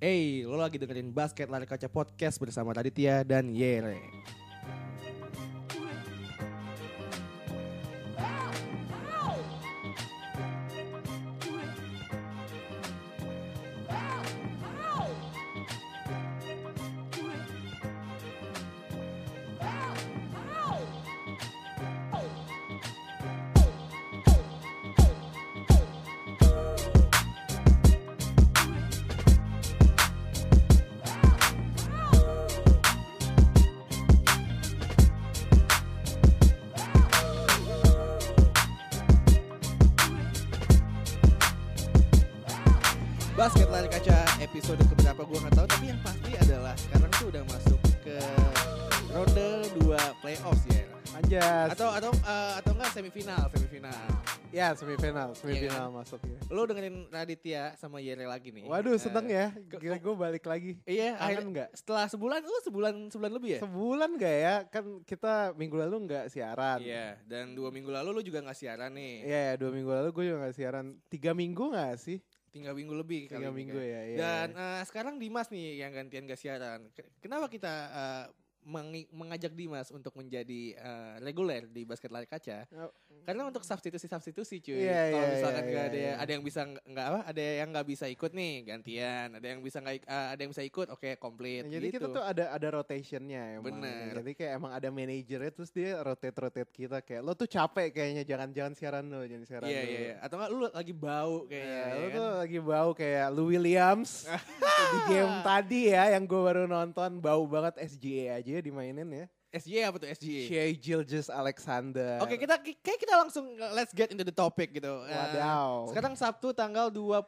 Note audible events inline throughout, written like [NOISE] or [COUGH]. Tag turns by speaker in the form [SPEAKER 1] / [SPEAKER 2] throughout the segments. [SPEAKER 1] Hey, lo lagi dengerin Basket Lari Kaca Podcast bersama Raditya dan Yere. Basket Lari Kaca episode keberapa gue nggak tahu, tapi yang pasti adalah sekarang tuh udah masuk ke ronde 2 playoffs ya.
[SPEAKER 2] Anjas.
[SPEAKER 1] Atau atau eh, atau enggak semifinal, semifinal.
[SPEAKER 2] ya
[SPEAKER 1] Iya
[SPEAKER 2] semifinal,
[SPEAKER 1] kan?
[SPEAKER 2] semifinal masuknya.
[SPEAKER 1] Lo dengerin Raditya sama Yere lagi nih.
[SPEAKER 2] Waduh, seneng
[SPEAKER 1] Eh,
[SPEAKER 2] ya.
[SPEAKER 1] ke-
[SPEAKER 2] Gila gue balik lagi.
[SPEAKER 1] Iya, akhir,
[SPEAKER 2] Kangen nggak?
[SPEAKER 1] setelah sebulan, lo sebulan sebulan lebih ya?
[SPEAKER 2] Sebulan gak ya? Kan kita minggu lalu nggak siaran.
[SPEAKER 1] Iya, dan dua minggu lalu lo juga nggak siaran nih.
[SPEAKER 2] Iya, ya, dua minggu lalu gue juga gak siaran. Tiga minggu gak sih?
[SPEAKER 1] Tinggal minggu lebih kali
[SPEAKER 2] Tiga
[SPEAKER 1] ini
[SPEAKER 2] minggu
[SPEAKER 1] kan.
[SPEAKER 2] ya. iya.
[SPEAKER 1] Dan eh, sekarang Dimas nih yang gantian gak siaran. Ke- Kenapa kita eh, mengi- mengajak Dimas untuk menjadi eh, reguler di basket lari kaca?
[SPEAKER 2] Oh.
[SPEAKER 1] Karena untuk substitusi-substitusi cuy.
[SPEAKER 2] Iya,
[SPEAKER 1] Kalau
[SPEAKER 2] iya,
[SPEAKER 1] misalkan
[SPEAKER 2] iya,
[SPEAKER 1] nggak ada
[SPEAKER 2] iya.
[SPEAKER 1] ada yang bisa nggak- nggak apa, ada yang nggak bisa ikut nih gantian. Ada yang bisa nggak ik- eh, ada yang bisa ikut, oke komplit.
[SPEAKER 2] Nah, jadi
[SPEAKER 1] gitu.
[SPEAKER 2] kita tuh ada ada rotationnya emang.
[SPEAKER 1] Bener.
[SPEAKER 2] Jadi kayak emang ada manajernya terus dia rotate rotate kita kayak lo tuh capek kayaknya jangan jangan siaran lo jangan siaran
[SPEAKER 1] Iya
[SPEAKER 2] dulu."
[SPEAKER 1] iya iya. Atau nggak lu lagi bau kayaknya.
[SPEAKER 2] Ya,
[SPEAKER 1] ya
[SPEAKER 2] lu
[SPEAKER 1] kan?
[SPEAKER 2] tuh lagi bau kayak Lou
[SPEAKER 1] [LAUGHS]
[SPEAKER 2] Williams di game tadi ya yang gue baru nonton bau banget SGA aja dimainin ya.
[SPEAKER 1] SJ apa tuh SJ?
[SPEAKER 2] Shea Gilgis Alexander.
[SPEAKER 1] Oke, kita kayak kita langsung uh, let's get into the topic gitu. Uh,
[SPEAKER 2] Wadaw.
[SPEAKER 1] Sekarang Sabtu tanggal 27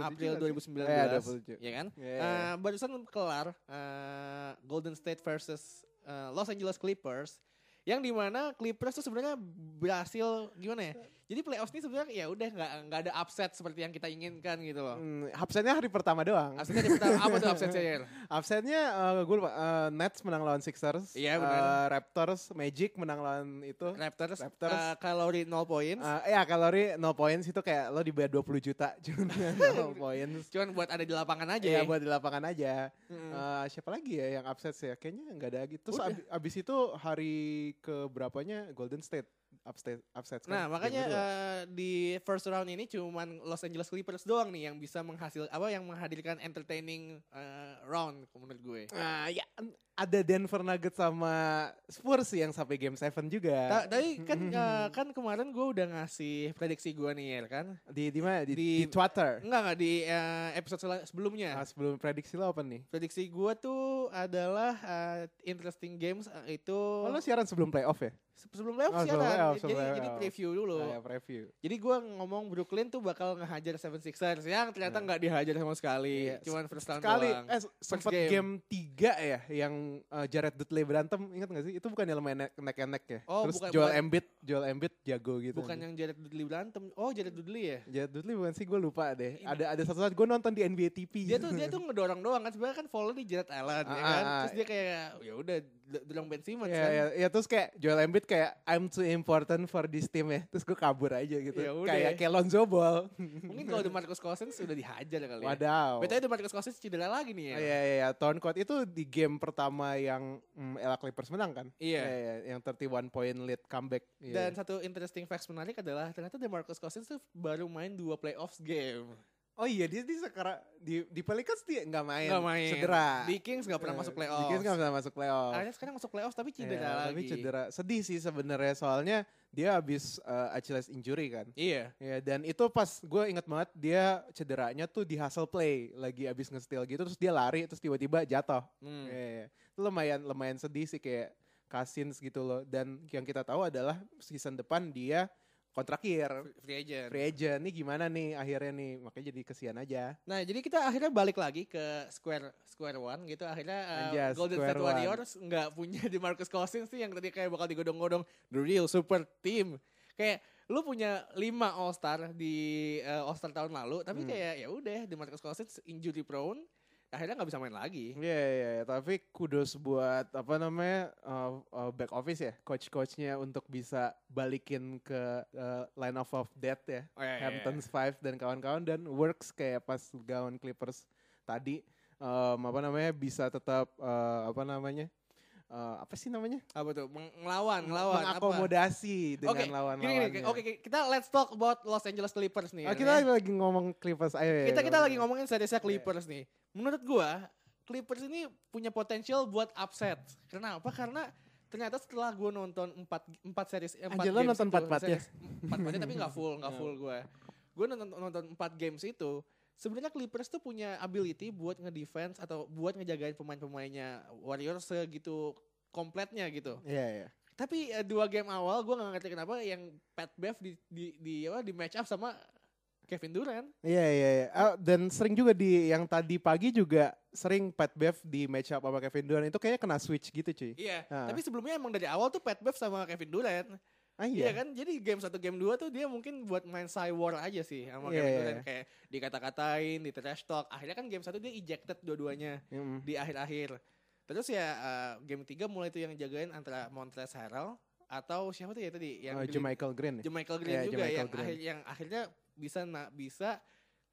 [SPEAKER 1] April 2019.
[SPEAKER 2] Ya,
[SPEAKER 1] Ya,
[SPEAKER 2] 27.
[SPEAKER 1] kan?
[SPEAKER 2] Iya.
[SPEAKER 1] Uh, barusan kelar uh, Golden State versus uh, Los Angeles Clippers yang dimana Clippers tuh sebenarnya berhasil gimana ya? Jadi playoffs ini sebenarnya ya udah nggak nggak ada upset seperti yang kita inginkan gitu loh.
[SPEAKER 2] Hmm, absennya hari pertama doang.
[SPEAKER 1] Absennya di pertama apa tuh absennya? Yer?
[SPEAKER 2] [LAUGHS] Absennya gue lupa eh, Nets menang lawan Sixers,
[SPEAKER 1] Iya,
[SPEAKER 2] Eh,
[SPEAKER 1] benar.
[SPEAKER 2] Raptors, Magic menang lawan itu.
[SPEAKER 1] Raptors,
[SPEAKER 2] Raptors.
[SPEAKER 1] uh, kalori 0 points.
[SPEAKER 2] Eh, ya kalori no points itu kayak lo dibayar 20 juta [LAUGHS] cuman
[SPEAKER 1] [LAUGHS]
[SPEAKER 2] no points.
[SPEAKER 1] Cuman buat ada di lapangan aja
[SPEAKER 2] Ya
[SPEAKER 1] ya. Hmm.
[SPEAKER 2] buat di lapangan aja.
[SPEAKER 1] Mm-mm.
[SPEAKER 2] Eh, siapa lagi ya yang upset sih? ya? Kayaknya nggak ada lagi. Terus
[SPEAKER 1] Udah.
[SPEAKER 2] abi- abis itu hari ke berapanya Golden State upset upset. kan?
[SPEAKER 1] Nah,
[SPEAKER 2] Game
[SPEAKER 1] makanya
[SPEAKER 2] kedua.
[SPEAKER 1] eh, di first round ini cuman Los Angeles Clippers doang nih yang bisa menghasil apa yang menghadirkan entertaining eh, round menurut gue.
[SPEAKER 2] Ah, ya en- ada Denver Nuggets sama Spurs yang sampai game 7 juga.
[SPEAKER 1] Ta- Tapi
[SPEAKER 2] [LAUGHS]
[SPEAKER 1] kan eh, kan kemarin gue udah ngasih prediksi gue nih ya kan.
[SPEAKER 2] di di mana? Di,
[SPEAKER 1] di-
[SPEAKER 2] di Twitter.
[SPEAKER 1] Enggak enggak di eh, episode sel-
[SPEAKER 2] Nah,
[SPEAKER 1] sebelumnya.
[SPEAKER 2] sebelum prediksi lo apa nih?
[SPEAKER 1] Prediksi gue tuh adalah eh, interesting games eh, itu
[SPEAKER 2] Oh, lo siaran sebelum playoff ya?
[SPEAKER 1] se- sebelum playoff
[SPEAKER 2] Oh,
[SPEAKER 1] siaran.
[SPEAKER 2] sebelum playoff,
[SPEAKER 1] Jadi
[SPEAKER 2] sebelum
[SPEAKER 1] jadi
[SPEAKER 2] playoff.
[SPEAKER 1] preview dulu.
[SPEAKER 2] Ah, ya, preview.
[SPEAKER 1] Jadi gue ngomong Brooklyn tuh bakal ngehajar 76ers yang ternyata
[SPEAKER 2] Nah.
[SPEAKER 1] nggak dihajar sama sekali.
[SPEAKER 2] Iya,
[SPEAKER 1] Cuman first round
[SPEAKER 2] Sekali
[SPEAKER 1] doang.
[SPEAKER 2] eh sempat
[SPEAKER 1] game.
[SPEAKER 2] game. 3 ya yang eh, Jared Dudley berantem, ingat gak sih? Itu bukan yang lumayan neck-neck ya.
[SPEAKER 1] Oh,
[SPEAKER 2] Terus
[SPEAKER 1] bukan-
[SPEAKER 2] Joel
[SPEAKER 1] bukan.
[SPEAKER 2] Embiid, Joel Embiid jago gitu.
[SPEAKER 1] Bukan yang Jared Dudley berantem. Oh, Jared Dudley ya?
[SPEAKER 2] Jared Dudley bukan sih gue lupa deh.
[SPEAKER 1] Iya.
[SPEAKER 2] Ada ada satu saat gue nonton di NBA TV.
[SPEAKER 1] Dia tuh
[SPEAKER 2] [LAUGHS]
[SPEAKER 1] dia tuh ngedorong doang kan sebenarnya kan follow di Jared Allen ya
[SPEAKER 2] Ah,
[SPEAKER 1] kan.
[SPEAKER 2] ah, ah.
[SPEAKER 1] Terus dia kayak ya udah d- dorong Ben Simmons
[SPEAKER 2] Ya,
[SPEAKER 1] kan.
[SPEAKER 2] ya, ya, terus kayak Joel Embiid kayak I'm too important for this team ya. Terus gue kabur aja gitu.
[SPEAKER 1] Ya udah.
[SPEAKER 2] kayak kayak Lonzo Ball.
[SPEAKER 1] Mungkin kalau DeMarcus Cousins udah dihajar kali ya.
[SPEAKER 2] Wadaw.
[SPEAKER 1] Betulnya DeMarcus Cousins cedera lagi nih ya.
[SPEAKER 2] Iya iya iya Torn Court itu di game pertama yang mm, LA Clippers menang kan?
[SPEAKER 1] Iya.
[SPEAKER 2] yang 31 point lead comeback. Iya.
[SPEAKER 1] Dan satu interesting facts menarik adalah ternyata DeMarcus Cousins tuh baru main dua playoffs game.
[SPEAKER 2] oh iya dia di sekarang di di Pelicans dia nggak main.
[SPEAKER 1] Nggak main.
[SPEAKER 2] Cedera.
[SPEAKER 1] Di Kings nggak pernah
[SPEAKER 2] Eh,
[SPEAKER 1] masuk playoffs.
[SPEAKER 2] Di Kings nggak pernah masuk playoff.
[SPEAKER 1] Akhirnya sekarang masuk playoffs tapi cedera
[SPEAKER 2] Iya,
[SPEAKER 1] lagi.
[SPEAKER 2] Tapi cedera. Sedih sih sebenarnya soalnya dia habis eh, Achilles injury kan.
[SPEAKER 1] Iya.
[SPEAKER 2] Ya dan itu pas gue inget banget dia cederanya tuh di hustle play lagi abis nge-steal gitu terus dia lari terus tiba-tiba jatuh.
[SPEAKER 1] Hmm.
[SPEAKER 2] Ya, ya. Itu lumayan lumayan sedih sih kayak Cousins gitu loh dan yang kita tahu adalah season depan dia kontrak year
[SPEAKER 1] Free agent.
[SPEAKER 2] free agent nih gimana nih akhirnya nih makanya jadi kesian aja.
[SPEAKER 1] Nah, jadi kita akhirnya balik lagi ke square square one gitu. Akhirnya uh,
[SPEAKER 2] Anjas,
[SPEAKER 1] Golden
[SPEAKER 2] square
[SPEAKER 1] State
[SPEAKER 2] one.
[SPEAKER 1] Warriors nggak punya di Marcus Cousins sih yang tadi kayak bakal digodong-godong the real super team. Kayak lu punya 5 All Star di uh, All Star tahun lalu, tapi
[SPEAKER 2] Hmm.
[SPEAKER 1] kayak ya udah di Marcus Cousins injury prone, akhirnya nggak bisa main lagi.
[SPEAKER 2] Iya iya iya. tapi kudos buat apa namanya uh, uh, back office ya coach-coachnya untuk bisa balikin ke uh, line of of death ya.
[SPEAKER 1] Oh, iya, iya, iya.
[SPEAKER 2] Hamptons Five dan kawan-kawan dan works kayak pas gaun Clippers tadi em, apa namanya bisa tetap eh, apa namanya eh, apa sih namanya
[SPEAKER 1] Apa tuh? Ah, Meng- Ngelawan, ngelawan. apa?
[SPEAKER 2] mengakomodasi dengan
[SPEAKER 1] Oke,
[SPEAKER 2] lawan
[SPEAKER 1] Gini, gini,
[SPEAKER 2] lawannya
[SPEAKER 1] Oke, kita let's talk about Los Angeles Clippers nih.
[SPEAKER 2] Oh, kita
[SPEAKER 1] ya.
[SPEAKER 2] lagi ngomong Clippers ayo ya,
[SPEAKER 1] kita kita lagi
[SPEAKER 2] ngomong.
[SPEAKER 1] ngomongin seriesnya Clippers nih. Menurut gua Clippers ini punya potensial buat upset. Kenapa? Karena ternyata setelah gua nonton 4 4 series eh, empat
[SPEAKER 2] Anjir, lo
[SPEAKER 1] games
[SPEAKER 2] nonton ya?
[SPEAKER 1] itu,
[SPEAKER 2] empat-empatnya?
[SPEAKER 1] series- Empat-empatnya tapi nggak full,
[SPEAKER 2] [LAUGHS]
[SPEAKER 1] nggak full gua. Gua nonton nonton 4 games itu Sebenarnya Clippers tuh punya ability buat ngedefense atau buat ngejagain pemain-pemainnya Warriors segitu kompletnya gitu.
[SPEAKER 2] Iya, iya.
[SPEAKER 1] Tapi eh, dua game awal gue gak ngerti kenapa yang Pat Bev di di di apa di match up sama Kevin Durant.
[SPEAKER 2] Iya iya iya. Ah, dan sering juga di yang tadi pagi juga sering Pat Bev di match up sama Kevin Durant itu kayaknya kena switch gitu cuy.
[SPEAKER 1] Iya.
[SPEAKER 2] Ah.
[SPEAKER 1] Tapi sebelumnya emang dari awal tuh Pat Bev sama Kevin Durant.
[SPEAKER 2] Ah
[SPEAKER 1] Iya
[SPEAKER 2] iya.
[SPEAKER 1] kan? Jadi game satu game dua tuh dia mungkin buat main side war aja sih sama
[SPEAKER 2] Iya,
[SPEAKER 1] Kevin
[SPEAKER 2] iya,
[SPEAKER 1] Durant kayak dikata-katain, di trash talk. Akhirnya kan game satu dia ejected dua-duanya
[SPEAKER 2] Mm.
[SPEAKER 1] di akhir-akhir. Terus ya eh, game tiga mulai tuh yang jagain antara Montrezl Harrell atau siapa tuh ya tadi yang
[SPEAKER 2] Oh,
[SPEAKER 1] Billy-
[SPEAKER 2] Jermichael Green. ya?
[SPEAKER 1] Jermichael Green
[SPEAKER 2] Iya,
[SPEAKER 1] juga
[SPEAKER 2] Jermichael
[SPEAKER 1] yang
[SPEAKER 2] Green.
[SPEAKER 1] akhir yang akhirnya bisa na, bisa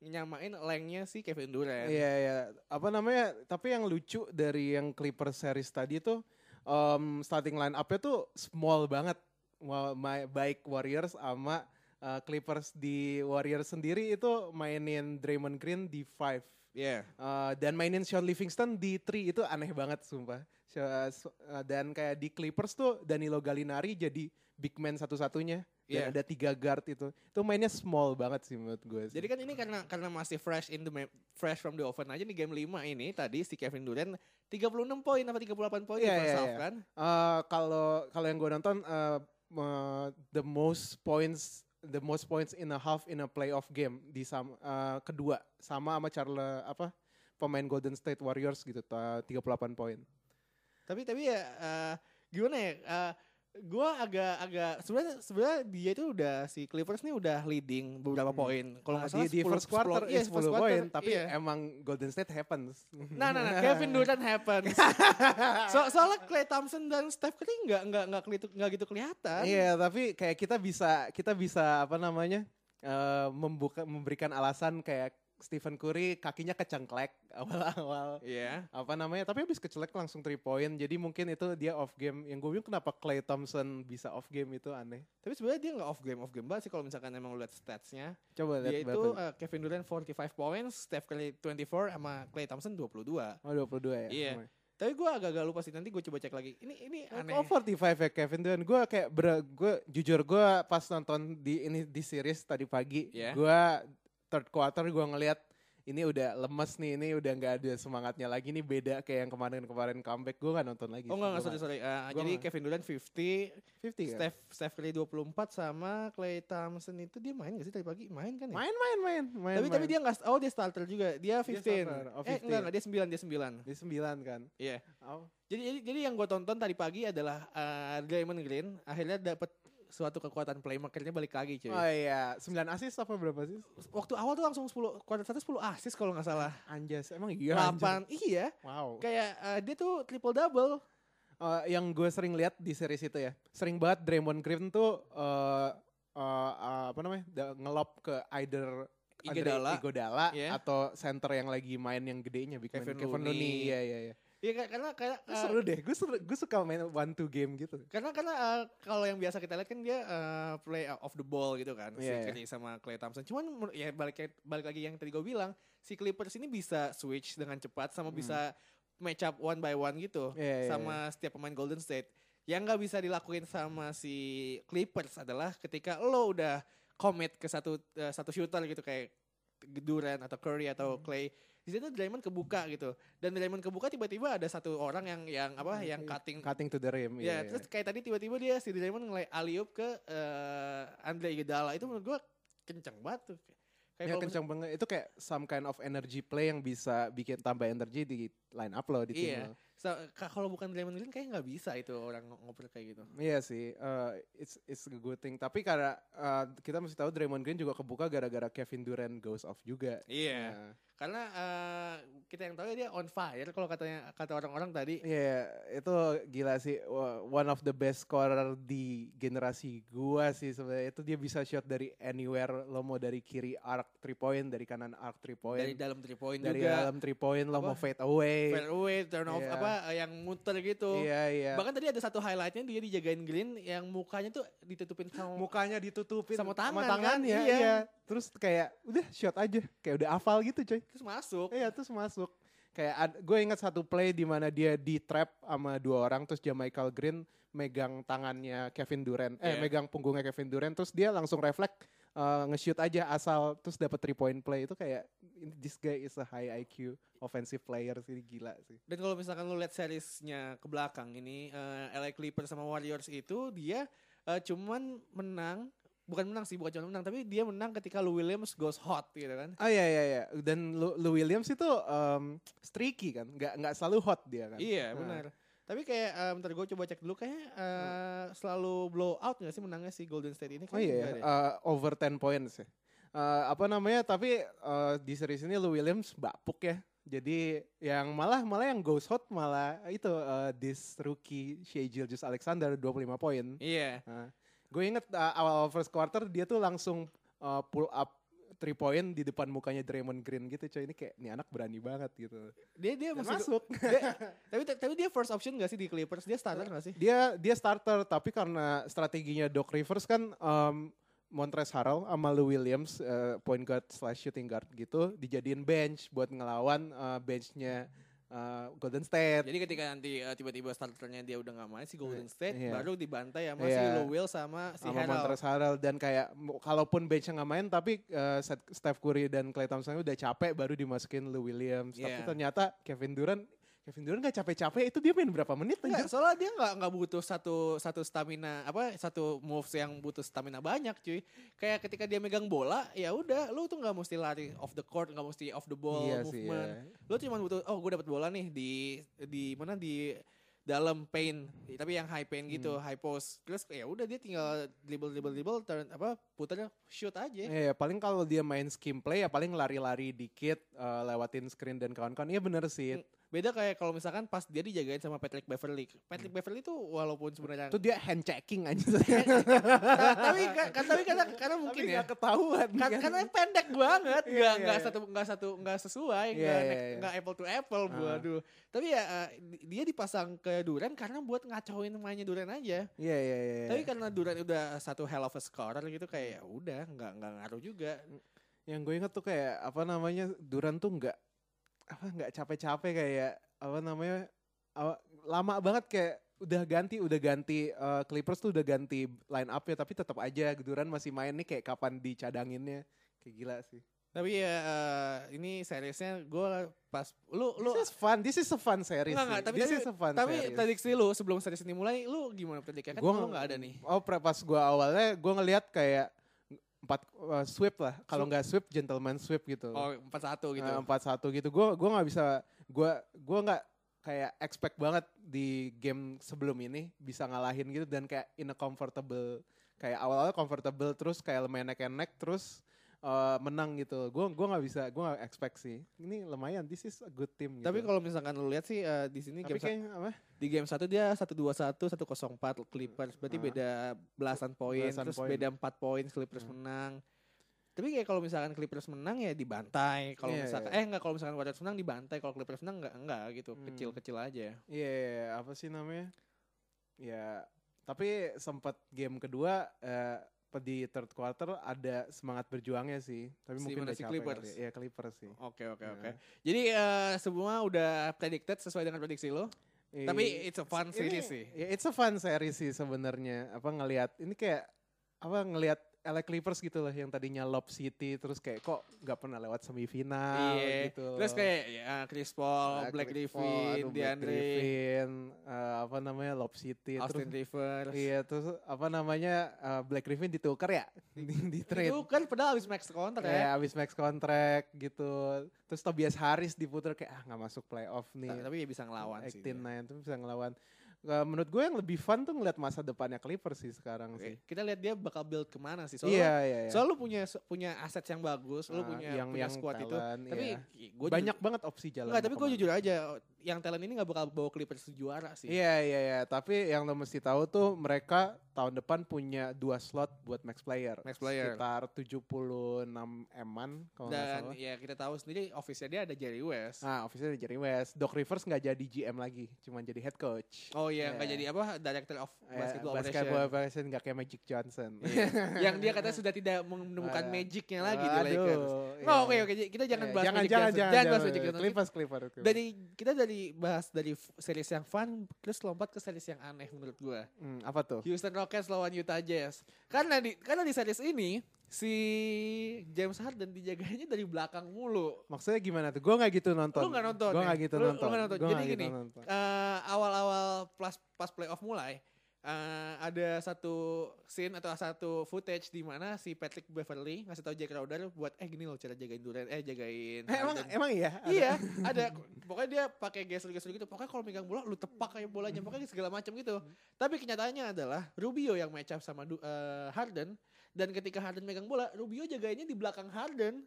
[SPEAKER 1] nyamain lengnya si Kevin Durant.
[SPEAKER 2] Iya iya. Apa namanya? Tapi yang lucu dari yang Clippers series tadi tuh em, starting line up-nya tuh small banget. Wa- ma- Baik Warriors sama eh, Clippers di Warriors sendiri itu mainin Draymond Green di five.
[SPEAKER 1] Iya.
[SPEAKER 2] Uh, dan mainin Sean Livingston di 3 itu aneh banget sumpah. Se- se- uh, dan kayak di Clippers tuh Danilo Gallinari jadi big man satu-satunya. Dan
[SPEAKER 1] Iya.
[SPEAKER 2] ada tiga guard itu. Itu mainnya small banget sih menurut gue. sih.
[SPEAKER 1] Jadi kan ini karena karena masih fresh in the ma- fresh from the oven aja di game 5 ini tadi si Kevin Durant 36 poin apa 38 poin di
[SPEAKER 2] Iya,
[SPEAKER 1] first
[SPEAKER 2] iya,
[SPEAKER 1] half
[SPEAKER 2] iya.
[SPEAKER 1] kan.
[SPEAKER 2] Uh, kalau kalau yang gue nonton uh, uh, the most points the most points in a half in a playoff game di sam- uh, kedua sama sama Charles apa pemain Golden State Warriors gitu ta- 38 poin.
[SPEAKER 1] Tapi tapi ya eh, gimana ya? eh, gua agak agak sebenarnya sebenarnya dia itu udah si Clippers nih udah leading beberapa
[SPEAKER 2] Hmm.
[SPEAKER 1] poin. Kalau
[SPEAKER 2] Nah,
[SPEAKER 1] nggak
[SPEAKER 2] di,
[SPEAKER 1] salah
[SPEAKER 2] di
[SPEAKER 1] 10
[SPEAKER 2] first quarter
[SPEAKER 1] iya,
[SPEAKER 2] ya 10
[SPEAKER 1] first quarter,
[SPEAKER 2] poin, tapi ya.
[SPEAKER 1] iya.
[SPEAKER 2] emang Golden State happens. [LAUGHS]
[SPEAKER 1] Nah, nah, nah, Kevin Durant happens. so, soalnya Clay Thompson dan Steph Curry nggak nggak nggak kelitu- nggak gitu kelihatan.
[SPEAKER 2] Iya, tapi kayak kita bisa kita bisa apa namanya? eh, membuka memberikan alasan kayak Stephen Curry kakinya kecengklek [LAUGHS] awal-awal
[SPEAKER 1] Iya.
[SPEAKER 2] apa namanya tapi habis kecelek langsung 3 point jadi mungkin itu dia off game yang gue bingung kenapa Clay Thompson bisa off game itu aneh
[SPEAKER 1] Tapi sebenarnya dia nggak off game off game banget sih kalau misalkan emang lu lihat statsnya. Dia
[SPEAKER 2] coba lihat
[SPEAKER 1] itu
[SPEAKER 2] berapa?
[SPEAKER 1] uh, Kevin Durant 45 points, Steph Curry 24 sama Clay Thompson 22.
[SPEAKER 2] oh 22 ya
[SPEAKER 1] Iya.
[SPEAKER 2] Oh.
[SPEAKER 1] Tapi gue agak-agak lupa sih nanti gue coba cek lagi. Ini ini aneh.
[SPEAKER 2] Oh, 45 ya Kevin Durant. Gue kayak ber, gue jujur gue pas nonton di ini di series tadi pagi,
[SPEAKER 1] Yeah.
[SPEAKER 2] gue third quarter gue ngelihat ini udah lemes nih, ini udah nggak ada semangatnya lagi nih beda kayak yang kemarin-kemarin comeback gue nggak nonton lagi.
[SPEAKER 1] Oh enggak enggak sorry sorry. Uh,
[SPEAKER 2] Gua
[SPEAKER 1] jadi
[SPEAKER 2] nggak.
[SPEAKER 1] Kevin Durant 50,
[SPEAKER 2] 50 kan?
[SPEAKER 1] Steph Steph Curry 24 sama Clay Thompson itu dia main gak sih tadi pagi? Main kan ya?
[SPEAKER 2] Main main main main.
[SPEAKER 1] tapi tapi
[SPEAKER 2] main.
[SPEAKER 1] dia enggak oh dia starter juga. Dia 15.
[SPEAKER 2] starter. Oh,
[SPEAKER 1] Eh
[SPEAKER 2] 15.
[SPEAKER 1] enggak enggak dia 9 dia 9.
[SPEAKER 2] di sembilan kan?
[SPEAKER 1] Iya.
[SPEAKER 2] Oh.
[SPEAKER 1] Jadi, jadi jadi yang gue tonton tadi pagi adalah uh, Draymond Green akhirnya dapat suatu kekuatan playmakernya balik lagi cuy.
[SPEAKER 2] Oh iya, 9 asis apa berapa sih?
[SPEAKER 1] Waktu awal tuh langsung 10 kuarter 1 10 assist kalau nggak salah.
[SPEAKER 2] Anjas, emang iya.
[SPEAKER 1] 8.
[SPEAKER 2] anjas.
[SPEAKER 1] Iya.
[SPEAKER 2] Wow.
[SPEAKER 1] Kayak eh, dia tuh triple double.
[SPEAKER 2] Eh, yang gue sering lihat di series itu ya, sering banget Draymond Green tuh eh eh, eh, apa namanya da- ngelop ke either Andre
[SPEAKER 1] Iguodala.
[SPEAKER 2] Iguodala
[SPEAKER 1] Iya.
[SPEAKER 2] atau center yang lagi main yang gedenya big man,
[SPEAKER 1] Kevin
[SPEAKER 2] Kevin
[SPEAKER 1] Looney.
[SPEAKER 2] Looney. Iya iya iya.
[SPEAKER 1] Iya ka- karena karena
[SPEAKER 2] Itu
[SPEAKER 1] eh,
[SPEAKER 2] seru deh. Gue seru- gue suka main one two game gitu.
[SPEAKER 1] karena karena eh, kalau yang biasa kita lihat kan dia eh, play off the ball gitu kan
[SPEAKER 2] Iya,
[SPEAKER 1] si
[SPEAKER 2] iya.
[SPEAKER 1] Curry sama Clay Thompson. Cuman menur- ya balik balik lagi yang tadi gue bilang si Clippers ini bisa switch dengan cepat sama
[SPEAKER 2] Hmm.
[SPEAKER 1] bisa match up one by one gitu
[SPEAKER 2] Iya, iya,
[SPEAKER 1] sama setiap pemain Golden State. Yang nggak bisa dilakuin sama si Clippers adalah ketika lo udah commit ke satu eh, satu shooter gitu kayak Durant atau Curry atau
[SPEAKER 2] Hmm.
[SPEAKER 1] Clay. Di situ Draymond kebuka gitu. Dan Draymond kebuka tiba-tiba ada satu orang yang yang apa
[SPEAKER 2] Hmm,
[SPEAKER 1] yang
[SPEAKER 2] iya.
[SPEAKER 1] cutting
[SPEAKER 2] cutting to the rim. iya,
[SPEAKER 1] Ya, terus kayak tadi tiba-tiba dia si Draymond ngelay aliup ke eh, Andre Iguodala itu menurut gua kencang banget tuh. Kayak
[SPEAKER 2] Ya,
[SPEAKER 1] kalau
[SPEAKER 2] kencang banget. Itu kayak some kind of energy play yang bisa bikin tambah energi di line up loh di tim
[SPEAKER 1] Iya.
[SPEAKER 2] lo.
[SPEAKER 1] mis- So, ka- kalau bukan Draymond Green kayaknya nggak bisa itu orang ng- ngoper kayak gitu.
[SPEAKER 2] Iya sih, eh, it's it's a good thing. Tapi karena eh, kita mesti tahu Draymond Green juga kebuka gara-gara Kevin Durant goes off juga.
[SPEAKER 1] Iya.
[SPEAKER 2] Nah,
[SPEAKER 1] Karena eh, kita yang tahu ya dia on fire kalau katanya kata orang-orang tadi.
[SPEAKER 2] Iya, itu gila sih. Wa- One of the best scorer di generasi gua sih sebenarnya. Itu dia bisa shot dari anywhere. Lo mau dari kiri arc three point, dari kanan arc three
[SPEAKER 1] Dari
[SPEAKER 2] point,
[SPEAKER 1] dalam three point
[SPEAKER 2] dari
[SPEAKER 1] juga.
[SPEAKER 2] dalam three point lo
[SPEAKER 1] Apa?
[SPEAKER 2] mau fade away.
[SPEAKER 1] Fairway, turn off
[SPEAKER 2] Iya.
[SPEAKER 1] apa eh, yang muter gitu.
[SPEAKER 2] Iya, iya.
[SPEAKER 1] Bahkan tadi ada satu highlightnya dia dijagain Green yang mukanya tuh ditutupin sama
[SPEAKER 2] mukanya ditutupin
[SPEAKER 1] Sama tangan, kan?
[SPEAKER 2] tangannya, iya.
[SPEAKER 1] Iya.
[SPEAKER 2] Terus kayak udah shot aja, kayak udah hafal gitu, coy.
[SPEAKER 1] terus masuk.
[SPEAKER 2] Iya, terus masuk. Kayak ad- gue ingat satu play di mana dia di trap sama dua orang terus Michael Green megang tangannya Kevin Durant, eh
[SPEAKER 1] Iya.
[SPEAKER 2] megang punggungnya Kevin Durant terus dia langsung refleks eh, nge-shoot aja asal terus dapat three point play itu kayak this guy is a high IQ offensive player sih gila sih.
[SPEAKER 1] Dan kalau misalkan lu lihat seriesnya ke belakang ini eh, LA Clippers sama Warriors itu dia eh, cuman menang bukan menang sih bukan cuma menang tapi dia menang ketika Lou Williams goes hot gitu kan.
[SPEAKER 2] Ah iya iya iya dan Lou, Lou Williams itu em, streaky kan, nggak nggak selalu hot dia kan.
[SPEAKER 1] Iya
[SPEAKER 2] Nah.
[SPEAKER 1] benar. Tapi kayak eh, bentar gue coba cek dulu kayaknya eh, selalu blow out gak sih menangnya si Golden State ini?
[SPEAKER 2] Oh
[SPEAKER 1] Kayaknya
[SPEAKER 2] iya,
[SPEAKER 1] enggak deh.
[SPEAKER 2] uh, over 10 points ya. Uh, apa namanya? Tapi uh, di series ini Lou Williams bapuk ya. Jadi yang malah malah yang ghost hot malah itu uh, this rookie Shea Gilgeous Alexander 25 poin. Nah,
[SPEAKER 1] Iya.
[SPEAKER 2] Gue inget uh, awal first quarter dia tuh langsung uh, pull up three point di depan mukanya Draymond Green gitu coy ini kayak nih anak berani banget gitu
[SPEAKER 1] Dia dia
[SPEAKER 2] Dan
[SPEAKER 1] masih
[SPEAKER 2] masuk
[SPEAKER 1] dia- tapi tapi dia first option gak sih di Clippers? Dia starter gak sih?
[SPEAKER 2] dia dia starter tapi karena strateginya Doc Rivers kan em, Montrezl Harrell sama Lou Williams eh, point guard slash shooting guard gitu dijadiin bench buat ngelawan eh, benchnya eh, Golden State.
[SPEAKER 1] Jadi ketika nanti eh, tiba-tiba starternya dia udah gak main si Golden State
[SPEAKER 2] Iya.
[SPEAKER 1] baru dibantai sama si
[SPEAKER 2] Iya.
[SPEAKER 1] Lou Will Nah, sama si
[SPEAKER 2] sama
[SPEAKER 1] Harrell.
[SPEAKER 2] Montrezl Harrell dan kayak mu- kalaupun benchnya nggak main tapi eh, Seth- Steph Curry dan Klay Thompson udah capek baru dimasukin Lou Williams tapi
[SPEAKER 1] Iya.
[SPEAKER 2] ternyata Kevin Durant Kevin Durant nggak capek-capek itu dia main berapa menit
[SPEAKER 1] Enggak,
[SPEAKER 2] anjir?
[SPEAKER 1] soalnya dia nggak nggak butuh satu satu stamina apa satu moves yang butuh stamina banyak cuy. Kayak ketika dia megang bola, ya udah lu tuh nggak mesti lari off the court, nggak mesti off the ball
[SPEAKER 2] Iya sih,
[SPEAKER 1] movement.
[SPEAKER 2] iya.
[SPEAKER 1] Lu cuma butuh oh gue dapat bola nih di di mana di dalam paint, tapi yang high paint gitu,
[SPEAKER 2] Hmm.
[SPEAKER 1] high post. Terus ya udah dia tinggal dribble dribble dribble turn apa putarnya shoot aja.
[SPEAKER 2] Iya, paling kalau dia main skim play ya paling lari-lari dikit, eh, lewatin screen dan kawan-kawan. Iya bener sih.
[SPEAKER 1] Beda kayak kalau misalkan pas dia dijagain sama Patrick Beverly.
[SPEAKER 2] Hmm.
[SPEAKER 1] Patrick Beverly tuh walaupun sebenarnya Nah,
[SPEAKER 2] Itu dia hand checking aja.
[SPEAKER 1] tapi ka- tapi karena karena mungkin
[SPEAKER 2] Tapi
[SPEAKER 1] ya
[SPEAKER 2] nggak ketahuan.
[SPEAKER 1] Ka-
[SPEAKER 2] kan.
[SPEAKER 1] karena pendek banget nggak
[SPEAKER 2] Iya, iya,
[SPEAKER 1] nggak
[SPEAKER 2] iya.
[SPEAKER 1] satu nggak satu nggak sesuai
[SPEAKER 2] Iya,
[SPEAKER 1] nggak
[SPEAKER 2] iya,
[SPEAKER 1] nek-
[SPEAKER 2] iya.
[SPEAKER 1] nggak apple to apple
[SPEAKER 2] Ah.
[SPEAKER 1] waduh tapi ya eh, di- dia dipasang ke Duran karena buat ngacauin mainnya Duran aja
[SPEAKER 2] Iya, iya, iya. iya.
[SPEAKER 1] tapi kan karena Duran udah satu hell of a scorer gitu kayak ya udah nggak nggak ngaruh juga
[SPEAKER 2] Yang gue inget tuh kayak apa namanya Duran tuh nggak apa nggak capek-capek kayak apa namanya awa- lama banget kayak udah ganti udah ganti eh, Clippers tuh udah ganti line up ya tapi tetap aja Duran masih main nih kayak kapan dicadanginnya kayak gila sih.
[SPEAKER 1] tapi ya eh, ini seriesnya gue pas lu lu
[SPEAKER 2] this is fun. This is a fun series.
[SPEAKER 1] Nggak,
[SPEAKER 2] sih.
[SPEAKER 1] nggak, tapi-
[SPEAKER 2] this
[SPEAKER 1] tapi-
[SPEAKER 2] is a fun
[SPEAKER 1] tapi
[SPEAKER 2] series.
[SPEAKER 1] prediksi lu sebelum series ini mulai lu gimana prediksi kan
[SPEAKER 2] Gua
[SPEAKER 1] lu
[SPEAKER 2] nggak-
[SPEAKER 1] nggak ada nih
[SPEAKER 2] Oh, pre- pas gue awalnya gue ngelihat kayak empat eh, sweep lah. Kalau nggak sweep, gentleman sweep gitu.
[SPEAKER 1] oh empat satu gitu
[SPEAKER 2] Eh, Empat satu gitu. Gue gua nggak bisa. Gue gua nggak kayak expect banget di game sebelum ini bisa ngalahin gitu dan kayak in a comfortable kayak awal-awal comfortable terus kayak lumayan neck and neck terus eh, menang gitu. Gue gua nggak bisa. Gue nggak expect sih. Ini lumayan. This is a good team. Gitu.
[SPEAKER 1] tapi kalau misalkan lu lihat sih eh, di sini
[SPEAKER 2] tapi
[SPEAKER 1] game
[SPEAKER 2] kayaknya apa?
[SPEAKER 1] di game satu dia 121 104 Clippers berarti
[SPEAKER 2] Ah.
[SPEAKER 1] beda belasan poin
[SPEAKER 2] Belasan
[SPEAKER 1] terus
[SPEAKER 2] poin.
[SPEAKER 1] beda 4 poin Clippers
[SPEAKER 2] Hmm.
[SPEAKER 1] menang tapi kayak kalau misalkan Clippers menang ya dibantai kalau
[SPEAKER 2] Iya,
[SPEAKER 1] misalkan
[SPEAKER 2] iya.
[SPEAKER 1] eh enggak kalau misalkan Warriors menang dibantai kalau Clippers menang enggak enggak gitu
[SPEAKER 2] Hmm.
[SPEAKER 1] kecil-kecil aja
[SPEAKER 2] Iya, iya, apa sih namanya? Ya, tapi sempat game kedua eh, pe- di third quarter ada semangat berjuangnya sih. Tapi
[SPEAKER 1] Si mana
[SPEAKER 2] mungkin udah
[SPEAKER 1] si
[SPEAKER 2] capek
[SPEAKER 1] Clippers?
[SPEAKER 2] kali ya. Iya, Clippers sih.
[SPEAKER 1] oke oke
[SPEAKER 2] Nah.
[SPEAKER 1] oke jadi eh, semua udah predicted sesuai dengan prediksi lo tapi it's a fun
[SPEAKER 2] Nah, Iya. Ini-
[SPEAKER 1] series sih
[SPEAKER 2] ya, it's a fun series sih sebenarnya. Apa ngelihat ini kayak apa ngelihat LA Clippers gitu loh yang tadinya Lob City terus kayak kok nggak pernah lewat semifinal
[SPEAKER 1] Iya.
[SPEAKER 2] gitu.
[SPEAKER 1] Terus kayak ya, Chris Paul,
[SPEAKER 2] Ah,
[SPEAKER 1] Black
[SPEAKER 2] Clifford,
[SPEAKER 1] Griffin,
[SPEAKER 2] aduh, Black
[SPEAKER 1] DeAndre,
[SPEAKER 2] Griffin, eh, apa namanya Lob City
[SPEAKER 1] Austin
[SPEAKER 2] terus
[SPEAKER 1] Rivers.
[SPEAKER 2] iya terus apa namanya eh, Black Griffin ditukar ya [LAUGHS] di, di trade.
[SPEAKER 1] Itu kan padahal habis max counter ya.
[SPEAKER 2] Kayak abis max contract gitu. Terus Tobias Harris diputer kayak ah nggak masuk playoff nih.
[SPEAKER 1] Tapi ya bisa ngelawan sih.
[SPEAKER 2] Actin
[SPEAKER 1] dia.
[SPEAKER 2] Nine tuh bisa ngelawan. Eh, menurut gue yang lebih fun tuh ngeliat masa depannya Clippers sih sekarang
[SPEAKER 1] Oke,
[SPEAKER 2] sih.
[SPEAKER 1] Kita lihat dia bakal build kemana sih. Soalnya
[SPEAKER 2] Iya, iya, iya.
[SPEAKER 1] Soalnya lu punya punya aset yang bagus, lu
[SPEAKER 2] Ah,
[SPEAKER 1] punya punya squad itu.
[SPEAKER 2] talent,
[SPEAKER 1] Tapi
[SPEAKER 2] iya.
[SPEAKER 1] gue
[SPEAKER 2] banyak banget opsi jalan.
[SPEAKER 1] Enggak,
[SPEAKER 2] mau
[SPEAKER 1] tapi gue
[SPEAKER 2] kemana.
[SPEAKER 1] jujur aja, yang talent ini nggak bakal bawa Clippers juara sih.
[SPEAKER 2] Iya, iya, iya. Tapi yang lo mesti tahu tuh mereka tahun depan punya dua slot buat max player.
[SPEAKER 1] Max player.
[SPEAKER 2] Sekitar 76 eman kalau nggak
[SPEAKER 1] Dan
[SPEAKER 2] salah.
[SPEAKER 1] ya kita tahu sendiri office-nya dia ada Jerry West.
[SPEAKER 2] Nah, officialnya Jerry West. Doc Rivers nggak jadi GM lagi, cuman jadi head coach.
[SPEAKER 1] Oh iya, nggak
[SPEAKER 2] Iya.
[SPEAKER 1] jadi apa director of
[SPEAKER 2] Eh,
[SPEAKER 1] basketball,
[SPEAKER 2] basketball
[SPEAKER 1] operation.
[SPEAKER 2] operation nggak kayak Magic Johnson.
[SPEAKER 1] Iya. yang dia katanya sudah tidak menemukan
[SPEAKER 2] Ada.
[SPEAKER 1] magicnya lagi di Lakers.
[SPEAKER 2] Aduh,
[SPEAKER 1] Oh,
[SPEAKER 2] iya.
[SPEAKER 1] oke oke, kita jangan
[SPEAKER 2] Iya,
[SPEAKER 1] bahas
[SPEAKER 2] jangan,
[SPEAKER 1] Magic
[SPEAKER 2] jangan,
[SPEAKER 1] Johnson.
[SPEAKER 2] jangan,
[SPEAKER 1] bahas
[SPEAKER 2] jangan.
[SPEAKER 1] Magic Johnson.
[SPEAKER 2] Clippers, Clippers. Clippers.
[SPEAKER 1] Dari kita dari bahas dari f- series yang fun terus lompat ke series yang aneh menurut gua.
[SPEAKER 2] Hmm, apa tuh?
[SPEAKER 1] Houston Rockets lawan Utah Jazz. Karena di karena di series ini si James Harden dijaganya dari belakang mulu.
[SPEAKER 2] Maksudnya gimana tuh? Gue gak gitu nonton.
[SPEAKER 1] Lu nggak nonton
[SPEAKER 2] Gue
[SPEAKER 1] ya?
[SPEAKER 2] gak gitu
[SPEAKER 1] Lu- lu
[SPEAKER 2] nonton.
[SPEAKER 1] nggak nonton.
[SPEAKER 2] Gua
[SPEAKER 1] Jadi
[SPEAKER 2] nggak gitu
[SPEAKER 1] gini,
[SPEAKER 2] nonton.
[SPEAKER 1] Eh, awal-awal plus pas playoff mulai eh, ada satu scene atau satu footage di mana si Patrick Beverly ngasih tahu Jack Crowder buat eh gini loh cara jagain Durant eh jagain
[SPEAKER 2] Eh, emang
[SPEAKER 1] Harden."
[SPEAKER 2] emang iya. Ada-
[SPEAKER 1] Iya, ada. Pokoknya dia pakai gestur-gestur gitu. Pokoknya kalau megang bola lu tepak kayak bolanya, pokoknya segala macam gitu. Tapi kenyataannya adalah Rubio yang match up sama Du- eh, Harden dan ketika Harden megang bola, Rubio jagainnya di belakang Harden.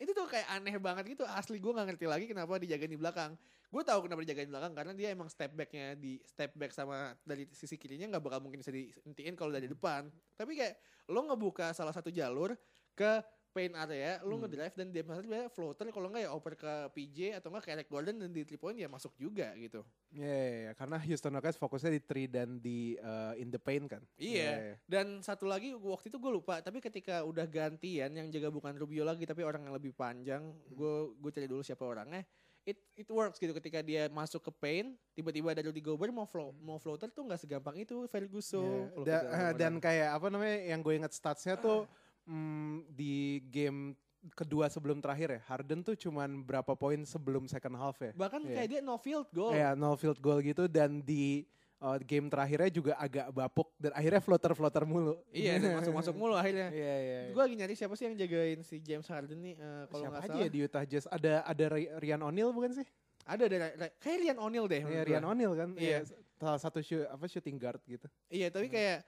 [SPEAKER 1] Itu tuh kayak aneh banget gitu. Asli gue nggak ngerti lagi kenapa dijagain di belakang. Gue tahu kenapa dijagain di belakang karena dia emang step backnya di step back sama dari sisi kirinya nggak bakal mungkin bisa dientiin kalau dari depan. Tapi kayak lo ngebuka salah satu jalur ke paint area, lu
[SPEAKER 2] Hmm.
[SPEAKER 1] ngedrive dan dia pasti biasanya floater kalau enggak ya oper ke PJ atau enggak ke Eric Gordon dan di three point ya masuk juga gitu.
[SPEAKER 2] Iya, iya, iya. karena Houston Rockets fokusnya di three dan di eh, in the paint kan.
[SPEAKER 1] Iya. Dan satu lagi waktu itu gue lupa, tapi ketika udah gantian yang jaga bukan Rubio lagi tapi orang yang lebih panjang,
[SPEAKER 2] Hmm.
[SPEAKER 1] gue gue cari dulu siapa orangnya. It it works gitu ketika dia masuk ke paint, tiba-tiba ada Rudy Gobert mau flow mau floater tuh nggak segampang itu Ferguson. Kalau
[SPEAKER 2] Hmm. Iya. Da-
[SPEAKER 1] kita
[SPEAKER 2] eh,
[SPEAKER 1] beneran.
[SPEAKER 2] dan kayak apa namanya yang gue inget statsnya tuh
[SPEAKER 1] Ah.
[SPEAKER 2] mm, di game kedua sebelum terakhir ya Harden tuh cuman berapa poin sebelum second half ya
[SPEAKER 1] bahkan
[SPEAKER 2] Iya.
[SPEAKER 1] kayak dia no field goal.
[SPEAKER 2] Iya, no field goal gitu dan di uh, game terakhirnya juga agak bapuk dan akhirnya floater floater mulu.
[SPEAKER 1] Iya, dan masuk-masuk mulu akhirnya.
[SPEAKER 2] [LAUGHS] Iya, iya. iya.
[SPEAKER 1] Gue lagi nyari siapa sih yang jagain si James Harden nih eh, kalau
[SPEAKER 2] Siapa
[SPEAKER 1] nggak
[SPEAKER 2] aja
[SPEAKER 1] salah.
[SPEAKER 2] ya di Utah Jazz? Ada ada Ri- Rian O'Neal bukan sih?
[SPEAKER 1] Ada ada ada- kayak Rian O'Neal deh.
[SPEAKER 2] Iya,
[SPEAKER 1] menurut
[SPEAKER 2] Rian
[SPEAKER 1] gua.
[SPEAKER 2] O'Neal kan.
[SPEAKER 1] Iya.
[SPEAKER 2] Iya, Salah satu shoot, apa shooting guard gitu.
[SPEAKER 1] Iya, tapi kayak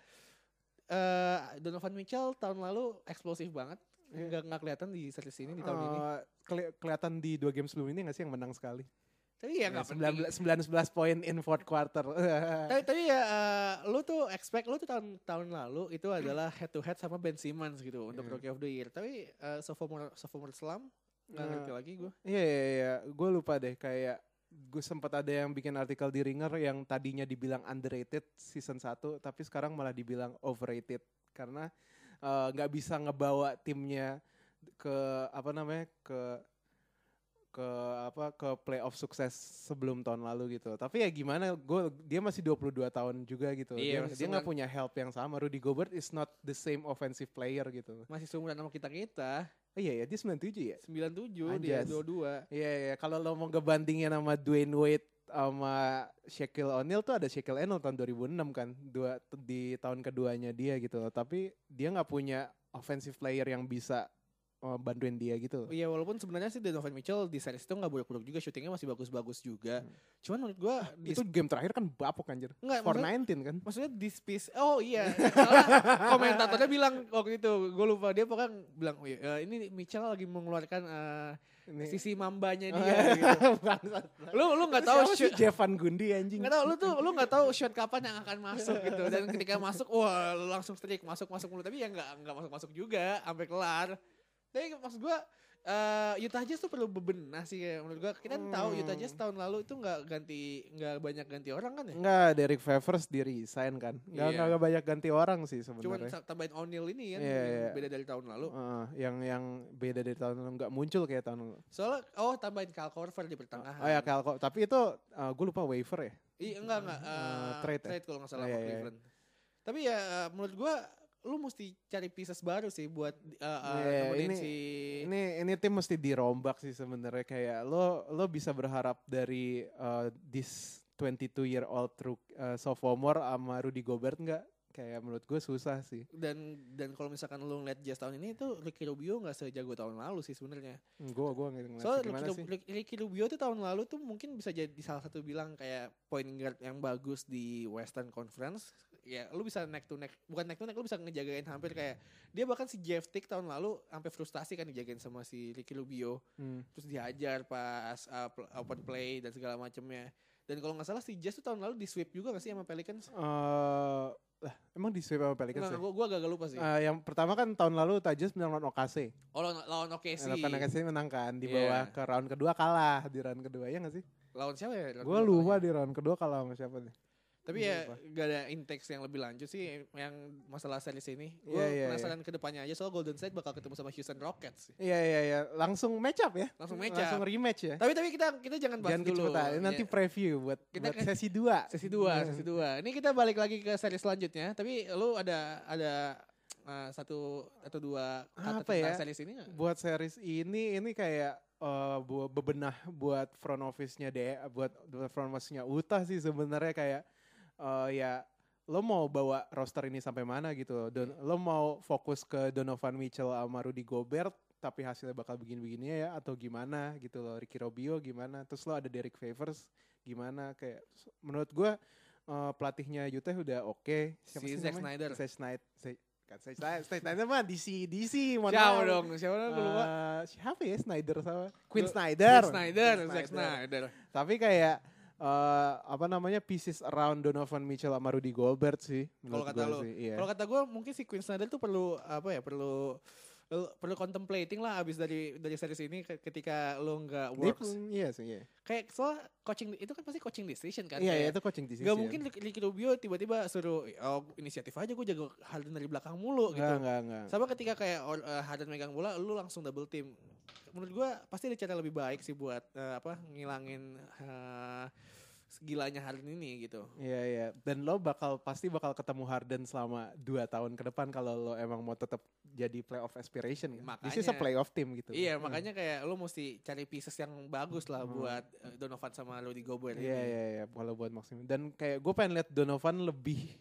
[SPEAKER 1] eh Donovan Mitchell tahun lalu eksplosif banget.
[SPEAKER 2] Iya.
[SPEAKER 1] Enggak nggak kelihatan di series ini di tahun ini.
[SPEAKER 2] Eh, keli- kelihatan di dua game sebelum ini gak sih yang menang sekali?
[SPEAKER 1] Tapi ya
[SPEAKER 2] Iya,
[SPEAKER 1] enggak penting.
[SPEAKER 2] 19 11 poin in fourth quarter. [LAUGHS]
[SPEAKER 1] Tapi, tapi ya eh, lu tuh expect lu tuh tahun tahun lalu itu adalah head to head sama Ben Simmons gitu untuk
[SPEAKER 2] Iya.
[SPEAKER 1] Rookie of the Year. Tapi eh, sophomore sophomore slam nggak
[SPEAKER 2] Eh,
[SPEAKER 1] ngerti lagi gue.
[SPEAKER 2] Iya iya iya, gue lupa deh kayak gue sempat ada yang bikin artikel di Ringer yang tadinya dibilang underrated season 1 tapi sekarang malah dibilang overrated karena eh, nggak bisa ngebawa timnya ke apa namanya ke ke apa ke playoff sukses sebelum tahun lalu gitu. Tapi ya gimana gue dia masih 22 tahun juga gitu.
[SPEAKER 1] Iya,
[SPEAKER 2] dia
[SPEAKER 1] masih
[SPEAKER 2] dia nggak
[SPEAKER 1] sembilan-
[SPEAKER 2] punya help yang sama. Rudy Gobert is not the same offensive player gitu.
[SPEAKER 1] Masih seumuran sama kita-kita,
[SPEAKER 2] Oh iya ya dia 97 ya.
[SPEAKER 1] 97 dia
[SPEAKER 2] Anjas.
[SPEAKER 1] 22.
[SPEAKER 2] Iya iya kalau lo mau ngebandingin sama Dwayne Wade sama Shaquille O'Neal tuh ada Shaquille O'Neal tahun 2006 kan dua di tahun keduanya dia gitu loh tapi dia nggak punya offensive player yang bisa eh, bantuin dia gitu loh.
[SPEAKER 1] Iya walaupun sebenarnya sih Donovan Mitchell di series itu nggak buruk-buruk juga, syutingnya masih bagus-bagus juga. Cuman menurut gue
[SPEAKER 2] Hmm. itu game terakhir kan bapok anjir
[SPEAKER 1] Nggak,
[SPEAKER 2] 419 kan
[SPEAKER 1] Iya, Maksudnya this piece, oh
[SPEAKER 2] [LAUGHS]
[SPEAKER 1] iya, Soalnya komentatornya bilang waktu itu, gue lupa dia pokoknya bilang, "Oh iya, eh, ini Mitchell lagi mengeluarkan eh,
[SPEAKER 2] ini [LAUGHS]
[SPEAKER 1] sisi [LAUGHS] mambanya dia. gitu.
[SPEAKER 2] Bangsat.
[SPEAKER 1] Lu lu nggak
[SPEAKER 2] Itu
[SPEAKER 1] tahu
[SPEAKER 2] Oh, iya. siapa sih
[SPEAKER 1] shoot,
[SPEAKER 2] Jevan Gundi anjing
[SPEAKER 1] nggak tahu lu tuh lu nggak tahu shot kapan yang akan masuk gitu. Dan ketika masuk, wah lu langsung streak masuk masuk mulu, tapi ya nggak nggak masuk masuk juga, sampai kelar. Tapi maksud gue eh Utah Jazz tuh perlu bebenah sih kayak menurut gua. Kita tahu
[SPEAKER 2] Hmm.
[SPEAKER 1] Utah Jazz tahun lalu itu nggak ganti nggak banyak ganti orang kan ya.
[SPEAKER 2] Enggak, Derek Favors di resign kan. Enggak
[SPEAKER 1] Iya.
[SPEAKER 2] enggak banyak ganti orang sih
[SPEAKER 1] Cuman
[SPEAKER 2] sebenarnya.
[SPEAKER 1] sa- tambahin O'Neal ini kan
[SPEAKER 2] Hmm, ya. Iya,
[SPEAKER 1] yang
[SPEAKER 2] iya.
[SPEAKER 1] beda dari tahun lalu.
[SPEAKER 2] Heeh, yang yang beda dari tahun lalu nggak muncul kayak tahun lalu.
[SPEAKER 1] Soalnya oh tambahin Kyle Korver di pertengahan.
[SPEAKER 2] Oh ya Kalko, tapi itu gue lupa waiver ya.
[SPEAKER 1] Ih, enggak enggak eh,
[SPEAKER 2] trade ya?
[SPEAKER 1] trade kalau nggak salah
[SPEAKER 2] Oh,
[SPEAKER 1] sama
[SPEAKER 2] iya, iya.
[SPEAKER 1] Cleveland. Tapi ya eh, menurut gua lu mesti cari pieces baru sih buat uh, uh,
[SPEAKER 2] Yeah,
[SPEAKER 1] nemenin
[SPEAKER 2] Iya, ini-
[SPEAKER 1] si
[SPEAKER 2] Ini ini tim mesti dirombak sih sebenarnya kayak lo lo bisa berharap dari uh, this 22 year old rook- uh, sophomore sama Rudy Gobert nggak? Kayak menurut gue susah sih.
[SPEAKER 1] dan dan kalau misalkan lu ngeliat Jazz tahun ini itu Ricky Rubio nggak sejago tahun lalu sih sebenarnya.
[SPEAKER 2] Gue gue nggak
[SPEAKER 1] So
[SPEAKER 2] ngerti
[SPEAKER 1] Ricky,
[SPEAKER 2] gimana
[SPEAKER 1] Rub-
[SPEAKER 2] sih.
[SPEAKER 1] Rick- Ricky Rubio tuh tahun lalu tuh mungkin bisa jadi salah satu bilang kayak point guard yang bagus di Western Conference. Ya lu bisa neck to neck, bukan neck to neck lu bisa ngejagain hampir kayak dia bahkan si Jeff Tick tahun lalu sampai frustasi kan dijagain sama si Ricky Rubio.
[SPEAKER 2] Hmm.
[SPEAKER 1] terus dihajar pas uh, pl- open play dan segala macamnya. Dan kalau nggak salah si Jazz tuh tahun lalu di sweep juga nggak sih sama Pelicans?
[SPEAKER 2] Eh, lah, emang di sweep sama Pelicans
[SPEAKER 1] Enggak,
[SPEAKER 2] ya?
[SPEAKER 1] gue gua agak lupa sih.
[SPEAKER 2] Eh, yang pertama kan tahun lalu Tajus menang lawan OKC.
[SPEAKER 1] oh, lawan, lawan OKC.
[SPEAKER 2] Lawan OKC menang kan. Dibawa
[SPEAKER 1] Iya.
[SPEAKER 2] ke round kedua kalah. Di round kedua ya gak sih?
[SPEAKER 1] Lawan siapa ya?
[SPEAKER 2] Gue lupa di round kedua iya. kalah sama siapa nih.
[SPEAKER 1] Tapi
[SPEAKER 2] gua
[SPEAKER 1] ya
[SPEAKER 2] lupa.
[SPEAKER 1] gak ada indeks yang lebih lanjut sih yang masalah series ini. Gue
[SPEAKER 2] Iya, iya,
[SPEAKER 1] penasaran ke depannya aja soal Golden State bakal ketemu sama Houston Rockets. sih.
[SPEAKER 2] Iya iya iya. Langsung match up ya.
[SPEAKER 1] Langsung match
[SPEAKER 2] Langsung
[SPEAKER 1] up.
[SPEAKER 2] rematch ya.
[SPEAKER 1] Tapi tapi kita kita jangan bahas
[SPEAKER 2] Jangan
[SPEAKER 1] dulu.
[SPEAKER 2] kecepatan. Nanti Iya.
[SPEAKER 1] Ya,
[SPEAKER 2] preview buat,
[SPEAKER 1] Kita
[SPEAKER 2] buat
[SPEAKER 1] ke-
[SPEAKER 2] sesi 2.
[SPEAKER 1] sesi dua, sesi dua. Ini kita balik lagi ke seri selanjutnya. Tapi lu ada ada uh, satu atau dua kata
[SPEAKER 2] Apa
[SPEAKER 1] tentang
[SPEAKER 2] ya?
[SPEAKER 1] series ini nggak?
[SPEAKER 2] Buat series ini ini kayak eh, bu- bebenah buat front office-nya deh, buat buat front office-nya Utah sih sebenarnya kayak eh, ya lo mau bawa roster ini sampai mana gitu loh. Don,
[SPEAKER 1] Iya.
[SPEAKER 2] lo mau fokus ke Donovan Mitchell sama Rudy Gobert tapi hasilnya bakal begini-begini ya atau gimana gitu loh. Ricky Rubio gimana? Terus lo ada Derek Favors gimana kayak s- menurut gua eh, pelatihnya Utah udah oke. Siapa
[SPEAKER 1] Si
[SPEAKER 2] sih
[SPEAKER 1] Zack
[SPEAKER 2] namanya?
[SPEAKER 1] Snyder.
[SPEAKER 2] Zack Snyder. Zack- kan Zack Snyder. Zack Snyder mah DC DC. mohon
[SPEAKER 1] Siapa
[SPEAKER 2] maaf.
[SPEAKER 1] dong? Siapa dong? Gue lupa.
[SPEAKER 2] Eh, siapa ya Snyder sama Queen
[SPEAKER 1] Queen
[SPEAKER 2] Snyder.
[SPEAKER 1] Zack Snyder,
[SPEAKER 2] Queen
[SPEAKER 1] Zack Snyder.
[SPEAKER 2] Tapi kayak eh, apa namanya pieces around Donovan Mitchell sama Rudy Gobert sih.
[SPEAKER 1] Kalau
[SPEAKER 2] menurut
[SPEAKER 1] kata
[SPEAKER 2] gua
[SPEAKER 1] lu,
[SPEAKER 2] sih, iya.
[SPEAKER 1] kalau kata gue mungkin si Queen Snyder tuh perlu apa ya? Perlu perlu- perlu contemplating lah abis dari dari series ini ke- ketika lo nggak
[SPEAKER 2] Dia
[SPEAKER 1] works.
[SPEAKER 2] pun- iya sih. Iya,
[SPEAKER 1] Kayak soal coaching itu kan pasti coaching decision kan.
[SPEAKER 2] iya, iya,
[SPEAKER 1] kayak,
[SPEAKER 2] itu coaching decision.
[SPEAKER 1] Gak mungkin Rick- Ricky Rubio tiba-tiba suruh oh, inisiatif aja gue jago Harden dari belakang mulu
[SPEAKER 2] Enggak,
[SPEAKER 1] gitu.
[SPEAKER 2] enggak, enggak.
[SPEAKER 1] Sama ketika kayak or- eh, Harden megang bola, lu langsung double team. Menurut gua pasti ada cara lebih baik sih buat eh, apa ngilangin eh, segilanya Harden ini gitu.
[SPEAKER 2] Iya, iya. Dan lo bakal pasti bakal ketemu Harden selama 2 tahun ke depan kalau lo emang mau tetap jadi playoff aspiration kan. This is a
[SPEAKER 1] Makanya.
[SPEAKER 2] playoff team gitu.
[SPEAKER 1] Iya,
[SPEAKER 2] Hmm.
[SPEAKER 1] makanya kayak lu mesti cari pieces yang bagus lah buat eh, Donovan sama Rudy Gobert.
[SPEAKER 2] Iya
[SPEAKER 1] ini.
[SPEAKER 2] iya iya kalau buat maksimum. Dan kayak gue pengen lihat Donovan lebih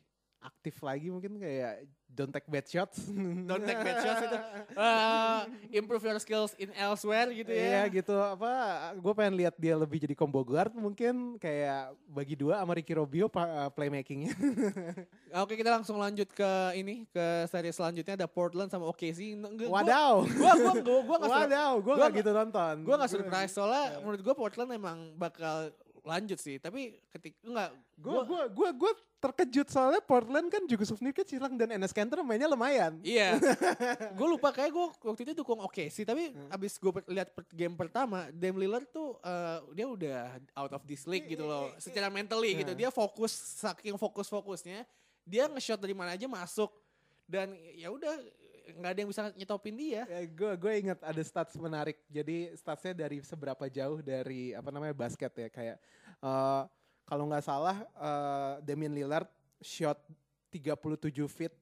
[SPEAKER 2] aktif lagi mungkin kayak don't take bad shots.
[SPEAKER 1] [LAUGHS] Don't take bad shots itu. Eh, improve your skills in elsewhere [LAUGHS] gitu
[SPEAKER 2] Iya
[SPEAKER 1] ya.
[SPEAKER 2] gitu apa gue pengen lihat dia lebih jadi combo guard mungkin kayak bagi dua sama Ricky Rubio pa- eh, playmakingnya.
[SPEAKER 1] Oke, kita langsung lanjut ke ini ke seri selanjutnya ada Portland sama OKC. Nge- gua-
[SPEAKER 2] Wadaw.
[SPEAKER 1] Gua gua gua gua nggak sur-
[SPEAKER 2] Wadaw, gue
[SPEAKER 1] gua
[SPEAKER 2] gak gitu nonton.
[SPEAKER 1] gue gak surprise soalnya
[SPEAKER 2] Iya.
[SPEAKER 1] menurut gue Portland emang bakal lanjut sih tapi ketika nggak
[SPEAKER 2] Gue gue gue gue terkejut soalnya Portland kan juga Nurkic hilang dan Enes Kanter mainnya lumayan. [LAUGHS]
[SPEAKER 1] iya gue lupa kayak gue waktu itu dukung oke sih tapi
[SPEAKER 2] Hmm.
[SPEAKER 1] abis gue lihat per- game pertama Dame Lillard tuh eh, dia udah out of this league gitu loh secara mentally
[SPEAKER 2] nah.
[SPEAKER 1] gitu dia fokus saking fokus fokusnya dia nge-shot dari mana aja masuk dan ya udah nggak ada yang bisa nyetopin dia
[SPEAKER 2] gue gue Eh, ingat ada stats menarik. Jadi statsnya dari seberapa jauh dari apa namanya basket ya kayak eh, kalau nggak salah eh, Damian Lillard shot 37 feet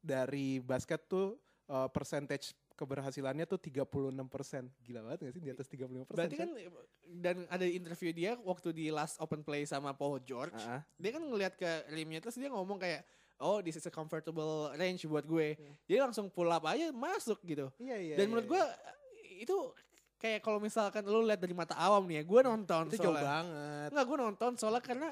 [SPEAKER 2] dari basket tuh eh, percentage keberhasilannya tuh 36 persen. Gila banget gak sih di atas 35 persen?
[SPEAKER 1] berarti kan dan ada interview dia waktu di last open play sama Paul George
[SPEAKER 2] Ah,
[SPEAKER 1] dia kan ngelihat ke rimnya terus dia ngomong kayak oh this is a comfortable range buat gue
[SPEAKER 2] Hmm.
[SPEAKER 1] jadi langsung pull up aja masuk gitu
[SPEAKER 2] Iya iya.
[SPEAKER 1] dan menurut gue itu kayak kalau misalkan lu lihat dari mata awam nih ya gue nonton
[SPEAKER 2] iya. itu jauh
[SPEAKER 1] soalnya
[SPEAKER 2] banget.
[SPEAKER 1] nggak gue nonton soalnya karena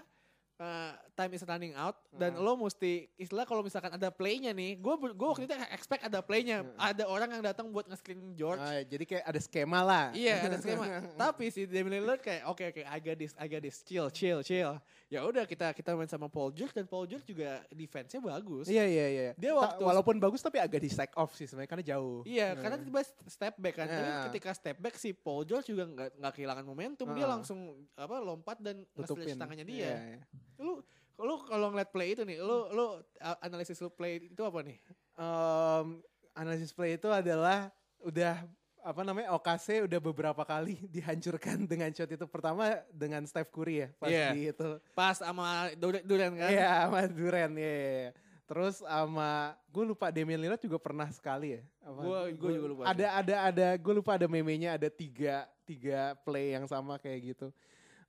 [SPEAKER 1] uh, time is running out dan
[SPEAKER 2] Heeh.
[SPEAKER 1] lo mesti istilah kalau misalkan ada playnya nih gue gue waktu itu expect ada playnya ada orang yang datang buat nge-screen George
[SPEAKER 2] Ah, jadi kayak ada skema lah.
[SPEAKER 1] Iya ada skema.
[SPEAKER 2] [LAUGHS]
[SPEAKER 1] Tapi si Damian Lillard kayak oke oke I got this I got this chill chill chill. Ya udah kita kita main sama Paul George dan Paul George juga defense-nya bagus.
[SPEAKER 2] Iya iya iya.
[SPEAKER 1] Dia
[SPEAKER 2] Ta-
[SPEAKER 1] waktu-
[SPEAKER 2] walaupun bagus tapi agak di sack off sih sebenarnya karena jauh.
[SPEAKER 1] Iya, karena tiba step back kan. Tapi
[SPEAKER 2] Iya.
[SPEAKER 1] ketika step back si Paul George juga nggak nggak kehilangan momentum, dia
[SPEAKER 2] Heeh.
[SPEAKER 1] langsung apa lompat dan nge-stretch tangannya
[SPEAKER 2] Iya,
[SPEAKER 1] dia.
[SPEAKER 2] iya.
[SPEAKER 1] Lu lu kalau ngeliat play itu nih, lu lu uh, analisis lu play itu apa nih?
[SPEAKER 2] Em, analisis play itu adalah udah apa namanya OKC udah beberapa kali [LAUGHS] dihancurkan dengan shot itu pertama dengan Steph Curry ya pas
[SPEAKER 1] Iya.
[SPEAKER 2] di itu
[SPEAKER 1] Pas sama Dur- Durant kan?
[SPEAKER 2] Iya, sama Durant. Iya, iya, iya. Terus sama gue lupa Damian Lillard juga pernah sekali ya. Apa?
[SPEAKER 1] Gua- gua
[SPEAKER 2] Gua-
[SPEAKER 1] juga lupa
[SPEAKER 2] Ada ada ada gue lupa ada memenya ada tiga tiga play yang sama kayak gitu.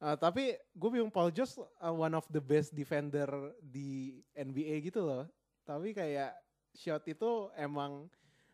[SPEAKER 2] Eh, tapi gue bingung Paul George uh, one of the best defender di NBA gitu loh. Tapi kayak shot itu emang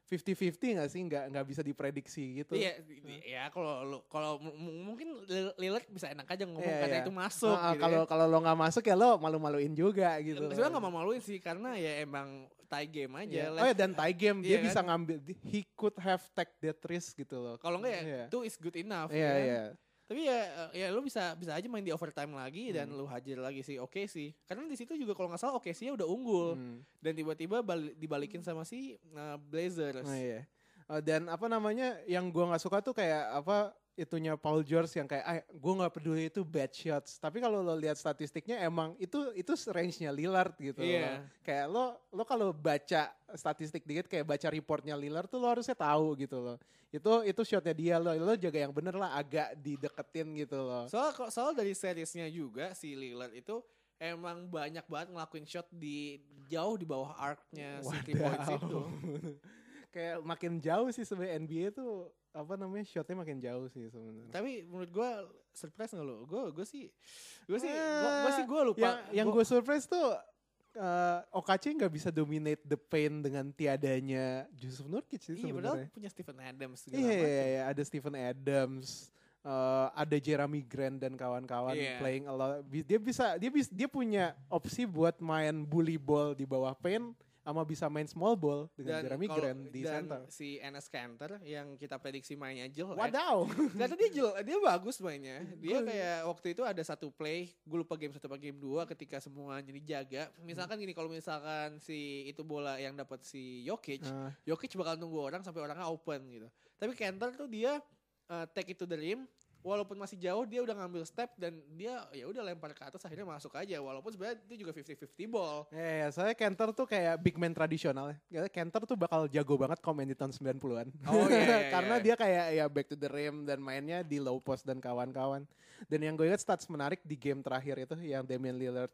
[SPEAKER 2] 50-50 gak sih? Nggak nggak bisa diprediksi gitu.
[SPEAKER 1] Iya, ya kalau lu kalau mu- mu- mungkin Lil- Lillard bisa enak aja ngomong
[SPEAKER 2] Iya,
[SPEAKER 1] karena
[SPEAKER 2] iya.
[SPEAKER 1] itu masuk.
[SPEAKER 2] Ah, ah,
[SPEAKER 1] gitu
[SPEAKER 2] kalau
[SPEAKER 1] ya.
[SPEAKER 2] kalau lo nggak masuk ya lo malu-maluin juga gitu. loh.
[SPEAKER 1] sebenarnya nggak mau maluin sih karena ya emang tie game aja.
[SPEAKER 2] Iya.
[SPEAKER 1] Let's-
[SPEAKER 2] Oh ya dan tie game dia
[SPEAKER 1] Iya
[SPEAKER 2] bisa
[SPEAKER 1] kan?
[SPEAKER 2] ngambil he could have take that risk gitu loh.
[SPEAKER 1] Kalau enggak ya
[SPEAKER 2] Iya.
[SPEAKER 1] itu is good enough.
[SPEAKER 2] Iya
[SPEAKER 1] ya kan?
[SPEAKER 2] iya.
[SPEAKER 1] Tapi ya eh, ya lu bisa bisa aja main di overtime lagi dan
[SPEAKER 2] Hmm.
[SPEAKER 1] lu hajar lagi sih oke sih. Karena di situ juga kalau nggak salah oke sih udah unggul
[SPEAKER 2] Hmm.
[SPEAKER 1] dan tiba-tiba bal- dibalikin sama si eh, Blazers.
[SPEAKER 2] Oh, iya. Oh, dan apa namanya yang gua nggak suka tuh kayak apa itunya Paul George yang kayak ah, gua nggak peduli itu bad shots. Tapi kalau lo lihat statistiknya emang itu itu range-nya Lillard gitu. loh.
[SPEAKER 1] Iya.
[SPEAKER 2] Kayak lo lo kalau baca statistik dikit kayak baca reportnya Lillard tuh lo harusnya tahu gitu loh. Itu itu shotnya dia lo lo jaga yang bener lah agak dideketin gitu loh.
[SPEAKER 1] Soal kok soal dari seriesnya juga si Lillard itu emang banyak banget ngelakuin shot di jauh di bawah arc-nya si three points
[SPEAKER 2] Wadaw.
[SPEAKER 1] itu.
[SPEAKER 2] [LAUGHS] kayak makin jauh sih sebenarnya NBA tuh apa namanya shotnya makin jauh sih sebenarnya.
[SPEAKER 1] Tapi menurut gua surprise nggak lo? Gue gue sih gue sih gue sih gue lupa.
[SPEAKER 2] Eh, Yang yang
[SPEAKER 1] Gua-
[SPEAKER 2] gue surprise tuh eh OKC nggak bisa dominate the paint dengan tiadanya Yusuf Nurkic sih
[SPEAKER 1] iya padahal
[SPEAKER 2] sebenarnya.
[SPEAKER 1] punya Stephen Adams segala
[SPEAKER 2] Iya, iya,
[SPEAKER 1] macam.
[SPEAKER 2] iya, ada Stephen Adams, eh, ada Jeremy Grant dan kawan-kawan
[SPEAKER 1] Iya.
[SPEAKER 2] playing a lot. Bi- Dia bisa dia bis- dia punya opsi buat main bully ball di bawah paint sama bisa main small ball dengan Jeremy
[SPEAKER 1] kalau-
[SPEAKER 2] Grant di
[SPEAKER 1] dan
[SPEAKER 2] center.
[SPEAKER 1] si Enes Kanter yang kita prediksi mainnya jelek. [LAUGHS]
[SPEAKER 2] Wadaw.
[SPEAKER 1] Ternyata dia jelek, dia bagus mainnya. Dia
[SPEAKER 2] Gua-
[SPEAKER 1] kayak waktu itu ada satu play, gue lupa game satu apa game dua ketika semuanya dijaga. Misalkan gini, kalau misalkan si itu bola yang dapat si Jokic,
[SPEAKER 2] Ah.
[SPEAKER 1] Jokic bakal nunggu orang sampai orangnya open gitu. Tapi Kanter tuh dia eh, take it to the rim, walaupun masih jauh dia udah ngambil step dan dia ya udah lempar ke atas akhirnya masuk aja walaupun sebenarnya itu juga 50-50
[SPEAKER 2] [LAUGHS]
[SPEAKER 1] ball.
[SPEAKER 2] Eh, saya Kenter tuh kayak big man tradisional ya. Kayaknya Kenter tuh bakal jago banget komen di tahun 90-an.
[SPEAKER 1] Oh,
[SPEAKER 2] [LAUGHS]
[SPEAKER 1] iya, iya,
[SPEAKER 2] Karena
[SPEAKER 1] iya.
[SPEAKER 2] dia kayak ya back to the rim dan mainnya di low post dan kawan-kawan. Dan yang gue ingat stats menarik di game terakhir itu yang Damian Lillard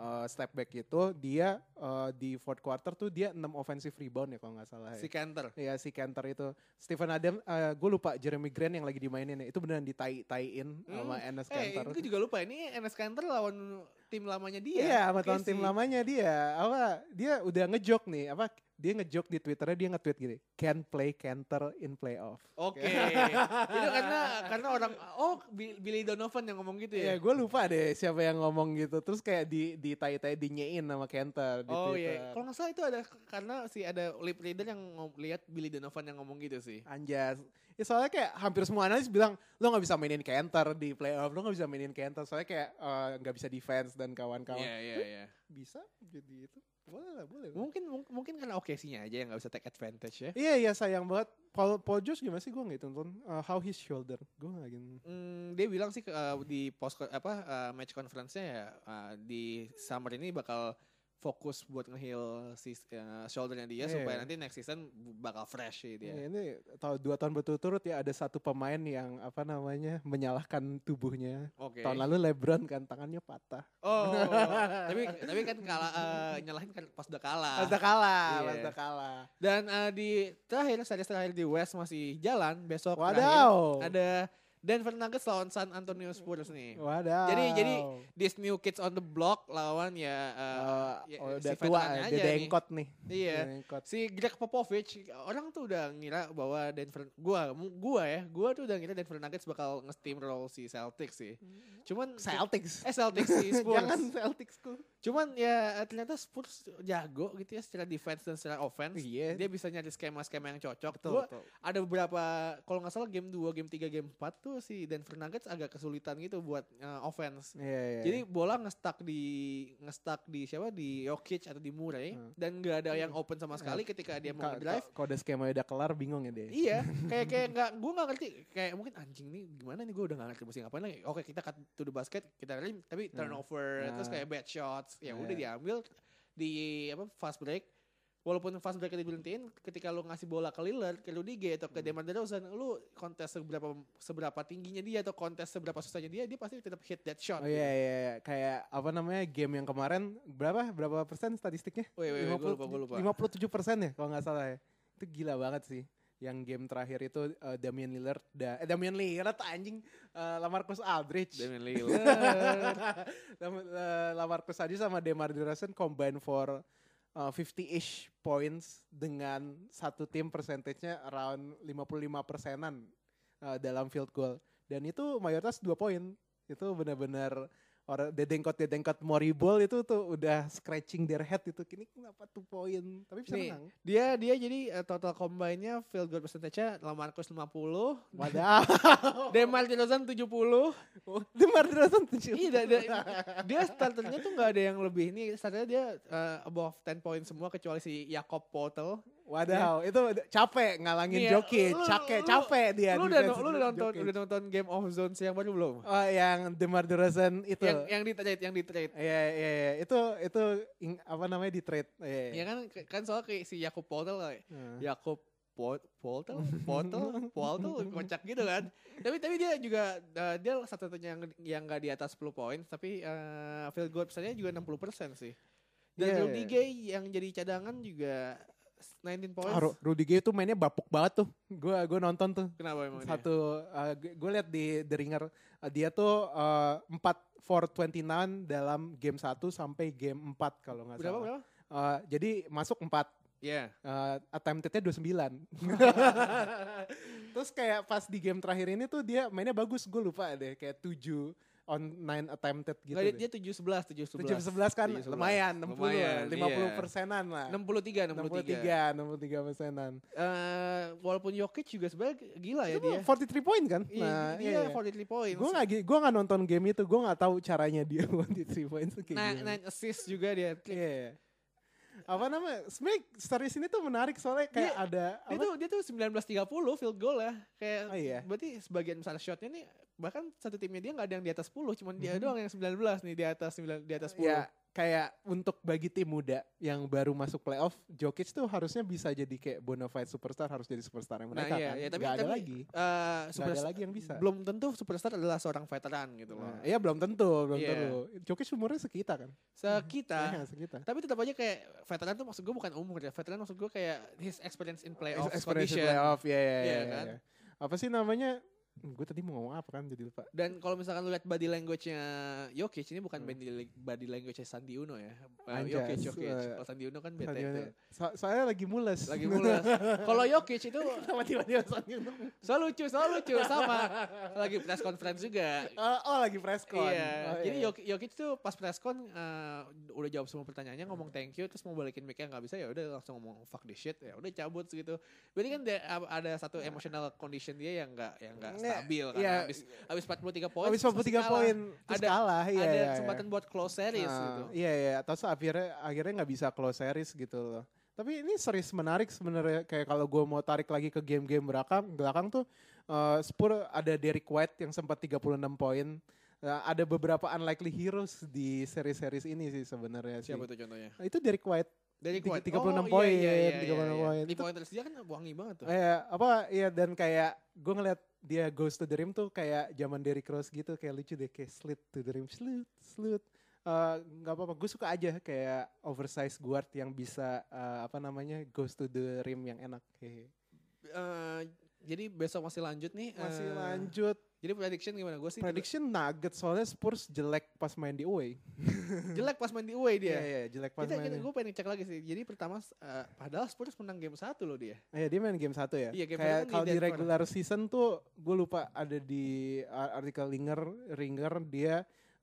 [SPEAKER 2] uh, step back itu dia uh, di fourth quarter tuh dia 6 offensive rebound ya kalau nggak salah ya.
[SPEAKER 1] Si Kanter.
[SPEAKER 2] Iya si Kenter itu Stephen Adam eh, gue lupa Jeremy Grant yang lagi dimainin ya. Itu beneran ditai-taiin sama Enes
[SPEAKER 1] Eh,
[SPEAKER 2] Kanter.
[SPEAKER 1] gue juga lupa ini NS Kanter lawan tim lamanya dia.
[SPEAKER 2] Iya,
[SPEAKER 1] Oke
[SPEAKER 2] sama tahun tim
[SPEAKER 1] sih.
[SPEAKER 2] lamanya dia. Apa dia udah ngejok nih, apa dia ngejok di Twitternya dia nge-tweet gini, can play canter in playoff.
[SPEAKER 1] Oke.
[SPEAKER 2] Iya.
[SPEAKER 1] itu karena karena orang oh Bi- Billy Donovan yang ngomong gitu ya.
[SPEAKER 2] Iya, gue lupa deh siapa yang ngomong gitu. Terus kayak di di tai tai dinyein sama Cantor di
[SPEAKER 1] oh
[SPEAKER 2] Twitter.
[SPEAKER 1] iya. Kalau nggak salah itu ada karena si ada lip reader yang ngom- lihat Billy Donovan yang ngomong gitu sih.
[SPEAKER 2] Anjas. Ya soalnya kayak hampir semua analis bilang lo nggak bisa mainin Cantor di playoff, lo nggak bisa mainin Cantor. Soalnya kayak eh, nggak bisa defense dan kawan-kawan.
[SPEAKER 1] iya iya.
[SPEAKER 2] Bisa jadi itu. Boleh lah, boleh.
[SPEAKER 1] Mungkin mung- mungkin karena okasinya aja yang nggak bisa take advantage ya.
[SPEAKER 2] Iya iya sayang banget. Paul Paul George gimana sih gue nggak tonton Eh, How His Shoulder. Gue nggak gitu.
[SPEAKER 1] Hmm, dia bilang sih ke- eh, di post ko- apa eh, match conference-nya ya eh, di summer ini bakal fokus buat nge-heal si eh, shouldernya dia
[SPEAKER 2] Iya.
[SPEAKER 1] supaya nanti next season bakal fresh sih dia.
[SPEAKER 2] Iya, ini tahun dua tahun berturut-turut ya ada satu pemain yang apa namanya menyalahkan tubuhnya.
[SPEAKER 1] Oke.
[SPEAKER 2] Tahun lalu LeBron kan tangannya patah.
[SPEAKER 1] Oh,
[SPEAKER 2] [LAUGHS]
[SPEAKER 1] tapi tapi kan kalah eh, nyalahin kan pas udah kalah.
[SPEAKER 2] Pas udah kalah,
[SPEAKER 1] Iya.
[SPEAKER 2] pas udah kalah.
[SPEAKER 1] Dan eh, di terakhir series terakhir di West masih jalan besok terakhir
[SPEAKER 2] Wadaw.
[SPEAKER 1] ada Denver Nuggets lawan San Antonio Spurs nih.
[SPEAKER 2] Wadaw.
[SPEAKER 1] Jadi- jadi- These new kids on the block lawan ya eh,
[SPEAKER 2] Eh,
[SPEAKER 1] ya,
[SPEAKER 2] oh,
[SPEAKER 1] si
[SPEAKER 2] udah tua,
[SPEAKER 1] veterannya
[SPEAKER 2] dia
[SPEAKER 1] aja nih.
[SPEAKER 2] dengkot nih.
[SPEAKER 1] iya.
[SPEAKER 2] Dia dengkot.
[SPEAKER 1] Si Greg Popovich orang tuh udah ngira bahwa Denver gua mu- gua ya, gua tuh udah ngira Denver Nuggets bakal nge-steamroll si Celtics sih. Cuman [LAUGHS]
[SPEAKER 2] Celtics.
[SPEAKER 1] eh Celtics
[SPEAKER 2] [LAUGHS]
[SPEAKER 1] si Spurs.
[SPEAKER 2] Hmm. Jangan Celticsku.
[SPEAKER 1] Cuman ya eh, ternyata Spurs jago gitu ya secara defense dan secara offense.
[SPEAKER 2] Iya.
[SPEAKER 1] Dia bisa nyari skema-skema yang cocok.
[SPEAKER 2] Betul,
[SPEAKER 1] Gua
[SPEAKER 2] betul.
[SPEAKER 1] ada beberapa kalau nggak salah game 2, game 3, game 4 tuh si Denver Nuggets agak kesulitan gitu buat eh, offense.
[SPEAKER 2] Iya, iya.
[SPEAKER 1] Jadi bola ngestak di ngestak di siapa di Jokic atau di Murray
[SPEAKER 2] Hmm.
[SPEAKER 1] dan nggak ada yang open sama sekali ketika dia mau
[SPEAKER 2] Ka-
[SPEAKER 1] drive.
[SPEAKER 2] ka- kalau udah skema udah kelar bingung ya dia.
[SPEAKER 1] Iya, kayak kayak nggak, gue nggak ngerti. Kayak mungkin anjing nih gimana nih gue udah nggak ngerti mesti ngapain lagi. Oke kita cut to the basket, kita rim, tapi
[SPEAKER 2] Hmm.
[SPEAKER 1] turnover, terus
[SPEAKER 2] Nah.
[SPEAKER 1] kayak bad shots. Ya udah
[SPEAKER 2] Iya.
[SPEAKER 1] diambil di apa fast break. walaupun fast break diberhentiin ketika lu ngasih bola ke Lillard, ke Rudiger atau ke
[SPEAKER 2] Hmm.
[SPEAKER 1] DeMar DeRozan, lu kontes seberapa seberapa tingginya dia atau kontes seberapa susahnya dia, dia pasti tetap hit that shot.
[SPEAKER 2] Oh iya iya iya. kayak apa namanya game yang kemarin berapa berapa persen statistiknya?
[SPEAKER 1] Wih, wih, wih, gua lupa, gua lupa.
[SPEAKER 2] 57 persen ya kalau nggak salah ya. Itu gila banget sih. Yang game terakhir itu eh, Damian Lillard da eh, Damian Lillard anjing eh, Lamarcus Aldridge.
[SPEAKER 1] Damian
[SPEAKER 2] [LAUGHS] Iya.
[SPEAKER 1] Lillard.
[SPEAKER 2] Lam- eh, Lamarcus Aldridge sama DeMar DeRozan combine for eh, 50-ish points dengan satu tim percentage-nya around 55 persenan eh, dalam field goal. Dan itu mayoritas 2 poin. Itu benar-benar orang dedengkot-dedengkot Moribol itu tuh udah scratching their head itu. Kini kenapa 2 poin? Tapi bisa
[SPEAKER 1] Nih.
[SPEAKER 2] menang.
[SPEAKER 1] dia dia jadi eh, total combine-nya field goal percentage-nya Lamarcus 50, [LAUGHS]
[SPEAKER 2] Wadah.
[SPEAKER 1] DeMar DeRozan 70.
[SPEAKER 2] DeMar DeRozan tujuh.
[SPEAKER 1] Iya, da- [LAUGHS] da- dia starternya tuh nggak ada yang lebih ini. Starternya dia eh, above 10 points semua kecuali si Jakob Poeltl.
[SPEAKER 2] Wadaw, itu capek ngalangin
[SPEAKER 1] Nih, ya,
[SPEAKER 2] Jokic,
[SPEAKER 1] lu-
[SPEAKER 2] capek,
[SPEAKER 1] lu-
[SPEAKER 2] capek dia.
[SPEAKER 1] lu udah
[SPEAKER 2] defense
[SPEAKER 1] lu udah nonton
[SPEAKER 2] Jokic.
[SPEAKER 1] udah nonton Game of Zones yang baru belum?
[SPEAKER 2] Oh, yang Demar Derozan itu.
[SPEAKER 1] Yang yang di trade yang di trade.
[SPEAKER 2] Iya, iya, iya. Itu itu ing- apa namanya di trade. Iya. Hmm.
[SPEAKER 1] Ya kan Ya, kan soal kayak si Jakob Poeltl eh, kayak,
[SPEAKER 2] Heeh.
[SPEAKER 1] Jakob Po- Poeltl, Poeltl, Poeltl kocak gitu kan. Tapi tapi dia juga eh, dia satu-satunya yang yang nggak di atas 10 poin tapi eh, field goal persennya juga 60% sih. Dan
[SPEAKER 2] Iya,
[SPEAKER 1] yeah,
[SPEAKER 2] iya.
[SPEAKER 1] yang jadi cadangan juga 19 points.
[SPEAKER 2] Ah, Ru- Rudy Gay itu mainnya bapuk banget tuh. Gua gua nonton tuh.
[SPEAKER 1] Kenapa emang dia?
[SPEAKER 2] Satu eh, gue lihat di The Ringer eh, dia tuh eh, 4 for 29 dalam game 1 sampai game 4 kalau nggak
[SPEAKER 1] Berapa
[SPEAKER 2] salah.
[SPEAKER 1] berapa?
[SPEAKER 2] Eh, jadi masuk 4
[SPEAKER 1] Iya.
[SPEAKER 2] Eh,
[SPEAKER 1] [LAUGHS]
[SPEAKER 2] attempted-nya 29. Terus kayak pas di game terakhir ini tuh dia mainnya bagus. Gue lupa deh kayak 7 on 9 attempted gitu.
[SPEAKER 1] Nggak, dia-
[SPEAKER 2] deh.
[SPEAKER 1] dia 7-11, 7-11.
[SPEAKER 2] 7 11 kan
[SPEAKER 1] 7-11. Iya,
[SPEAKER 2] lumayan 60
[SPEAKER 1] Lumayan,
[SPEAKER 2] lah, 50
[SPEAKER 1] iya.
[SPEAKER 2] persenan lah.
[SPEAKER 1] 63, 63.
[SPEAKER 2] 63 63 persenan.
[SPEAKER 1] Eh, walaupun Jokic juga sebenarnya gila ya
[SPEAKER 2] Itu
[SPEAKER 1] dia.
[SPEAKER 2] 43 point kan?
[SPEAKER 1] Iya, dia 43 points.
[SPEAKER 2] Gue gak, gue gak nonton game itu, gue gak tahu caranya dia [LAUGHS] 43 points tuh kayak
[SPEAKER 1] Nah,
[SPEAKER 2] gimana.
[SPEAKER 1] nine assist juga dia.
[SPEAKER 2] Iya, iya. Apa namanya? Sebenernya series ini tuh menarik soalnya kayak
[SPEAKER 1] Dia-
[SPEAKER 2] ada
[SPEAKER 1] Iya, Dia
[SPEAKER 2] apa-
[SPEAKER 1] tuh dia tuh 19-30 field goal ya. Kayak
[SPEAKER 2] Oh, iya.
[SPEAKER 1] berarti sebagian besar shotnya nih bahkan satu timnya dia nggak ada yang di atas 10, cuman dia
[SPEAKER 2] Mhm.
[SPEAKER 1] doang yang 19 nih di atas 9 di atas Eh, 10.
[SPEAKER 2] ya kayak untuk bagi tim muda yang baru masuk playoff, Jokic tuh harusnya bisa jadi kayak bona fide superstar, harus jadi superstar yang
[SPEAKER 1] Nah,
[SPEAKER 2] mereka
[SPEAKER 1] iya,
[SPEAKER 2] kan.
[SPEAKER 1] iya, tapi-
[SPEAKER 2] Nggak ada
[SPEAKER 1] tapi-
[SPEAKER 2] lagi.
[SPEAKER 1] Eh,
[SPEAKER 2] Gak ada
[SPEAKER 1] superstar-
[SPEAKER 2] lagi yang bisa.
[SPEAKER 1] Belum tentu superstar adalah seorang veteran gitu loh.
[SPEAKER 2] Nah, iya belum tentu, belum
[SPEAKER 1] Iya.
[SPEAKER 2] tentu. Jokic umurnya sekitar kan?
[SPEAKER 1] Sekitar
[SPEAKER 2] Iya, sekitar.
[SPEAKER 1] [LAUGHS] tapi tetap aja kayak veteran tuh maksud gue bukan umur ya. Veteran maksud gue kayak his experience in playoff
[SPEAKER 2] Ex- experience
[SPEAKER 1] condition.
[SPEAKER 2] playoff, ya, ya,
[SPEAKER 1] Iya
[SPEAKER 2] ya,
[SPEAKER 1] kan?
[SPEAKER 2] Apa sih namanya? Gue tadi mau ngomong apa kan jadi lupa.
[SPEAKER 1] Dan kalau misalkan lu lihat body language-nya Jokic ini bukan
[SPEAKER 2] Hmm.
[SPEAKER 1] body- body language-nya Sandi Uno ya. Eh,
[SPEAKER 2] Anjas,
[SPEAKER 1] Jokic, Jokic.
[SPEAKER 2] eh,
[SPEAKER 1] Kalau Sandi Uno kan bete
[SPEAKER 2] Tadi
[SPEAKER 1] tuh.
[SPEAKER 2] mana- So- soalnya lagi mules.
[SPEAKER 1] Lagi mules. kalau Jokic itu
[SPEAKER 2] [LAUGHS] Kenapa tiba-tiba
[SPEAKER 1] [LAUGHS]
[SPEAKER 2] soalnya itu?
[SPEAKER 1] selalu lucu, selalu lucu sama lagi press conference juga.
[SPEAKER 2] Eh, oh lagi press con.
[SPEAKER 1] Iya,
[SPEAKER 2] Oh,
[SPEAKER 1] jadi Jokic, Jokic tuh pas press con eh, udah jawab semua pertanyaannya, ngomong thank you, terus mau balikin mic-nya nggak bisa ya udah langsung ngomong fuck this shit, ya udah cabut gitu. Berarti kan dia- ada satu emotional condition dia yang nggak yang nggak
[SPEAKER 2] Nggak,
[SPEAKER 1] stabil kan.
[SPEAKER 2] iya.
[SPEAKER 1] Abis, abis 43 poin,
[SPEAKER 2] Habis
[SPEAKER 1] terus masih
[SPEAKER 2] 43
[SPEAKER 1] kalah.
[SPEAKER 2] poin, terus
[SPEAKER 1] Ada-
[SPEAKER 2] kalah. Iya,
[SPEAKER 1] ada
[SPEAKER 2] iya, iya.
[SPEAKER 1] kesempatan buat close series
[SPEAKER 2] Ah,
[SPEAKER 1] gitu.
[SPEAKER 2] Iya iya, atau se- akhirnya akhirnya nggak bisa close series gitu loh. Tapi ini series menarik sebenarnya kayak kalau gue mau tarik lagi ke game-game belakang, belakang tuh eh Spurs ada Derek White yang sempat 36 poin. Nah, ada beberapa unlikely heroes di seri-series ini sih sebenarnya sih.
[SPEAKER 1] Siapa tuh contohnya?
[SPEAKER 2] Nah, Itu Derek White.
[SPEAKER 1] Dari
[SPEAKER 2] Tiga-
[SPEAKER 1] Kuwait.
[SPEAKER 2] 36
[SPEAKER 1] Oh, iya, iya,
[SPEAKER 2] poin,
[SPEAKER 1] iya,
[SPEAKER 2] 36
[SPEAKER 1] iya.
[SPEAKER 2] poin.
[SPEAKER 1] Di
[SPEAKER 2] Itu-
[SPEAKER 1] poin terus dia kan wangi banget tuh.
[SPEAKER 2] Eh apa iya dan kayak gue ngeliat dia goes to the rim tuh kayak zaman Derrick Rose gitu kayak lucu deh kayak slit to the rim slit slit Eh, nggak apa-apa gue suka aja kayak oversized guard yang bisa eh, apa namanya goes to the rim yang enak Hehe.
[SPEAKER 1] Eh, jadi besok masih lanjut nih.
[SPEAKER 2] masih
[SPEAKER 1] eh,
[SPEAKER 2] lanjut
[SPEAKER 1] Jadi prediction gimana? Gue sih
[SPEAKER 2] prediction Nuggets soalnya Spurs jelek pas main di away
[SPEAKER 1] jelek pas main di away
[SPEAKER 2] iya
[SPEAKER 1] dia.
[SPEAKER 2] iya, jelek pas
[SPEAKER 1] kita,
[SPEAKER 2] main
[SPEAKER 1] kita, gue pengen cek lagi sih. Jadi pertama, eh, padahal Spurs menang game satu loh dia.
[SPEAKER 2] Iya dia main game satu ya.
[SPEAKER 1] Iya, game satu kan
[SPEAKER 2] kayak
[SPEAKER 1] di
[SPEAKER 2] kalau di
[SPEAKER 1] Denver.
[SPEAKER 2] regular season tuh gue lupa ada di uh, artikel Ringer Ringer dia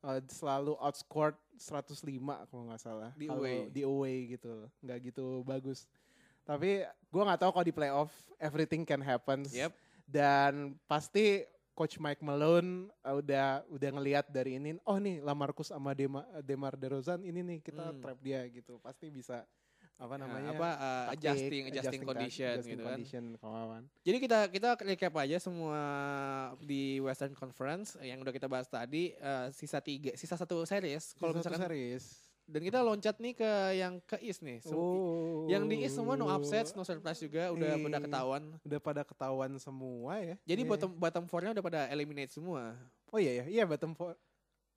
[SPEAKER 2] uh, selalu outscored 105 kalau nggak salah.
[SPEAKER 1] Di
[SPEAKER 2] Kalau
[SPEAKER 1] away.
[SPEAKER 2] Di away gitu, nggak gitu bagus. Tapi gue nggak tahu kalau di playoff everything can happen.
[SPEAKER 1] Yep.
[SPEAKER 2] Dan pasti Coach Mike Malone uh, udah udah ngelihat dari ini, oh nih Lamarcus sama Dema, Demar Derozan ini nih kita
[SPEAKER 1] Hmm.
[SPEAKER 2] trap dia gitu, pasti bisa apa
[SPEAKER 1] Nah,
[SPEAKER 2] namanya?
[SPEAKER 1] apa eh,
[SPEAKER 2] taktik,
[SPEAKER 1] adjusting, adjusting
[SPEAKER 2] ta-
[SPEAKER 1] condition
[SPEAKER 2] adjusting
[SPEAKER 1] gitu kan.
[SPEAKER 2] condition, kawan-kawan.
[SPEAKER 1] Jadi kita kita recap aja semua di Western Conference yang udah kita bahas tadi eh, sisa tiga, sisa satu series. Kalau
[SPEAKER 2] Sisa
[SPEAKER 1] misalkan
[SPEAKER 2] satu series
[SPEAKER 1] Dan kita loncat nih ke yang ke East nih. Sem-
[SPEAKER 2] Oh.
[SPEAKER 1] Yang di East semua no upsets, no surprise juga udah
[SPEAKER 2] Iya.
[SPEAKER 1] pada ketahuan.
[SPEAKER 2] Udah pada ketahuan semua ya.
[SPEAKER 1] Jadi
[SPEAKER 2] Iya.
[SPEAKER 1] bottom bottom four-nya udah pada eliminate semua.
[SPEAKER 2] Oh iya iya, iya bottom four.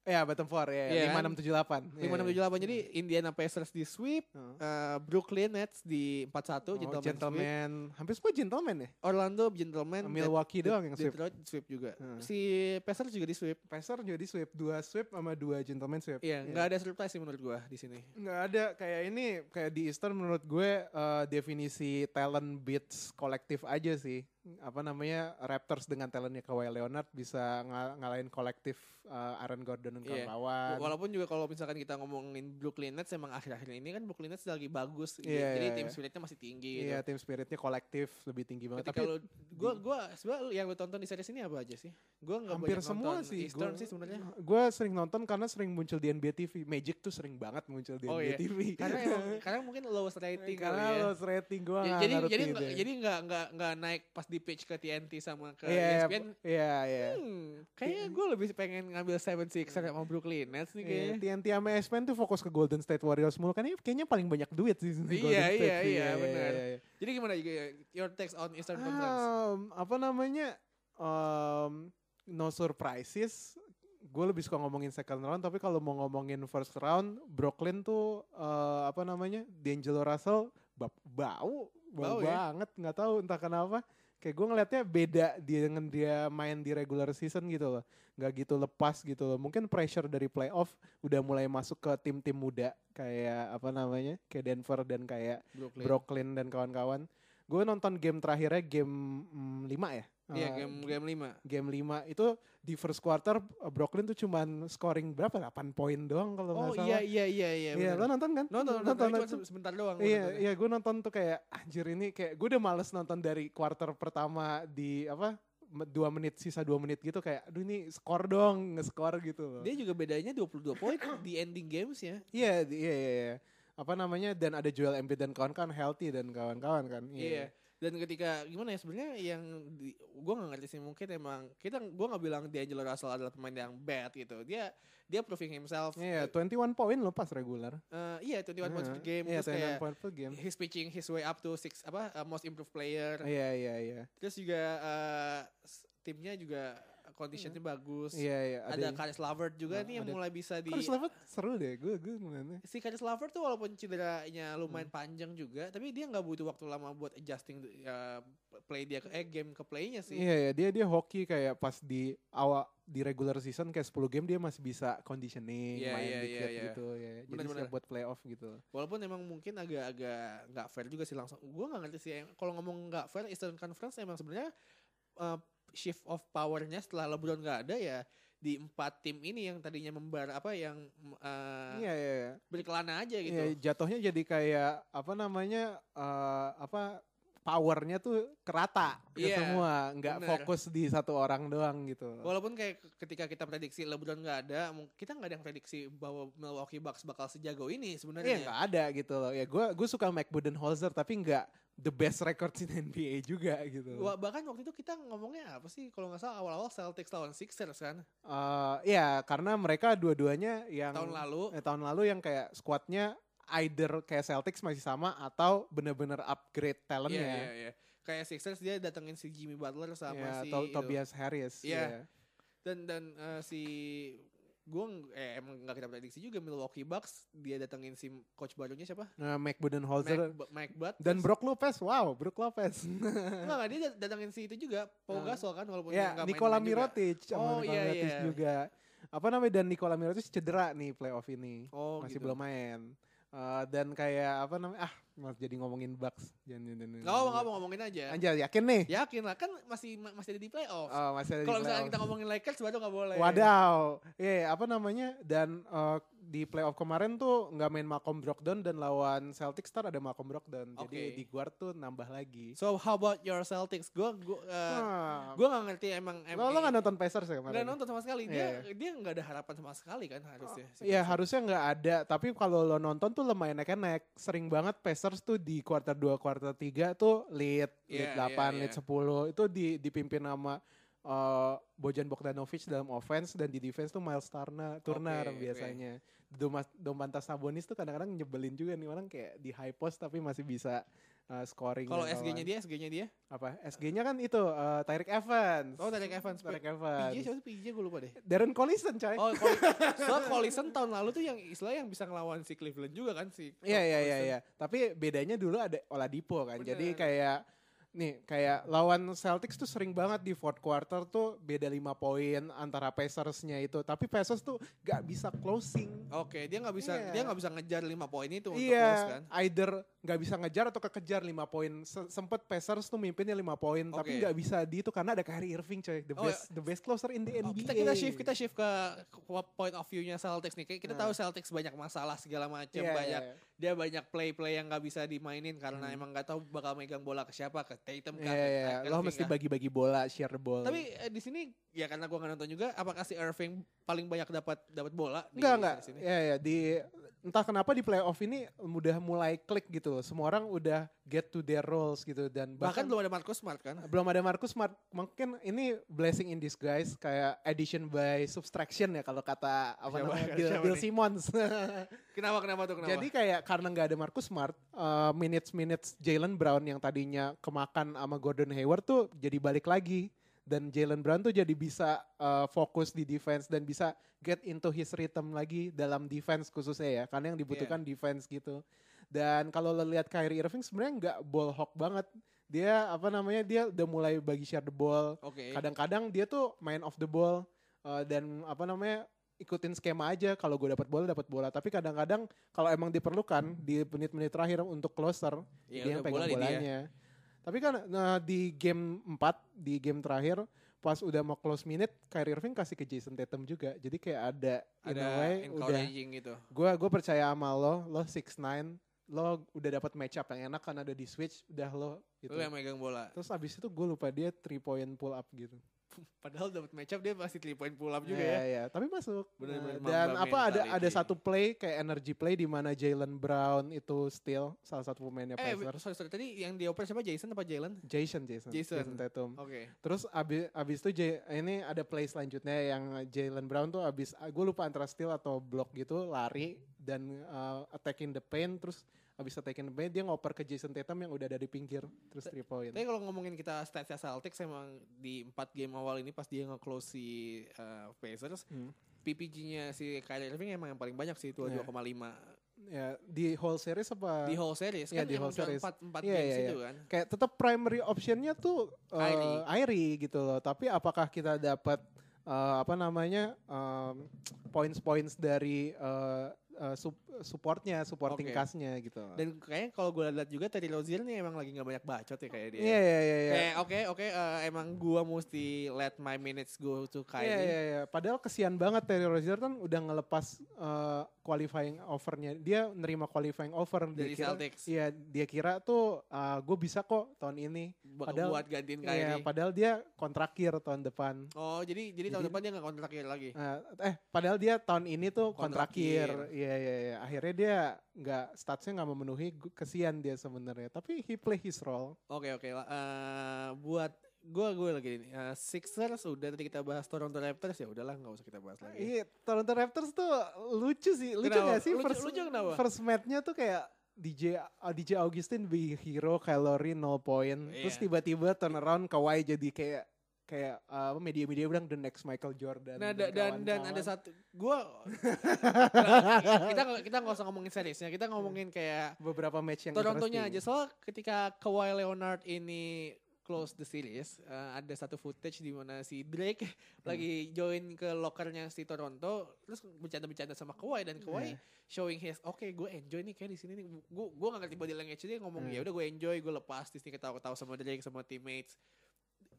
[SPEAKER 2] Ya bottom four
[SPEAKER 1] Iya
[SPEAKER 2] ya.
[SPEAKER 1] kan?
[SPEAKER 2] Lima enam tujuh delapan. iya.
[SPEAKER 1] Lima enam tujuh delapan. Jadi Indiana Pacers di sweep, eh, Brooklyn Nets di 41
[SPEAKER 2] Oh, gentleman,
[SPEAKER 1] gentleman, sweep.
[SPEAKER 2] hampir semua gentleman ya.
[SPEAKER 1] Orlando gentleman,
[SPEAKER 2] Milwaukee doang yang sweep. Hmm.
[SPEAKER 1] Detroit sweep juga.
[SPEAKER 2] Heeh.
[SPEAKER 1] Si Pacers juga di sweep.
[SPEAKER 2] Pacers jadi sweep dua sweep sama dua gentleman sweep.
[SPEAKER 1] Iya, nggak ada surprise sih menurut gua di sini.
[SPEAKER 2] nggak ada kayak ini kayak di Eastern menurut gue eh, definisi talent beats kolektif aja sih apa namanya Raptors dengan talentnya Kawhi Leonard bisa nga- ngalahin kolektif eh, Aaron Gordon dan
[SPEAKER 1] Iya.
[SPEAKER 2] kawan-kawan
[SPEAKER 1] Walaupun juga kalau misalkan kita ngomongin Brooklyn Nets emang akhir-akhir ini kan Brooklyn Nets lagi bagus gitu.
[SPEAKER 2] Iya,
[SPEAKER 1] Jadi
[SPEAKER 2] iya,
[SPEAKER 1] tim
[SPEAKER 2] iya.
[SPEAKER 1] spiritnya masih tinggi gitu.
[SPEAKER 2] iya tim spiritnya kolektif lebih tinggi banget
[SPEAKER 1] Ketika
[SPEAKER 2] tapi
[SPEAKER 1] lu gua gua sebenarnya lu- yang lu tonton di series ini apa aja sih? Gua nggak
[SPEAKER 2] hampir
[SPEAKER 1] banyak
[SPEAKER 2] semua
[SPEAKER 1] nonton.
[SPEAKER 2] sih Iya.
[SPEAKER 1] Eastern
[SPEAKER 2] gue-
[SPEAKER 1] sih sebenarnya.
[SPEAKER 2] gue sering nonton karena sering muncul di NBA TV Magic tuh sering banget muncul di
[SPEAKER 1] Oh, iya.
[SPEAKER 2] NBA TV
[SPEAKER 1] Karena
[SPEAKER 2] [LAUGHS]
[SPEAKER 1] emang karena mungkin lowest rating
[SPEAKER 2] karena
[SPEAKER 1] kali ya.
[SPEAKER 2] loss rating gue
[SPEAKER 1] Ya,
[SPEAKER 2] nggak
[SPEAKER 1] jadi
[SPEAKER 2] ngerti
[SPEAKER 1] jadi
[SPEAKER 2] itu.
[SPEAKER 1] nggak jadi nggak nggak nggak naik pas di pitch ke TNT sama ke E
[SPEAKER 2] Iya,
[SPEAKER 1] ESPN.
[SPEAKER 2] iya iya
[SPEAKER 1] Hmm, kayaknya gue lebih pengen ngambil Seven Six sama Brooklyn Nets nih
[SPEAKER 2] Iya,
[SPEAKER 1] kayaknya.
[SPEAKER 2] TNT sama S-Pen tuh fokus ke Golden State Warriors mulu kan ini kayaknya paling banyak duit sih
[SPEAKER 1] Iya,
[SPEAKER 2] di Golden State
[SPEAKER 1] iya,
[SPEAKER 2] sih.
[SPEAKER 1] iya, benar.
[SPEAKER 2] iya, iya.
[SPEAKER 1] Jadi gimana juga ya, your takes on Eastern Conference?
[SPEAKER 2] Um, apa namanya um, no surprises gue lebih suka ngomongin second round tapi kalau mau ngomongin first round Brooklyn tuh eh, apa namanya D'Angelo Russell bab- bau
[SPEAKER 1] Bau
[SPEAKER 2] bau,
[SPEAKER 1] ya?
[SPEAKER 2] banget nggak tahu entah kenapa kayak gue ngelihatnya beda dia dengan dia main di regular season gitu loh nggak gitu lepas gitu loh mungkin pressure dari playoff udah mulai masuk ke tim-tim muda kayak apa namanya kayak Denver dan kayak
[SPEAKER 1] Brooklyn.
[SPEAKER 2] Brooklyn dan kawan-kawan. Gue nonton game terakhirnya game 5 ya.
[SPEAKER 1] Iya,
[SPEAKER 2] Eh,
[SPEAKER 1] game game 5.
[SPEAKER 2] game 5 itu di first quarter eh, Brooklyn tuh cuman scoring berapa? 8 poin doang kalau
[SPEAKER 1] Oh
[SPEAKER 2] nggak salah.
[SPEAKER 1] iya iya iya iya.
[SPEAKER 2] Iya, lo
[SPEAKER 1] benar.
[SPEAKER 2] nonton kan?
[SPEAKER 1] nonton nonton, cuma
[SPEAKER 2] nonton.
[SPEAKER 1] se- sebentar doang. gua
[SPEAKER 2] Iya,
[SPEAKER 1] nontonnya.
[SPEAKER 2] iya gue nonton tuh kayak anjir ini kayak gue udah males nonton dari quarter pertama di apa me- dua menit sisa dua menit gitu kayak aduh ini skor dong nge-score gitu loh.
[SPEAKER 1] Dia juga bedanya 22 poin di ending games ya.
[SPEAKER 2] Iya, di- iya, iya, iya. Apa namanya dan ada Joel Embiid dan kawan-kawan healthy dan kawan-kawan kan.
[SPEAKER 1] Iya. Dan ketika gimana ya sebenarnya yang di, gua nggak ngerti sih mungkin emang kita gua nggak bilang D'Angelo Russell adalah pemain yang bad gitu. Dia dia proving himself.
[SPEAKER 2] Iya, 21 poin loh pas regular.
[SPEAKER 1] Eh, iya 21 points per
[SPEAKER 2] Heeh.
[SPEAKER 1] game
[SPEAKER 2] Iya,
[SPEAKER 1] terus kayak
[SPEAKER 2] 21 poin per game.
[SPEAKER 1] he's pitching his way up to six apa uh, most improved player.
[SPEAKER 2] Iya, iya, iya.
[SPEAKER 1] Terus juga eh, s- timnya juga uh, conditionnya bagus.
[SPEAKER 2] Iya, iya.
[SPEAKER 1] Ada Karis Lavert juga
[SPEAKER 2] Nah,
[SPEAKER 1] nih yang
[SPEAKER 2] ada-
[SPEAKER 1] mulai bisa di
[SPEAKER 2] Harus lewat seru deh. Gue gue gimana?
[SPEAKER 1] si Karis Lavert tuh walaupun cederanya
[SPEAKER 2] Hmm.
[SPEAKER 1] lumayan panjang juga, tapi dia nggak butuh waktu lama buat adjusting eh, play dia ke eh, game ke playnya sih.
[SPEAKER 2] Iya, iya, dia dia hoki kayak pas di awal di regular season kayak 10 game dia masih bisa conditioning,
[SPEAKER 1] Iya,
[SPEAKER 2] main
[SPEAKER 1] iya, iya,
[SPEAKER 2] dikit
[SPEAKER 1] iya.
[SPEAKER 2] gitu ya. Jadi
[SPEAKER 1] Benar,
[SPEAKER 2] siap
[SPEAKER 1] benar.
[SPEAKER 2] buat playoff gitu.
[SPEAKER 1] Walaupun emang mungkin agak-agak nggak fair juga sih langsung. Gue nggak ngerti sih. em- Kalau ngomong nggak fair, Eastern Conference emang sebenarnya eh, shift of powernya setelah LeBron nggak ada ya di empat tim ini yang tadinya membara apa yang mm, eh,
[SPEAKER 2] Iya, iya, iya.
[SPEAKER 1] berkelana aja gitu.
[SPEAKER 2] Iya, jatuhnya jadi kayak apa namanya? eh, apa powernya tuh kerata ke
[SPEAKER 1] Iya,
[SPEAKER 2] semua, nggak
[SPEAKER 1] benar.
[SPEAKER 2] fokus di satu orang doang gitu.
[SPEAKER 1] Walaupun kayak ketika kita prediksi LeBron nggak ada, mung- kita nggak ada yang prediksi bahwa Milwaukee Bucks bakal sejago ini
[SPEAKER 2] Iya
[SPEAKER 1] sebenarnya.
[SPEAKER 2] nggak ada gitu loh. Ya gue gue suka Mike Budenholzer tapi nggak the best record in NBA juga gitu.
[SPEAKER 1] Wah, bahkan waktu itu kita ngomongnya apa sih kalau nggak salah awal-awal Celtics lawan Sixers kan
[SPEAKER 2] Eh, Iya karena mereka dua-duanya yang
[SPEAKER 1] tahun lalu
[SPEAKER 2] eh, tahun lalu yang kayak squadnya either kayak Celtics masih sama atau bener-bener
[SPEAKER 1] Iya,
[SPEAKER 2] upgrade talentnya.
[SPEAKER 1] iya, iya. kayak Sixers dia datengin si Jimmy Butler
[SPEAKER 2] Ya,
[SPEAKER 1] sama si itu.
[SPEAKER 2] atau Tobias Harris.
[SPEAKER 1] Iya.
[SPEAKER 2] ya.
[SPEAKER 1] dan dan eh, si gue eh, emang nggak kita prediksi juga Milwaukee Bucks dia datengin si coach barunya siapa
[SPEAKER 2] Nah, Mike
[SPEAKER 1] Mike,
[SPEAKER 2] Budenholzer
[SPEAKER 1] Bu- Mike Bud
[SPEAKER 2] dan Brock Lopez. Wow, Brook
[SPEAKER 1] [LAUGHS]
[SPEAKER 2] Lopez. [LAUGHS]
[SPEAKER 1] nggak nggak, dia dat- datengin si itu juga Pau
[SPEAKER 2] Nah.
[SPEAKER 1] Gasol kan walaupun
[SPEAKER 2] ya,
[SPEAKER 1] nggak
[SPEAKER 2] Nikola
[SPEAKER 1] main-main juga.
[SPEAKER 2] Mirotic sama
[SPEAKER 1] Oh,
[SPEAKER 2] Nikola
[SPEAKER 1] iya,
[SPEAKER 2] Mirotic
[SPEAKER 1] iya.
[SPEAKER 2] juga. Apa namanya dan Nikola Mirotic cedera nih playoff ini.
[SPEAKER 1] oh
[SPEAKER 2] masih
[SPEAKER 1] gitu.
[SPEAKER 2] belum main. Eh, dan kayak apa namanya? Ah, mas jadi ngomongin Bucks. Jangan jangan.
[SPEAKER 1] nggak apa nggak ya. apa ngomongin aja
[SPEAKER 2] Anjir, yakin nih?
[SPEAKER 1] yakin lah kan masih ma- masih ada di playoff
[SPEAKER 2] Oh, masih ada di
[SPEAKER 1] kalau misalnya
[SPEAKER 2] playoff.
[SPEAKER 1] kita ngomongin Lakers baru nggak boleh
[SPEAKER 2] Wadaw. Iya, iya, apa namanya? Dan eh, di playoff kemarin tuh nggak main Malcolm Brogdon dan lawan Celtics star ada Malcolm Brogdon.
[SPEAKER 1] Oke.
[SPEAKER 2] Jadi di guard tuh nambah lagi.
[SPEAKER 1] so how about your Celtics gue gue
[SPEAKER 2] Nah,
[SPEAKER 1] gue nggak ngerti emang
[SPEAKER 2] lo
[SPEAKER 1] emang
[SPEAKER 2] lo nggak nonton Pacers ya kemarin?
[SPEAKER 1] nggak nonton sama sekali dia
[SPEAKER 2] Iya,
[SPEAKER 1] dia nggak ada harapan sama sekali kan harusnya si
[SPEAKER 2] Iya
[SPEAKER 1] Pacers.
[SPEAKER 2] harusnya nggak ada, tapi kalau lo nonton tuh lumayan naik-naik. Sering banget Pacers tuh di quarter 2, quarter 3 tuh lead,
[SPEAKER 1] Iya,
[SPEAKER 2] lead 8,
[SPEAKER 1] iya,
[SPEAKER 2] lead
[SPEAKER 1] iya.
[SPEAKER 2] 10. Itu di, dipimpin sama eh, Bojan Bogdanovic dalam offense dan di defense tuh Miles Turner, Turner
[SPEAKER 3] Oke, oke.
[SPEAKER 2] biasanya. Domas- Domantas Sabonis tuh kadang-kadang nyebelin juga nih orang kayak di high post tapi masih bisa eh, scoring.
[SPEAKER 1] Kalau
[SPEAKER 2] dan
[SPEAKER 1] SG-nya
[SPEAKER 2] lawan.
[SPEAKER 1] dia, SG-nya dia.
[SPEAKER 2] apa? SG-nya kan itu eh, Tyreek Evans.
[SPEAKER 1] Oh, Tyreek Evans.
[SPEAKER 2] Tyreek
[SPEAKER 1] PJ
[SPEAKER 2] Evans.
[SPEAKER 1] siapa sih PJ gue lupa deh.
[SPEAKER 2] Darren Collison coy.
[SPEAKER 1] Oh, Collison. Soalnya Collison tahun lalu tuh yang istilah yang bisa ngelawan si Cleveland juga kan si.
[SPEAKER 2] Iya iya iya
[SPEAKER 1] Collison.
[SPEAKER 2] iya. Tapi bedanya dulu ada Oladipo kan. Jadi
[SPEAKER 1] Bener.
[SPEAKER 2] kayak nih kayak lawan Celtics tuh sering banget di fourth quarter tuh beda 5 poin antara Pacers-nya itu. Tapi Pacers tuh gak bisa closing.
[SPEAKER 1] Oke, dia nggak bisa
[SPEAKER 2] Iya.
[SPEAKER 1] dia nggak bisa ngejar 5 poin itu untuk
[SPEAKER 2] iya,
[SPEAKER 1] close kan.
[SPEAKER 2] either nggak bisa ngejar atau kekejar 5 poin. Se- Sempet Pacers tuh mimpinnya 5 poin,
[SPEAKER 1] Oke.
[SPEAKER 2] tapi nggak bisa di itu karena ada Kyrie Irving coy, the
[SPEAKER 1] Oh,
[SPEAKER 2] best the best closer in the
[SPEAKER 1] Oh,
[SPEAKER 2] NBA.
[SPEAKER 1] kita kita shift kita shift ke ke point of view-nya Celtics nih. Kayak Kita
[SPEAKER 2] Nah.
[SPEAKER 1] tahu Celtics banyak masalah segala macam,
[SPEAKER 2] Iya, iya,
[SPEAKER 1] banyak kan,
[SPEAKER 2] iya.
[SPEAKER 1] dia banyak play-play yang nggak bisa dimainin karena
[SPEAKER 2] Hmm.
[SPEAKER 1] emang nggak tahu bakal megang bola ke siapa, ke Tatum kah,
[SPEAKER 2] Iya,
[SPEAKER 1] ke
[SPEAKER 2] iya.
[SPEAKER 1] Irving
[SPEAKER 2] Lo mesti
[SPEAKER 1] kah.
[SPEAKER 2] bagi-bagi bola, share the ball.
[SPEAKER 1] kan. Tapi eh, di sini ya karena gua nggak nonton juga, apakah si Irving paling banyak dapat dapat bola di-
[SPEAKER 2] Enggak, enggak.
[SPEAKER 1] di sini?
[SPEAKER 2] Ya, ya, di entah kenapa di playoff ini udah mulai klik gitu. loh. Semua orang udah get to their roles gitu dan
[SPEAKER 1] Bahkan
[SPEAKER 2] bahkan,
[SPEAKER 1] belum ada Marcus Smart kan?
[SPEAKER 2] belum ada Marcus Smart. Mungkin ini blessing in disguise kayak addition by subtraction ya kalau kata apa
[SPEAKER 1] Siapa-
[SPEAKER 2] namanya Bill,
[SPEAKER 1] siapa
[SPEAKER 2] Bill
[SPEAKER 1] nih?
[SPEAKER 2] Simmons. [LAUGHS]
[SPEAKER 1] Kenapa kenapa tuh kenapa?
[SPEAKER 2] Jadi kayak karena nggak ada Marcus Smart, uh, minutes-minutes Jalen Brown yang tadinya kemakan sama Gordon Hayward tuh jadi balik lagi. Dan Jalen Brown tuh jadi bisa uh, fokus di defense dan bisa get into his rhythm lagi dalam defense khususnya ya. Karena yang
[SPEAKER 1] Iya.
[SPEAKER 2] dibutuhkan defense gitu. Dan kalau lo lihat Kyrie Irving sebenarnya nggak ball hawk banget. Dia apa namanya dia udah mulai bagi share the ball.
[SPEAKER 1] Oke.
[SPEAKER 2] Kadang-kadang dia tuh main off the ball uh, dan apa namanya ikutin skema aja kalau gue dapat bola dapat bola tapi kadang-kadang kalau emang diperlukan di menit-menit terakhir untuk closer
[SPEAKER 1] Ya,
[SPEAKER 2] dia
[SPEAKER 1] udah
[SPEAKER 2] yang pegang
[SPEAKER 1] bola di dia.
[SPEAKER 2] bolanya tapi kan nah, di game 4 di game terakhir pas udah mau close minute Kyrie Irving kasih ke Jason Tatum juga jadi kayak ada in
[SPEAKER 1] Ada
[SPEAKER 2] a way udah
[SPEAKER 1] encouraging gitu.
[SPEAKER 2] gue gue percaya sama lo lo 6'9 lo udah dapat match up yang enak karena ada di switch udah lo gitu
[SPEAKER 1] Lu yang megang bola.
[SPEAKER 2] terus abis itu gue lupa dia 3 point pull up gitu
[SPEAKER 1] Padahal dapat match up dia pasti 3 point pull up juga
[SPEAKER 2] Iya,
[SPEAKER 1] ya.
[SPEAKER 2] iya. tapi masuk.
[SPEAKER 1] Bener-bener
[SPEAKER 2] Nah, dan
[SPEAKER 1] Mamba
[SPEAKER 2] apa ada ada
[SPEAKER 1] mentality.
[SPEAKER 2] satu play kayak energy play di mana Jalen Brown itu steal salah satu pemainnya
[SPEAKER 1] Eh,
[SPEAKER 2] Pacers.
[SPEAKER 1] sorry, sorry. Tadi yang dioper siapa? Jason apa Jalen?
[SPEAKER 2] Jason, Jason,
[SPEAKER 1] Jason.
[SPEAKER 2] Tatum.
[SPEAKER 1] Oke.
[SPEAKER 2] Terus abis, abis itu J- ini ada play selanjutnya yang Jalen Brown tuh abis gue lupa antara steal atau block gitu lari dan uh, attacking the paint terus abis attacking the paint dia ngoper ke Jason Tatum yang udah dari pinggir terus three point.
[SPEAKER 1] Tapi kalau ngomongin kita statsnya Celtics emang di 4 game awal ini pas dia nge-close si uh, Pacers,
[SPEAKER 2] Hmm.
[SPEAKER 1] PPG-nya si Kyrie Irving emang yang paling banyak sih itu
[SPEAKER 2] Iya.
[SPEAKER 1] 2,5
[SPEAKER 2] Ya di whole series apa?
[SPEAKER 1] di whole series
[SPEAKER 2] iya,
[SPEAKER 1] kan
[SPEAKER 2] di
[SPEAKER 1] emang
[SPEAKER 2] whole
[SPEAKER 1] udah
[SPEAKER 2] series.
[SPEAKER 1] empat empat
[SPEAKER 2] Iya,
[SPEAKER 1] games
[SPEAKER 2] iya,
[SPEAKER 1] itu kan.
[SPEAKER 2] kayak tetap primary optionnya tuh eh,
[SPEAKER 1] Airy.
[SPEAKER 2] Airy gitu loh. Tapi apakah kita dapat eh, apa namanya em, points-points dari eh, eh, sup- supportnya, supporting
[SPEAKER 1] Oke.
[SPEAKER 2] castnya gitu.
[SPEAKER 1] Dan kayaknya kalau gue lihat juga Terry Rozier nih emang lagi nggak banyak bacot ya kayak dia.
[SPEAKER 2] Iya iya iya. iya.
[SPEAKER 1] Kayak oke oke eh, emang gua mesti let my minutes go to Kyrie.
[SPEAKER 2] Iya iya iya. Padahal kesian banget Terry Rozier kan udah ngelepas eh, qualifying offernya. Dia nerima qualifying offer
[SPEAKER 1] Dari
[SPEAKER 2] dia kira,
[SPEAKER 1] Celtics.
[SPEAKER 2] Iya dia kira tuh gue bisa kok tahun ini.
[SPEAKER 1] Bakal
[SPEAKER 2] Padahal-
[SPEAKER 1] buat gantiin
[SPEAKER 2] Iya.
[SPEAKER 1] Kyrie.
[SPEAKER 2] Padahal dia kontrakir tahun depan.
[SPEAKER 1] oh jadi jadi tahun
[SPEAKER 2] Jadi-
[SPEAKER 1] depan dia nggak kontrak lagi.
[SPEAKER 2] Nah, eh padahal dia tahun ini tuh kontrakir.
[SPEAKER 1] Kontrakir.
[SPEAKER 2] Iya iya iya. Akhirnya dia nggak statsnya nggak memenuhi gu- kesian dia sebenarnya. Tapi he play his role.
[SPEAKER 1] Oke oke lah. Eh, buat gue gue lagi ini eh, Sixers udah tadi kita bahas Toronto Raptors ya udahlah nggak usah kita bahas lagi.
[SPEAKER 2] Iya, Toronto Raptors tuh lucu sih. Lucu
[SPEAKER 1] Kenapa?
[SPEAKER 2] nggak sih?
[SPEAKER 1] Lucu-
[SPEAKER 2] first,
[SPEAKER 1] lucu kenapa?
[SPEAKER 2] First match-nya tuh kayak DJ uh, DJ Augustin be hero, kalori no point. Terus
[SPEAKER 1] Iya.
[SPEAKER 2] tiba-tiba turn around Kawhi jadi kayak kayak uh, media-media bilang the next Michael Jordan.
[SPEAKER 1] Nah da- dan dan ada
[SPEAKER 2] kawan-kawan.
[SPEAKER 1] satu [LAUGHS] gue kita kita nggak usah ngomongin seriesnya kita ngomongin kayak
[SPEAKER 2] beberapa match yang
[SPEAKER 1] Torontonya aja
[SPEAKER 2] interesting.
[SPEAKER 1] soal ketika Kawhi Leonard ini close the series eh, ada satu footage di mana si Drake
[SPEAKER 2] Hmm.
[SPEAKER 1] lagi join ke lokernya si Toronto terus bercanda-bercanda sama Kawhi dan
[SPEAKER 2] Iya.
[SPEAKER 1] Kawhi showing his oke gue enjoy nih kayak di sini nih gue gue nggak ngerti body language dia ngomong
[SPEAKER 2] Hmm.
[SPEAKER 1] ya udah gue enjoy gue lepas di sini ketawa-ketawa sama Drake sama teammates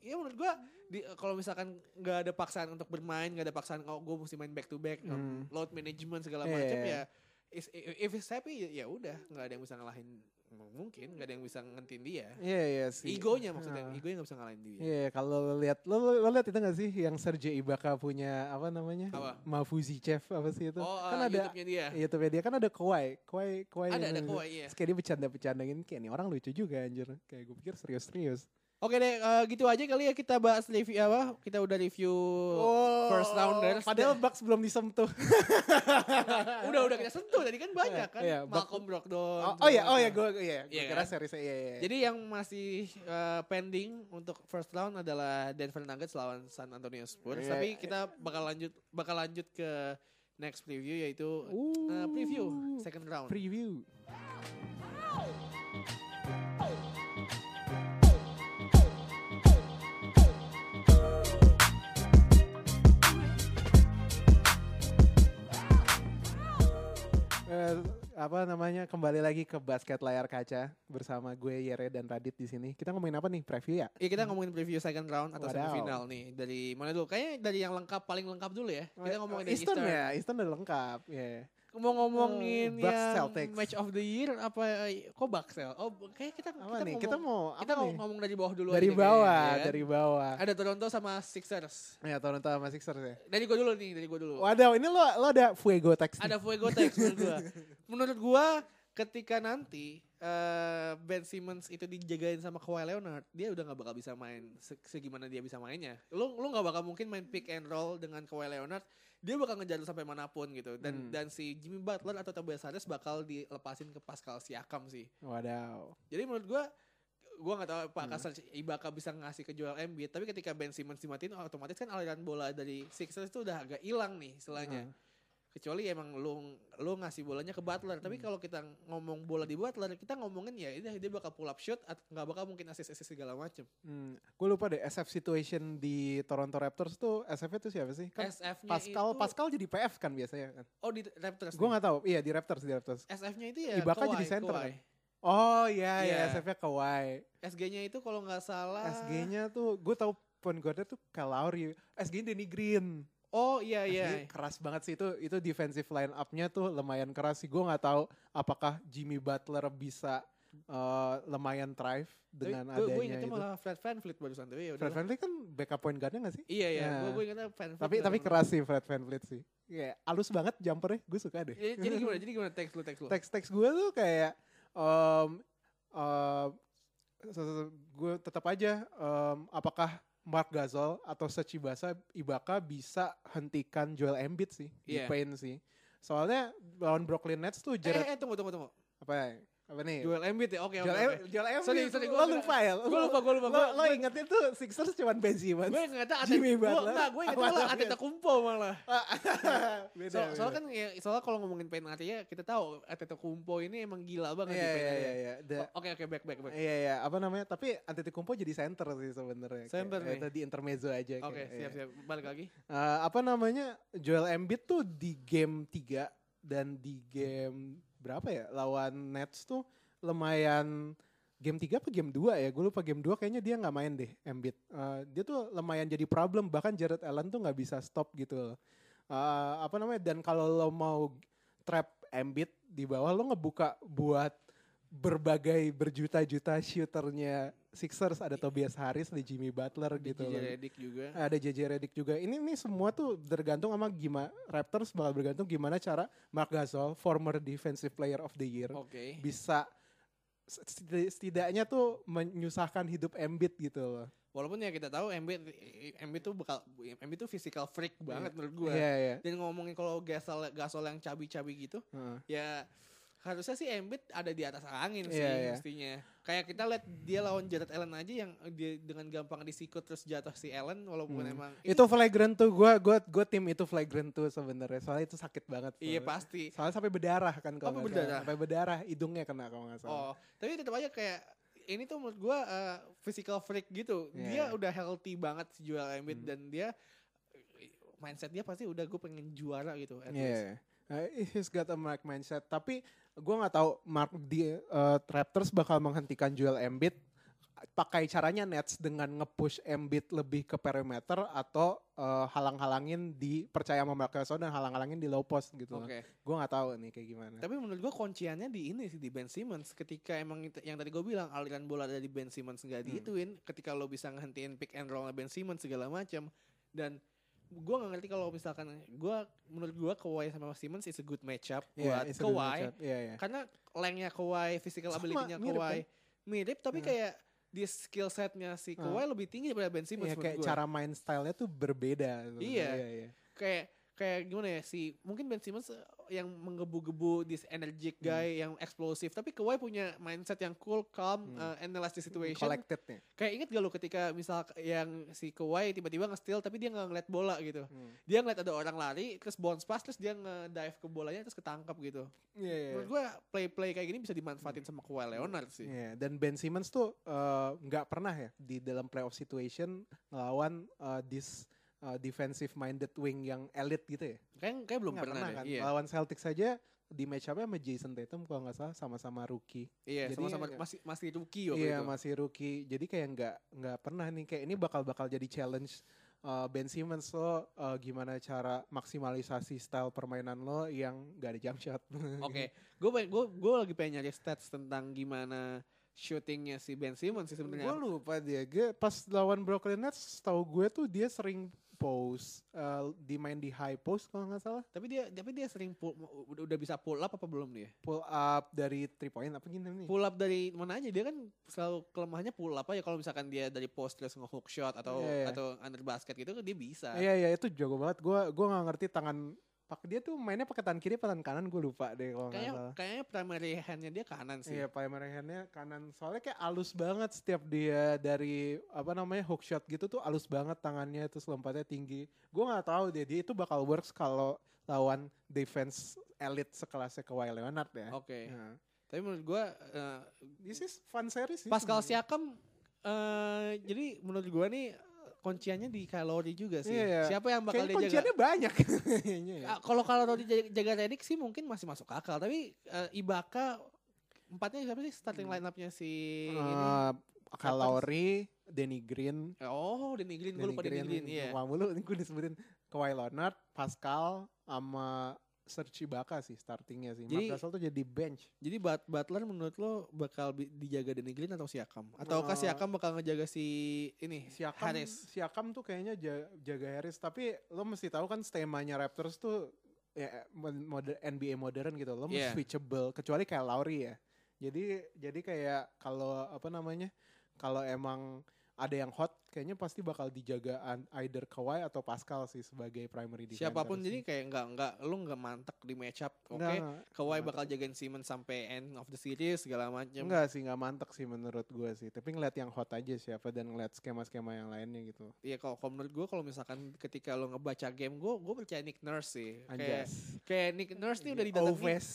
[SPEAKER 1] ya menurut gue di kalau misalkan nggak ada paksaan untuk bermain nggak ada paksaan oh gue mesti main back to back
[SPEAKER 2] Hmm.
[SPEAKER 1] load management segala
[SPEAKER 2] Iya,
[SPEAKER 1] macam
[SPEAKER 2] iya,
[SPEAKER 1] ya
[SPEAKER 2] iya.
[SPEAKER 1] is, if he's happy ya- ya udah nggak ada yang bisa ngalahin mungkin nggak ada yang bisa ngentin dia
[SPEAKER 2] Iya iya sih.
[SPEAKER 1] egonya maksudnya
[SPEAKER 2] Ah.
[SPEAKER 1] egonya nggak bisa ngalahin dia
[SPEAKER 2] Iya, kalau lo lihat lo lo, lo lihat itu gak sih yang Sergei Ibaka punya apa namanya?
[SPEAKER 1] Apa?
[SPEAKER 2] Mafuzichev apa sih itu?
[SPEAKER 1] oh
[SPEAKER 2] kan
[SPEAKER 1] eh,
[SPEAKER 2] ada iya,
[SPEAKER 1] YouTube-nya dia
[SPEAKER 2] YouTube dia kan ada Kawhi, Kawhi, Kawhi.
[SPEAKER 1] ada
[SPEAKER 2] yang-
[SPEAKER 1] ada Kawhi ya
[SPEAKER 2] Terus kayak dia bercanda-bercandain kayak nih orang lucu juga anjir. Kayak gue pikir serius-serius.
[SPEAKER 1] Oke deh, eh, gitu aja kali ya kita bahas review apa? Kita udah review
[SPEAKER 2] Oh.
[SPEAKER 1] first rounders.
[SPEAKER 2] Padahal Bucks belum disentuh.
[SPEAKER 1] Nah, udah udah kita sentuh tadi kan banyak kan.
[SPEAKER 2] Iya, bak-
[SPEAKER 1] Malcolm Brogdon.
[SPEAKER 2] Oh, oh ya, oh ya, gue ya,
[SPEAKER 1] Iya
[SPEAKER 2] kira
[SPEAKER 1] kan?
[SPEAKER 2] seriesnya iya iya. iya.
[SPEAKER 1] Jadi yang masih eh, pending untuk first round adalah Denver Nuggets lawan San Antonio Spurs.
[SPEAKER 2] Iya.
[SPEAKER 1] Tapi kita bakal lanjut bakal lanjut ke next preview yaitu
[SPEAKER 2] Ooh.
[SPEAKER 1] eh, preview second round.
[SPEAKER 2] preview. Eh, apa namanya kembali lagi ke basket layar kaca bersama gue Yere dan Radit di sini kita ngomongin apa nih preview ya
[SPEAKER 1] Ya kita ngomongin preview second round atau
[SPEAKER 2] Wadaw.
[SPEAKER 1] semifinal nih. Dari mana dulu? Kayaknya dari yang lengkap paling lengkap dulu ya. Kita ngomongin dari
[SPEAKER 2] Eastern,
[SPEAKER 1] Eastern.
[SPEAKER 2] ya Eastern udah lengkap ya
[SPEAKER 1] Mau ngomongin
[SPEAKER 2] Eh, Bucks
[SPEAKER 1] yang
[SPEAKER 2] Celtics.
[SPEAKER 1] match of the year apa kok Bucks ya? Oh, kayak kita
[SPEAKER 2] apa nih kita
[SPEAKER 1] ngomong,
[SPEAKER 2] mau apa
[SPEAKER 1] kita
[SPEAKER 2] nih?
[SPEAKER 1] ngomong dari bawah dulu aja
[SPEAKER 2] dari
[SPEAKER 1] kayaknya,
[SPEAKER 2] bawah
[SPEAKER 1] ya kan?
[SPEAKER 2] dari bawah
[SPEAKER 1] ada Toronto sama Sixers.
[SPEAKER 2] ya Toronto sama Sixers ya
[SPEAKER 1] Dari gue dulu nih, dari gue dulu.
[SPEAKER 2] Waduh, ini lo lo ada fuego text
[SPEAKER 1] ada Fuego Tex menurut gue. Menurut gue ketika nanti eh, Ben Simmons itu dijagain sama Kawhi Leonard, dia udah nggak bakal bisa main se- segimana dia bisa mainnya. Lu lu nggak bakal mungkin main pick and roll dengan Kawhi Leonard, dia bakal ngejar lu sampai manapun gitu. Dan
[SPEAKER 2] Hmm.
[SPEAKER 1] dan si Jimmy Butler atau Tobias Harris bakal dilepasin ke Pascal Siakam sih.
[SPEAKER 2] Waduh.
[SPEAKER 1] Jadi menurut gue gue nggak tahu apakah Serge Ibaka bisa ngasih ke Joel Embiid tapi ketika Ben Simmons dimatiin otomatis kan aliran bola dari Sixers itu udah agak hilang nih
[SPEAKER 2] Hmm.
[SPEAKER 1] istilahnya kecuali emang lu lu ngasih bolanya ke Butler
[SPEAKER 2] Hmm.
[SPEAKER 1] tapi kalau kita ngomong bola di Butler kita ngomongin ya ini dia bakal pull up shoot atau nggak bakal mungkin assist assist segala macem
[SPEAKER 2] Hmm. Gue lupa deh SF situation di Toronto Raptors tuh SF itu siapa sih? Kan
[SPEAKER 1] SF-nya
[SPEAKER 2] Pascal
[SPEAKER 1] itu,
[SPEAKER 2] Pascal jadi PF kan biasanya kan.
[SPEAKER 1] oh di Raptors nih.
[SPEAKER 2] Gue nggak tahu. Iya di Raptors di Raptors.
[SPEAKER 1] SF-nya itu ya
[SPEAKER 2] Ibaka
[SPEAKER 1] Kawhi,
[SPEAKER 2] jadi center
[SPEAKER 1] Kawhi.
[SPEAKER 2] Oh iya
[SPEAKER 1] Iya.
[SPEAKER 2] ya SF-nya Kawhi.
[SPEAKER 1] SG-nya itu kalau nggak salah
[SPEAKER 2] SG-nya tuh gue tahu point guardnya tuh Kalauri. SG-nya Danny Green.
[SPEAKER 1] oh iya iya
[SPEAKER 2] SG keras banget sih itu itu defensive line up-nya tuh lumayan keras sih. Gue nggak tahu apakah Jimmy Butler bisa eh, lumayan thrive dengan
[SPEAKER 1] gue gue
[SPEAKER 2] adanya
[SPEAKER 1] ingetnya
[SPEAKER 2] itu.
[SPEAKER 1] malah Fred VanVleet barusan tapi ya
[SPEAKER 2] Fred
[SPEAKER 1] udahlah.
[SPEAKER 2] VanVleet kan backup point guard-nya gak sih?
[SPEAKER 1] iya iya
[SPEAKER 2] Ya.
[SPEAKER 1] gue gue ingetnya VanVleet
[SPEAKER 2] Tapi tapi
[SPEAKER 1] barusan.
[SPEAKER 2] keras sih Fred VanVleet sih. Kayak alus banget jumpernya, gue suka deh.
[SPEAKER 1] jadi, jadi gimana jadi gimana teks lu teks lu
[SPEAKER 2] Teks-teks gue tuh kayak em em, se- se- gue tetap aja em, apakah Mark Gasol atau Serge Ibaka, Ibaka bisa hentikan Joel Embiid sih
[SPEAKER 1] Iya.
[SPEAKER 2] di paint sih. Soalnya lawan Brooklyn Nets tuh
[SPEAKER 1] eh,
[SPEAKER 2] Jared
[SPEAKER 1] eh tunggu tunggu tunggu
[SPEAKER 2] apa ya? apa nih?
[SPEAKER 1] Joel Embiid ya oke oke
[SPEAKER 2] Joel, Em-
[SPEAKER 1] oke.
[SPEAKER 2] Joel Embiid.
[SPEAKER 1] Sorry, sorry,
[SPEAKER 2] lo
[SPEAKER 1] gua-
[SPEAKER 2] lupa ya?
[SPEAKER 1] gue lupa gue lupa
[SPEAKER 2] Lo,
[SPEAKER 1] gue-
[SPEAKER 2] lo
[SPEAKER 1] gue-
[SPEAKER 2] ingetnya tuh Sixers cuman Ben Simmons. [LAUGHS]
[SPEAKER 1] gue nggak tahu
[SPEAKER 2] Jimmy Butler.
[SPEAKER 1] Enggak, gue ingatnya
[SPEAKER 2] Apa
[SPEAKER 1] malah
[SPEAKER 2] namanya?
[SPEAKER 1] Ateta Kumpo malah.
[SPEAKER 2] Beda,
[SPEAKER 1] So,
[SPEAKER 2] beda.
[SPEAKER 1] soalnya kan ya, soalnya kalau ngomongin pain artinya kita tahu Ateta Kumpo ini emang gila banget ya.
[SPEAKER 2] Iya
[SPEAKER 1] di pain
[SPEAKER 2] iya
[SPEAKER 1] area.
[SPEAKER 2] iya iya. The-
[SPEAKER 1] O- Oke oke back back back.
[SPEAKER 2] Iya iya, apa namanya? Tapi Antetokounmpo jadi center sih sebenarnya. Kayak
[SPEAKER 1] Center nih.
[SPEAKER 2] Itu di intermezzo aja. iya.
[SPEAKER 1] Oke siap siap balik lagi.
[SPEAKER 2] Eh, apa namanya? Joel Embiid tuh di game 3 dan di game berapa ya? Lawan Nets tuh lumayan game 3 apa game 2 ya? Gue lupa game 2 kayaknya dia nggak main deh Embiid. Eh, dia tuh lumayan jadi problem bahkan Jared Allen tuh nggak bisa stop gitu loh. Eh, apa namanya? Dan kalau lo mau trap Embiid di bawah lo ngebuka buat berbagai berjuta-juta shooternya Sixers ada Tobias Harris, ada Jimmy Butler
[SPEAKER 1] Di
[SPEAKER 2] gitu loh.
[SPEAKER 1] Redick juga.
[SPEAKER 2] Ada JJ Redick juga. Ini nih semua tuh tergantung sama gimana Raptors bakal bergantung gimana cara Mark Gasol, former defensive player of the year,
[SPEAKER 1] Oke.
[SPEAKER 2] bisa seti- setidaknya tuh menyusahkan hidup Embiid gitu loh.
[SPEAKER 1] Walaupun ya kita tahu Embiid Embiid tuh bakal Embiid tuh physical freak banget menurut gue.
[SPEAKER 2] Iya, iya.
[SPEAKER 1] Dan ngomongin kalau gasol gasol yang cabi-cabi gitu,
[SPEAKER 2] Heeh.
[SPEAKER 1] ya harusnya sih Embiid ada di atas angin sih
[SPEAKER 2] Iya, iya.
[SPEAKER 1] mestinya. Kayak kita lihat dia lawan Jared Allen aja yang dia dengan gampang disikut terus jatuh si Allen walaupun
[SPEAKER 2] Hmm.
[SPEAKER 1] emang
[SPEAKER 2] Itu flagrant tuh gua gua gua tim itu flagrant tuh sebenarnya. Soalnya itu sakit banget.
[SPEAKER 1] Iya
[SPEAKER 2] soalnya.
[SPEAKER 1] pasti.
[SPEAKER 2] Soalnya sampai berdarah kan
[SPEAKER 1] Apa
[SPEAKER 2] kalau nggak salah.
[SPEAKER 1] berdarah?
[SPEAKER 2] Sampai berdarah, hidungnya kena kalau nggak salah.
[SPEAKER 1] Oh, tapi tetap aja kayak ini tuh menurut gua eh, physical freak gitu. Dia
[SPEAKER 2] Iya.
[SPEAKER 1] udah healthy banget si Joel Embiid
[SPEAKER 2] Hmm.
[SPEAKER 1] dan dia eh, mindset dia pasti udah gue pengen juara gitu. at least.
[SPEAKER 2] Yeah. Uh, he's got a Mark mindset. Tapi gue nggak tahu Mark di uh, Raptors bakal menghentikan Joel Embiid pakai caranya Nets dengan nge-push Embiid lebih ke perimeter atau uh, halang-halangin di percaya sama Mark Gasol dan halang-halangin di low post gitu.
[SPEAKER 1] Oke.
[SPEAKER 2] Gue nggak tahu nih kayak gimana.
[SPEAKER 1] Tapi menurut gua kunciannya di ini sih di Ben Simmons ketika emang itu- yang tadi gue bilang aliran bola dari Ben Simmons nggak
[SPEAKER 2] Hmm.
[SPEAKER 1] diituin ketika lo bisa ngehentiin pick and roll Ben Simmons segala macam dan gua nggak ngerti kalau misalkan gua menurut gua Kawhi sama Simmons is a good matchup buat
[SPEAKER 2] Yeah, Iya, it's a good Iya,
[SPEAKER 1] Kawhi
[SPEAKER 2] matchup. Yeah, yeah.
[SPEAKER 1] karena lengnya Kawhi, physical
[SPEAKER 2] Sama,
[SPEAKER 1] ability-nya
[SPEAKER 2] mirip kan?
[SPEAKER 1] Kawhi mirip tapi
[SPEAKER 2] Nah.
[SPEAKER 1] kayak di skill setnya si Kawhi lebih tinggi daripada Ben Simmons
[SPEAKER 2] Iya,
[SPEAKER 1] menurut
[SPEAKER 2] kayak
[SPEAKER 1] gua.
[SPEAKER 2] cara main stylenya tuh berbeda.
[SPEAKER 1] Iya.
[SPEAKER 2] iya.
[SPEAKER 1] kayak kayak gimana ya si mungkin Ben Simmons eh, yang menggebu-gebu this energetic
[SPEAKER 2] Hmm.
[SPEAKER 1] guy yang eksplosif tapi Kawhi punya mindset yang cool, calm, eh,
[SPEAKER 2] Hmm.
[SPEAKER 1] analyze the situation.
[SPEAKER 2] Collected-nya.
[SPEAKER 1] Kayak inget gak lu ketika misal yang si Kawhi tiba-tiba nge-steal tapi dia nggak ngeliat bola gitu.
[SPEAKER 2] Hmm.
[SPEAKER 1] Dia ngeliat ada orang lari terus bounce pass terus dia nge-dive ke bolanya terus ketangkap gitu.
[SPEAKER 2] Iya, iya. Hmm.
[SPEAKER 1] Menurut gua play-play kayak gini bisa dimanfaatin sama Kawhi Leonard sih.
[SPEAKER 2] Iya, dan Ben Simmons tuh eh, nggak pernah ya di dalam playoff situation ngelawan eh, this eh, defensive minded wing yang elite gitu ya.
[SPEAKER 1] Kayak kayak belum
[SPEAKER 2] Nggak
[SPEAKER 1] pernah, deh.
[SPEAKER 2] kan.
[SPEAKER 1] Iya.
[SPEAKER 2] Lawan Celtics saja di match up sama Jason Tatum kalau nggak salah sama-sama rookie.
[SPEAKER 1] Iya,
[SPEAKER 2] Jadi,
[SPEAKER 1] sama-sama
[SPEAKER 2] ya.
[SPEAKER 1] masih masih rookie waktu
[SPEAKER 2] Iya
[SPEAKER 1] itu.
[SPEAKER 2] masih rookie. Jadi kayak nggak nggak pernah nih kayak ini bakal bakal jadi challenge uh, Ben Simmons lo uh, gimana cara maksimalisasi style permainan lo yang nggak ada jump shot.
[SPEAKER 1] Oke, gue gue gue lagi pengen nyari stats tentang gimana shootingnya si Ben Simmons sih
[SPEAKER 2] gue
[SPEAKER 1] sebenarnya.
[SPEAKER 2] lupa dia. Gue pas lawan Brooklyn Nets, tahu gue tuh dia sering post, uh, dimain di high post kalau nggak salah,
[SPEAKER 1] Tapi dia tapi dia sering pull, udah, udah bisa pull up apa belum dia?
[SPEAKER 2] pull up dari three point apa gini nih.
[SPEAKER 1] Pull up dari mana aja dia kan selalu kelemahannya pull up aja kalau misalkan dia dari post terus nge-hook shot atau
[SPEAKER 2] Iya, iya.
[SPEAKER 1] atau under basket gitu dia bisa.
[SPEAKER 2] Iya iya itu jago banget. Gue gua nggak ngerti tangan pak dia tuh mainnya pakai tangan kiri, apa tangan kanan gue lupa deh kalau nggak
[SPEAKER 1] Kayak
[SPEAKER 2] salah.
[SPEAKER 1] kayaknya primary hand-nya dia kanan sih.
[SPEAKER 2] Iya, primary hand-nya kanan. Soalnya kayak alus banget setiap dia dari apa namanya hook shot gitu tuh alus banget tangannya terus lompatnya tinggi. Gue nggak tahu deh dia itu bakal works kalau lawan defense elite sekelasnya Kawhi Leonard ya.
[SPEAKER 1] Oke.
[SPEAKER 2] Nah,
[SPEAKER 1] Tapi menurut gue eh,
[SPEAKER 2] this is fun series sih.
[SPEAKER 1] Pascal
[SPEAKER 2] sebenarnya.
[SPEAKER 1] Siakam eh jadi menurut gue nih kunciannya di kalori juga sih.
[SPEAKER 2] Iya.
[SPEAKER 1] Siapa yang bakal
[SPEAKER 2] Kayaknya
[SPEAKER 1] dia jaga?
[SPEAKER 2] kunciannya banyak. [LAUGHS] Kayaknya ya.
[SPEAKER 1] Ah, Kalau kalau Rodri jaga, jaga Redick sih mungkin masih masuk akal, tapi eh, Ibaka empatnya siapa sih starting
[SPEAKER 2] Hmm.
[SPEAKER 1] line up-nya si ini?
[SPEAKER 2] Eh, Kyle Lowry, Danny Green,
[SPEAKER 1] Oh, Danny Green, gue
[SPEAKER 2] Danny
[SPEAKER 1] lupa Danny Green, iya.
[SPEAKER 2] Wah, mulu gue disebutin Kawhi Leonard, Pascal, sama Serge Ibaka sih startingnya sih.
[SPEAKER 1] Jadi-
[SPEAKER 2] Marc Gasol tuh jadi bench.
[SPEAKER 1] Jadi But- Butler menurut lo bakal bi- dijaga Danny Green atau Siakam? Ataukah
[SPEAKER 2] Eh,
[SPEAKER 1] Siakam bakal ngejaga si ini
[SPEAKER 2] Siakam,
[SPEAKER 1] Harris?
[SPEAKER 2] Siakam tuh kayaknya ja- jaga Harris, tapi lo mesti tahu kan stemanya Raptors tuh ya, mod- moder- NBA modern gitu, lo mesti
[SPEAKER 1] Iya.
[SPEAKER 2] switchable, kecuali kayak Lowry ya. Jadi jadi kayak kalau apa namanya, kalau emang ada yang hot, kayaknya pasti bakal dijaga an- either Kawhi atau Pascal sih sebagai primary defender.
[SPEAKER 1] Siapapun
[SPEAKER 2] sih.
[SPEAKER 1] jadi kayak nggak nggak lo nggak mantek di match up, oke?
[SPEAKER 2] Nggak, nggak.
[SPEAKER 1] Kawhi
[SPEAKER 2] Nggak
[SPEAKER 1] bakal jagain Simmons sampai end of the series segala macam.
[SPEAKER 2] Nah. Enggak sih, nggak mantep sih menurut gue sih. Tapi ngeliat yang hot aja siapa dan ngeliat skema-skema yang lainnya gitu.
[SPEAKER 1] Iya kalau kalau menurut gue kalau misalkan ketika lo ngebaca game gue, gue percaya Nick Nurse sih. Kayak
[SPEAKER 2] Anjas.
[SPEAKER 1] kayak Nick Nurse nih udah didatengin,
[SPEAKER 2] Oves.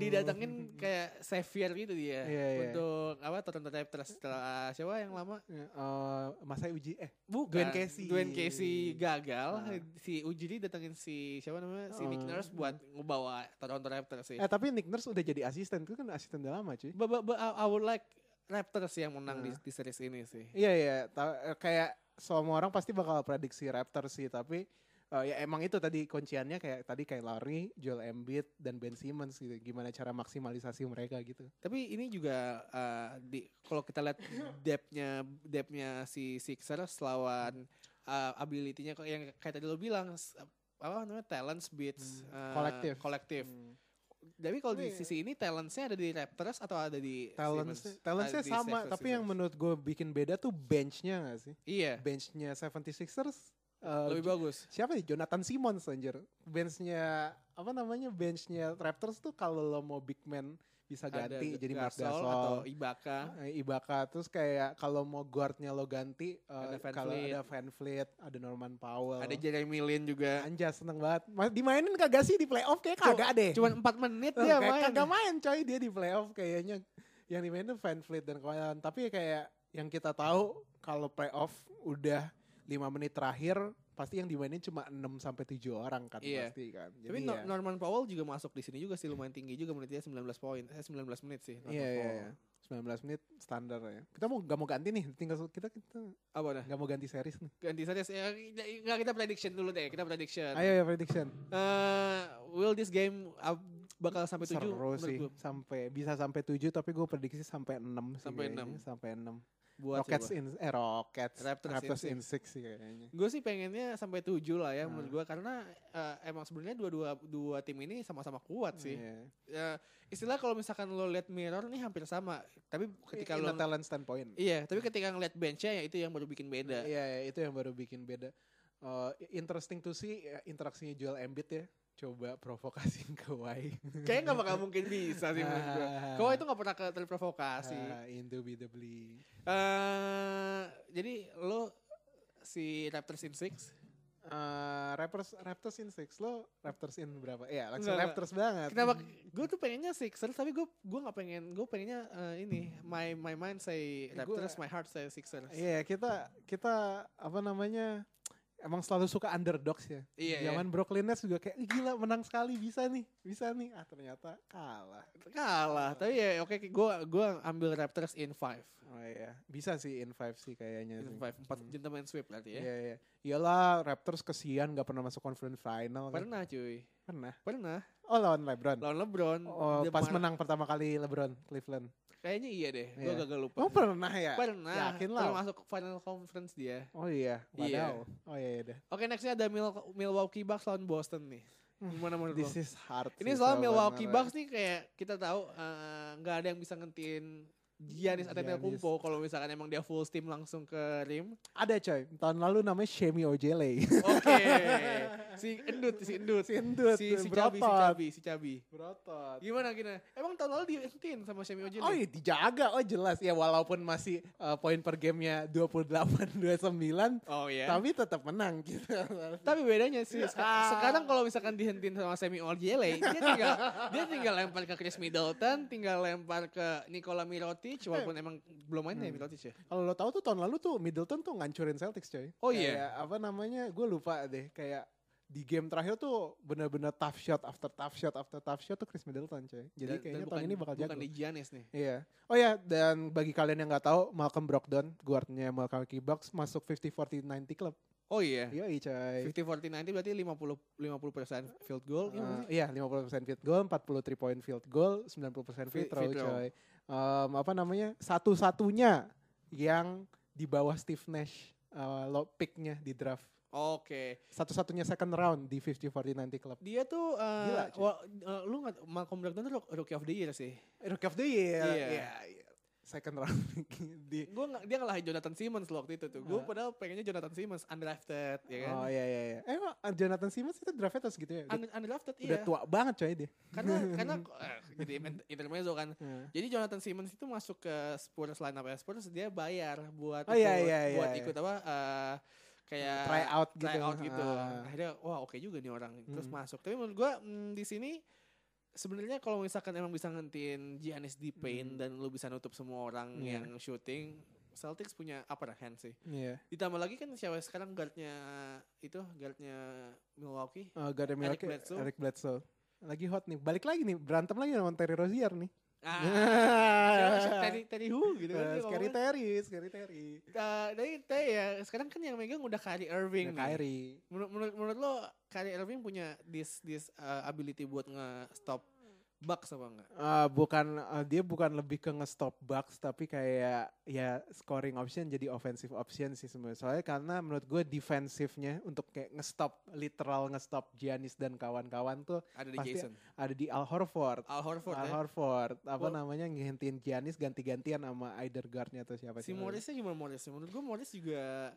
[SPEAKER 1] didatengin kayak savior gitu dia
[SPEAKER 2] Iya, iya.
[SPEAKER 1] untuk apa Toronto Raptors setelah ah, siapa yang lama?
[SPEAKER 2] Ya, eh, Masai Uji eh
[SPEAKER 1] Bukan.
[SPEAKER 2] Dwayne Casey.
[SPEAKER 1] Dwayne Casey gagal.
[SPEAKER 2] Iya, Ah.
[SPEAKER 1] Si Ujiri datengin si siapa namanya? Si Nick
[SPEAKER 2] Ah.
[SPEAKER 1] Nurse buat ngebawa Toronto Raptors sih.
[SPEAKER 2] eh tapi Nick Nurse udah jadi asisten itu kan asisten udah lama cuy
[SPEAKER 1] Ba- ba- ba- I I would like Raptors yang menang di,
[SPEAKER 2] Ah.
[SPEAKER 1] di series ini sih.
[SPEAKER 2] iya iya ta- eh, kayak semua orang pasti bakal prediksi Raptors sih tapi eh, ya emang itu tadi kunciannya kayak tadi kayak Lowry, Joel Embiid dan Ben Simmons gitu gimana cara maksimalisasi mereka gitu
[SPEAKER 1] Tapi ini juga eh, di kalau kita lihat depthnya depthnya si Sixers lawan eh, ability-nya kok yang kayak tadi lo bilang s- apa namanya talents beats
[SPEAKER 2] Hmm,
[SPEAKER 1] eh,
[SPEAKER 2] kolektif.
[SPEAKER 1] kolektif.
[SPEAKER 2] Hmm.
[SPEAKER 1] Tapi kalau di
[SPEAKER 2] Iya.
[SPEAKER 1] sisi ini talentsnya ada di Raptors atau ada di
[SPEAKER 2] Talents,
[SPEAKER 1] Simmons?
[SPEAKER 2] talentsnya
[SPEAKER 1] Ah, di
[SPEAKER 2] sama
[SPEAKER 1] Sixers,
[SPEAKER 2] tapi
[SPEAKER 1] Sixers.
[SPEAKER 2] yang menurut gue bikin beda tuh benchnya gak sih
[SPEAKER 1] iya
[SPEAKER 2] benchnya 76ers eh,
[SPEAKER 1] lebih bagus.
[SPEAKER 2] siapa ya Jonathan Simmons anjir benchnya apa namanya benchnya Raptors tuh kalau lo mau big man bisa
[SPEAKER 1] Ada
[SPEAKER 2] ganti
[SPEAKER 1] G-
[SPEAKER 2] jadi Marc Gasol,
[SPEAKER 1] atau iya. Ibaka.
[SPEAKER 2] eh, Ibaka terus kayak kalau mau guardnya lo ganti eh,
[SPEAKER 1] Ada Van
[SPEAKER 2] kalau
[SPEAKER 1] Vliet.
[SPEAKER 2] ada Van Vliet ada Norman Powell
[SPEAKER 1] Ada Jeremy Lin juga.
[SPEAKER 2] Anjas seneng banget Mas, dimainin kagak sih di playoff kayak kagak deh
[SPEAKER 1] Cuman 4 menit
[SPEAKER 2] Eh,
[SPEAKER 1] dia
[SPEAKER 2] kayak
[SPEAKER 1] Iya, main.
[SPEAKER 2] kagak main coy dia di playoff kayaknya yang dimainin tuh Van Vliet dan kawan tapi kayak yang kita tahu kalau playoff udah 5 menit terakhir pasti yang dimainin cuma 6 sampai 7 orang kan
[SPEAKER 1] Iya.
[SPEAKER 2] pasti kan. Jadi
[SPEAKER 1] Tapi
[SPEAKER 2] ya,
[SPEAKER 1] Nor- Norman Powell juga masuk di sini juga sih lumayan tinggi juga menitnya 19 poin. Eh 19 menit sih. Norman
[SPEAKER 2] iya iya
[SPEAKER 1] Powell.
[SPEAKER 2] iya. 19 menit standar ya. Kita mau gak mau ganti nih, tinggal su- kita kita
[SPEAKER 1] Apa dah?
[SPEAKER 2] gak mau ganti series nih.
[SPEAKER 1] Ganti saja. sih. Eh, Nggak kita prediction dulu deh. Kita prediction.
[SPEAKER 2] Ayo ya prediction.
[SPEAKER 1] Eh, will this game up- bakal sampai 7?
[SPEAKER 2] Seru sih. Sampai bisa sampai 7 tapi gue prediksi sampai 6 sih.
[SPEAKER 1] Sampai
[SPEAKER 2] kayaknya.
[SPEAKER 1] enam.
[SPEAKER 2] Sampai 6.
[SPEAKER 1] buat
[SPEAKER 2] Rockets in eh Rockets
[SPEAKER 1] Raptors in six.
[SPEAKER 2] in six sih kayaknya.
[SPEAKER 1] Gue sih pengennya sampai tujuh lah ya
[SPEAKER 2] Nah.
[SPEAKER 1] menurut gue karena eh, emang sebenarnya dua-dua dua tim ini sama-sama kuat sih.
[SPEAKER 2] Iya.
[SPEAKER 1] Eh, istilah kalau misalkan lo lihat mirror nih hampir sama, tapi ketika
[SPEAKER 2] In
[SPEAKER 1] lo
[SPEAKER 2] a talent standpoint.
[SPEAKER 1] iya, tapi ketika ngeliat benchnya ya itu yang baru bikin
[SPEAKER 2] Iya,
[SPEAKER 1] beda.
[SPEAKER 2] iya, itu yang baru bikin beda. Eh, interesting to see ya, interaksinya Joel Embiid ya. Coba provokasiin [LAUGHS] Kawhi.
[SPEAKER 1] Kayaknya nggak bakal mungkin bisa sih menurut
[SPEAKER 2] [LAUGHS]
[SPEAKER 1] gue.
[SPEAKER 2] Ah,
[SPEAKER 1] Kau itu nggak pernah ke- terprovokasi.
[SPEAKER 2] ah, Indubitably.
[SPEAKER 1] eh jadi lo si Raptors in Six,
[SPEAKER 2] Eh, Raptors Raptors in six lo Raptors in berapa? Iya, langsung
[SPEAKER 1] Enggak,
[SPEAKER 2] Raptors banget.
[SPEAKER 1] kenapa? Gue tuh pengennya Sixers, tapi gue gue nggak pengen, gue pengennya eh, ini my my mind say
[SPEAKER 2] Gua-
[SPEAKER 1] Raptors, my heart say Sixers.
[SPEAKER 2] Iya, kita kita apa namanya? Emang selalu suka underdogs ya.
[SPEAKER 1] Iya, iya.
[SPEAKER 2] Zaman Brooklyn Nets juga kayak "Ih, gila menang sekali bisa nih, bisa nih. Ah ternyata kalah.
[SPEAKER 1] Kalah, tapi ya oke, gue gua ambil Raptors in five,
[SPEAKER 2] Oh iya, bisa sih in five sih kayaknya.
[SPEAKER 1] in
[SPEAKER 2] sih.
[SPEAKER 1] five, empat
[SPEAKER 2] Hmm.
[SPEAKER 1] gentleman sweep berarti ya.
[SPEAKER 2] Iya iya. Iyalah Raptors kesian gak pernah masuk conference final kan.
[SPEAKER 1] Pernah cuy,
[SPEAKER 2] Pernah.
[SPEAKER 1] pernah
[SPEAKER 2] Oh lawan LeBron.
[SPEAKER 1] lawan LeBron.
[SPEAKER 2] Oh,
[SPEAKER 1] dia
[SPEAKER 2] pas
[SPEAKER 1] marah-
[SPEAKER 2] menang pertama kali LeBron Cleveland.
[SPEAKER 1] Kayaknya iya deh, gue
[SPEAKER 2] Iya.
[SPEAKER 1] gagal lupa.
[SPEAKER 2] Oh pernah ya?
[SPEAKER 1] Pernah,
[SPEAKER 2] Yakin lah.
[SPEAKER 1] pernah masuk final conference dia.
[SPEAKER 2] Oh iya,
[SPEAKER 1] Iya.
[SPEAKER 2] wadaw. Oh iya iya. dah.
[SPEAKER 1] Oke, nextnya ada Mil- Milwaukee Bucks lawan Boston nih.
[SPEAKER 2] Hmm,
[SPEAKER 1] Gimana menurut lo?
[SPEAKER 2] This is hard.
[SPEAKER 1] Ini
[SPEAKER 2] sih,
[SPEAKER 1] soal
[SPEAKER 2] soal
[SPEAKER 1] Milwaukee
[SPEAKER 2] bener.
[SPEAKER 1] Bucks nih kayak kita tahu eh, nggak ada yang bisa ngentiin Giannis
[SPEAKER 2] Giannis.
[SPEAKER 1] Antetokounmpo kalau misalkan emang dia full steam langsung ke
[SPEAKER 2] [LAUGHS]
[SPEAKER 1] rim.
[SPEAKER 2] Ada coy, tahun lalu namanya Shemi
[SPEAKER 1] [LAUGHS]
[SPEAKER 2] Ojele.
[SPEAKER 1] Oke. si endut, si endut.
[SPEAKER 2] Si endut,
[SPEAKER 1] Si, si
[SPEAKER 2] berotot.
[SPEAKER 1] Cabi, si Cabi, si Cabi.
[SPEAKER 2] Berotot.
[SPEAKER 1] Gimana gimana? Emang tahun lalu dientiin sama ya? Shemi Ojil?
[SPEAKER 2] Oh iya dijaga, oh jelas ya walaupun masih uh, poin per gamenya 28-29,
[SPEAKER 1] Oh iya. Tapi,
[SPEAKER 2] tapi tetap menang gitu.
[SPEAKER 1] bedanya sih seka-
[SPEAKER 2] Ah.
[SPEAKER 1] sekarang kalau misalkan dihentiin sama Semi Ojele, dia tinggal dia tinggal lempar ke Chris Middleton, tinggal lempar ke Nikola Mirotic walaupun emang belum main ya
[SPEAKER 2] Hmm.
[SPEAKER 1] Mirotic ya.
[SPEAKER 2] Kalau lo tahu tuh tahun lalu tuh Middleton tuh ngancurin Celtics coy.
[SPEAKER 1] Oh iya.
[SPEAKER 2] Kayak apa namanya? Gue lupa deh. Kayak di game terakhir tuh bener-bener tough shot after tough shot after tough shot tuh Chris Middleton coy.
[SPEAKER 1] Iya, Dan-
[SPEAKER 2] Jadi
[SPEAKER 1] dan
[SPEAKER 2] Iya, kayaknya
[SPEAKER 1] bukan-
[SPEAKER 2] tahun ini bakal jago.
[SPEAKER 1] Bukan di Giannis nih.
[SPEAKER 2] Iya. Oh ya, dan bagi kalian yang nggak tahu, Malcolm Brogdon, guardnya Milwaukee Bucks masuk 50-40-90 club.
[SPEAKER 1] Oh iya.
[SPEAKER 2] Iya, coy.
[SPEAKER 1] 50-40 nanti berarti 50 50% field goal. Iya nggak
[SPEAKER 2] Uh,
[SPEAKER 1] sih?
[SPEAKER 2] iya, 50% field goal, 43 point field goal, 90% free
[SPEAKER 1] Free-
[SPEAKER 2] throw,
[SPEAKER 1] free throw.
[SPEAKER 2] coy. Um, apa namanya? Satu-satunya yang di bawah Steve Nash uh, lo picknya di draft.
[SPEAKER 1] Oke.
[SPEAKER 2] Satu-satunya second round di 50-40-90 club.
[SPEAKER 1] Dia tuh eh,
[SPEAKER 2] Gila, cuy.
[SPEAKER 1] wa- eh, lu nggak Malcolm Brogdon tuh rook- rookie of the year sih.
[SPEAKER 2] Rookie of the year.
[SPEAKER 1] Iya.
[SPEAKER 2] Iya, iya. Second round [LAUGHS] di
[SPEAKER 1] Gue dia ngalahin Jonathan Simmons loh waktu itu tuh. Gue
[SPEAKER 2] Ah.
[SPEAKER 1] padahal pengennya Jonathan Simmons undrafted ya kan.
[SPEAKER 2] Oh iya iya iya. Eh, Emang Jonathan Simmons itu draftnya terus gitu ya? Udah,
[SPEAKER 1] Un- undrafted iya.
[SPEAKER 2] udah tua banget coy dia.
[SPEAKER 1] Karena
[SPEAKER 2] [LAUGHS]
[SPEAKER 1] karena eh, jadi inter- intermezzo kan.
[SPEAKER 2] Heeh.
[SPEAKER 1] Jadi Jonathan Simmons itu masuk ke Spurs lineup ya. Spurs dia bayar buat
[SPEAKER 2] Oh, iya, iya, iya,
[SPEAKER 1] buat
[SPEAKER 2] iya.
[SPEAKER 1] ikut apa eh, kayak
[SPEAKER 2] Try out gitu.
[SPEAKER 1] try out gitu.
[SPEAKER 2] Ah.
[SPEAKER 1] Akhirnya wah oke juga nih orang terus
[SPEAKER 2] Mm.
[SPEAKER 1] masuk. Tapi menurut gua mm, di sini sebenarnya kalau misalkan emang bisa ngentiin Giannis di paint
[SPEAKER 2] Mm.
[SPEAKER 1] dan lu bisa nutup semua orang
[SPEAKER 2] Iya.
[SPEAKER 1] yang shooting, Celtics punya upper hand sih.
[SPEAKER 2] Iya.
[SPEAKER 1] Ditambah lagi kan siapa sekarang guardnya itu guardnya Milwaukee.
[SPEAKER 2] Oh, gak ada
[SPEAKER 1] Eric
[SPEAKER 2] Milwaukee,
[SPEAKER 1] Bledsoe.
[SPEAKER 2] Eric Bledsoe. Lagi hot nih. Balik lagi nih. Berantem lagi sama Terry Rozier nih. [LAUGHS]
[SPEAKER 1] Ah, siapa? Terry Terry Hu gitu kan.
[SPEAKER 2] Eh,
[SPEAKER 1] dia
[SPEAKER 2] Scary
[SPEAKER 1] ngomongnya.
[SPEAKER 2] Terry, Scary Terry.
[SPEAKER 1] Eh, dari teh ya sekarang kan yang megang udah Kyrie Irving. nih.
[SPEAKER 2] Kyrie.
[SPEAKER 1] Menurut menurut, menurut lo Kyrie Irving punya this this uh, ability buat nge-stop Bucks apa enggak?
[SPEAKER 2] Eh, bukan eh, dia bukan lebih ke nge-stop Bucks tapi kayak ya scoring option jadi offensive option sih sebenarnya. Soalnya karena menurut gue defensifnya untuk kayak nge-stop literal nge-stop Giannis dan kawan-kawan tuh
[SPEAKER 1] Ada di
[SPEAKER 2] Pasti
[SPEAKER 1] Jason.
[SPEAKER 2] ada di Al Horford.
[SPEAKER 1] Al Horford
[SPEAKER 2] Al
[SPEAKER 1] ya.
[SPEAKER 2] Horford, apa
[SPEAKER 1] Gua-
[SPEAKER 2] namanya ngehentiin Giannis ganti-gantian sama either guardnya atau siapa
[SPEAKER 1] Si
[SPEAKER 2] siapa.
[SPEAKER 1] Morrisnya gimana Morris? Menurut gue Morris juga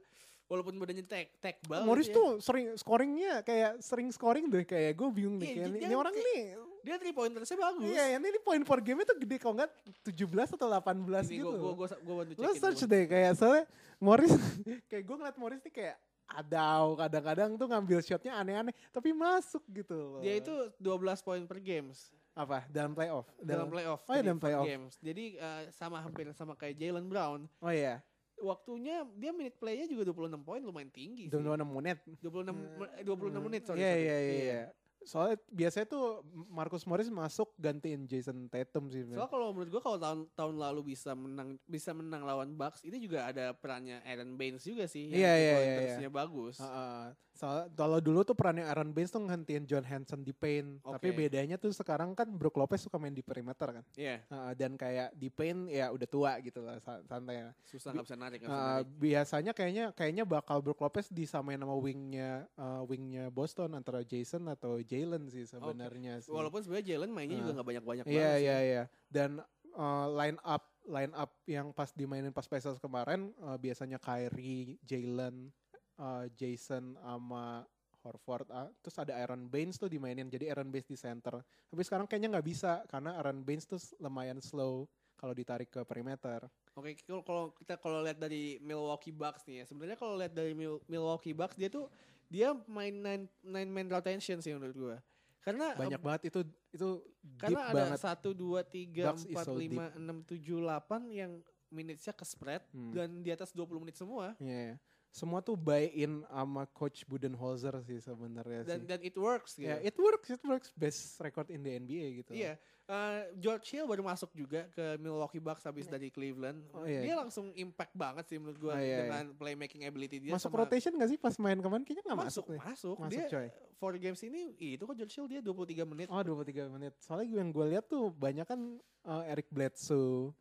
[SPEAKER 1] walaupun badannya tek tek banget.
[SPEAKER 2] Oh, Morris
[SPEAKER 1] ya,
[SPEAKER 2] tuh sering scoringnya kayak sering scoring deh kayak gue bingung nih
[SPEAKER 1] Iya,
[SPEAKER 2] kayak
[SPEAKER 1] dia-
[SPEAKER 2] ini
[SPEAKER 1] dia
[SPEAKER 2] ini orang
[SPEAKER 1] kayak-
[SPEAKER 2] nih
[SPEAKER 1] Dia three pointersnya bagus.
[SPEAKER 2] iya ini poin per game tuh gede kalau nggak 17 atau 18
[SPEAKER 1] Ini
[SPEAKER 2] gitu
[SPEAKER 1] gue gue gue bantu
[SPEAKER 2] lo
[SPEAKER 1] cekin.
[SPEAKER 2] search
[SPEAKER 1] dulu.
[SPEAKER 2] deh kayak soalnya Morris [LAUGHS] kayak gue ngeliat Morris nih kayak adaw kadang-kadang tuh ngambil shotnya aneh-aneh tapi masuk gitu loh
[SPEAKER 1] Dia itu 12 poin per games
[SPEAKER 2] apa dalam playoff
[SPEAKER 1] dalam playoff.
[SPEAKER 2] Oh iya,
[SPEAKER 1] jadi
[SPEAKER 2] dalam
[SPEAKER 1] per
[SPEAKER 2] playoff.
[SPEAKER 1] Games. Jadi uh, sama hampir sama kayak Jalen Brown.
[SPEAKER 2] oh iya
[SPEAKER 1] Waktunya dia minute play-nya juga 26 poin lumayan tinggi. sih.
[SPEAKER 2] dalam 26 menit
[SPEAKER 1] 26 me- eh, 26
[SPEAKER 2] Hmm.
[SPEAKER 1] menit sorry.
[SPEAKER 2] Iya
[SPEAKER 1] sorry.
[SPEAKER 2] iya iya. iya. Soalnya biasanya tuh Marcus Morris masuk gantiin Jason Tatum sih.
[SPEAKER 1] Soalnya kalau menurut gua kalau tahun tahun lalu bisa menang bisa menang lawan Bucks itu juga ada perannya Aaron Baines juga sih
[SPEAKER 2] Iya, iya, iya,
[SPEAKER 1] terusnya bagus.
[SPEAKER 2] Heeh. So- kalau dulu tuh perannya Aaron Baines tuh ngehentiin John Hansen di paint, tapi
[SPEAKER 1] Oke.
[SPEAKER 2] bedanya tuh sekarang kan Brook Lopez suka main di perimeter kan.
[SPEAKER 1] Iya,
[SPEAKER 2] Heeh, dan kayak di paint ya udah tua gitu lah sa- santai lah.
[SPEAKER 1] susah nggak bisa narik. nggak bisa
[SPEAKER 2] Heeh,
[SPEAKER 1] narik.
[SPEAKER 2] biasanya kayaknya kayaknya bakal Brook Lopez disamain sama wingnya eh, wingnya Boston antara Jason atau Jalen sih sebenarnya sih.
[SPEAKER 1] Walaupun sebenarnya Jalen mainnya juga
[SPEAKER 2] Ah.
[SPEAKER 1] nggak banyak-banyak
[SPEAKER 2] Iya
[SPEAKER 1] banget. sih.
[SPEAKER 2] iya iya. Dan eh, line up line up yang pas dimainin pas Pacers kemarin eh, biasanya Kyrie, Jalen, eh, Jason sama Horford. ah, terus ada Aaron Baines tuh dimainin. Jadi Aaron Baines di center. Tapi sekarang kayaknya nggak bisa karena Aaron Baines tuh lumayan slow kalau ditarik ke perimeter.
[SPEAKER 1] Oke, kalau- kalau kita kalau lihat dari Milwaukee Bucks nih ya, sebenarnya kalau lihat dari Mil- Milwaukee Bucks dia tuh dia main nine, nine man rotation sih menurut gua. Karena
[SPEAKER 2] Banyak banget itu itu deep
[SPEAKER 1] Eh, karena ada
[SPEAKER 2] banget.
[SPEAKER 1] satu dua tiga
[SPEAKER 2] Bucks is
[SPEAKER 1] empat
[SPEAKER 2] so deep.
[SPEAKER 1] lima enam tujuh delapan yang minutesnya ke spread
[SPEAKER 2] Hmm.
[SPEAKER 1] dan di atas 20 menit semua
[SPEAKER 2] Iya, iya. Semua tuh buy in sama coach Budenholzer sih sebenarnya
[SPEAKER 1] dan
[SPEAKER 2] Iya sih.
[SPEAKER 1] dan it works gitu.
[SPEAKER 2] Ya, it works, it works. Best record in the NBA gitu.
[SPEAKER 1] Iya, Eh, George Hill baru masuk juga ke Milwaukee Bucks habis dari Cleveland.
[SPEAKER 2] Oh, iya.
[SPEAKER 1] Dia langsung impact banget sih menurut gua
[SPEAKER 2] Ah, iya,
[SPEAKER 1] dengan playmaking ability dia.
[SPEAKER 2] masuk
[SPEAKER 1] sama-
[SPEAKER 2] rotation gak sih pas main kemarin? Kayaknya gak masuk,
[SPEAKER 1] masuk
[SPEAKER 2] deh.
[SPEAKER 1] masuk.
[SPEAKER 2] Masuk
[SPEAKER 1] Dia eh,
[SPEAKER 2] coy.
[SPEAKER 1] four games ini ih, itu kok George Hill dia 23 menit.
[SPEAKER 2] Oh 23 menit. Soalnya gue- yang gue lihat tuh banyak kan uh, Eric Bledsoe.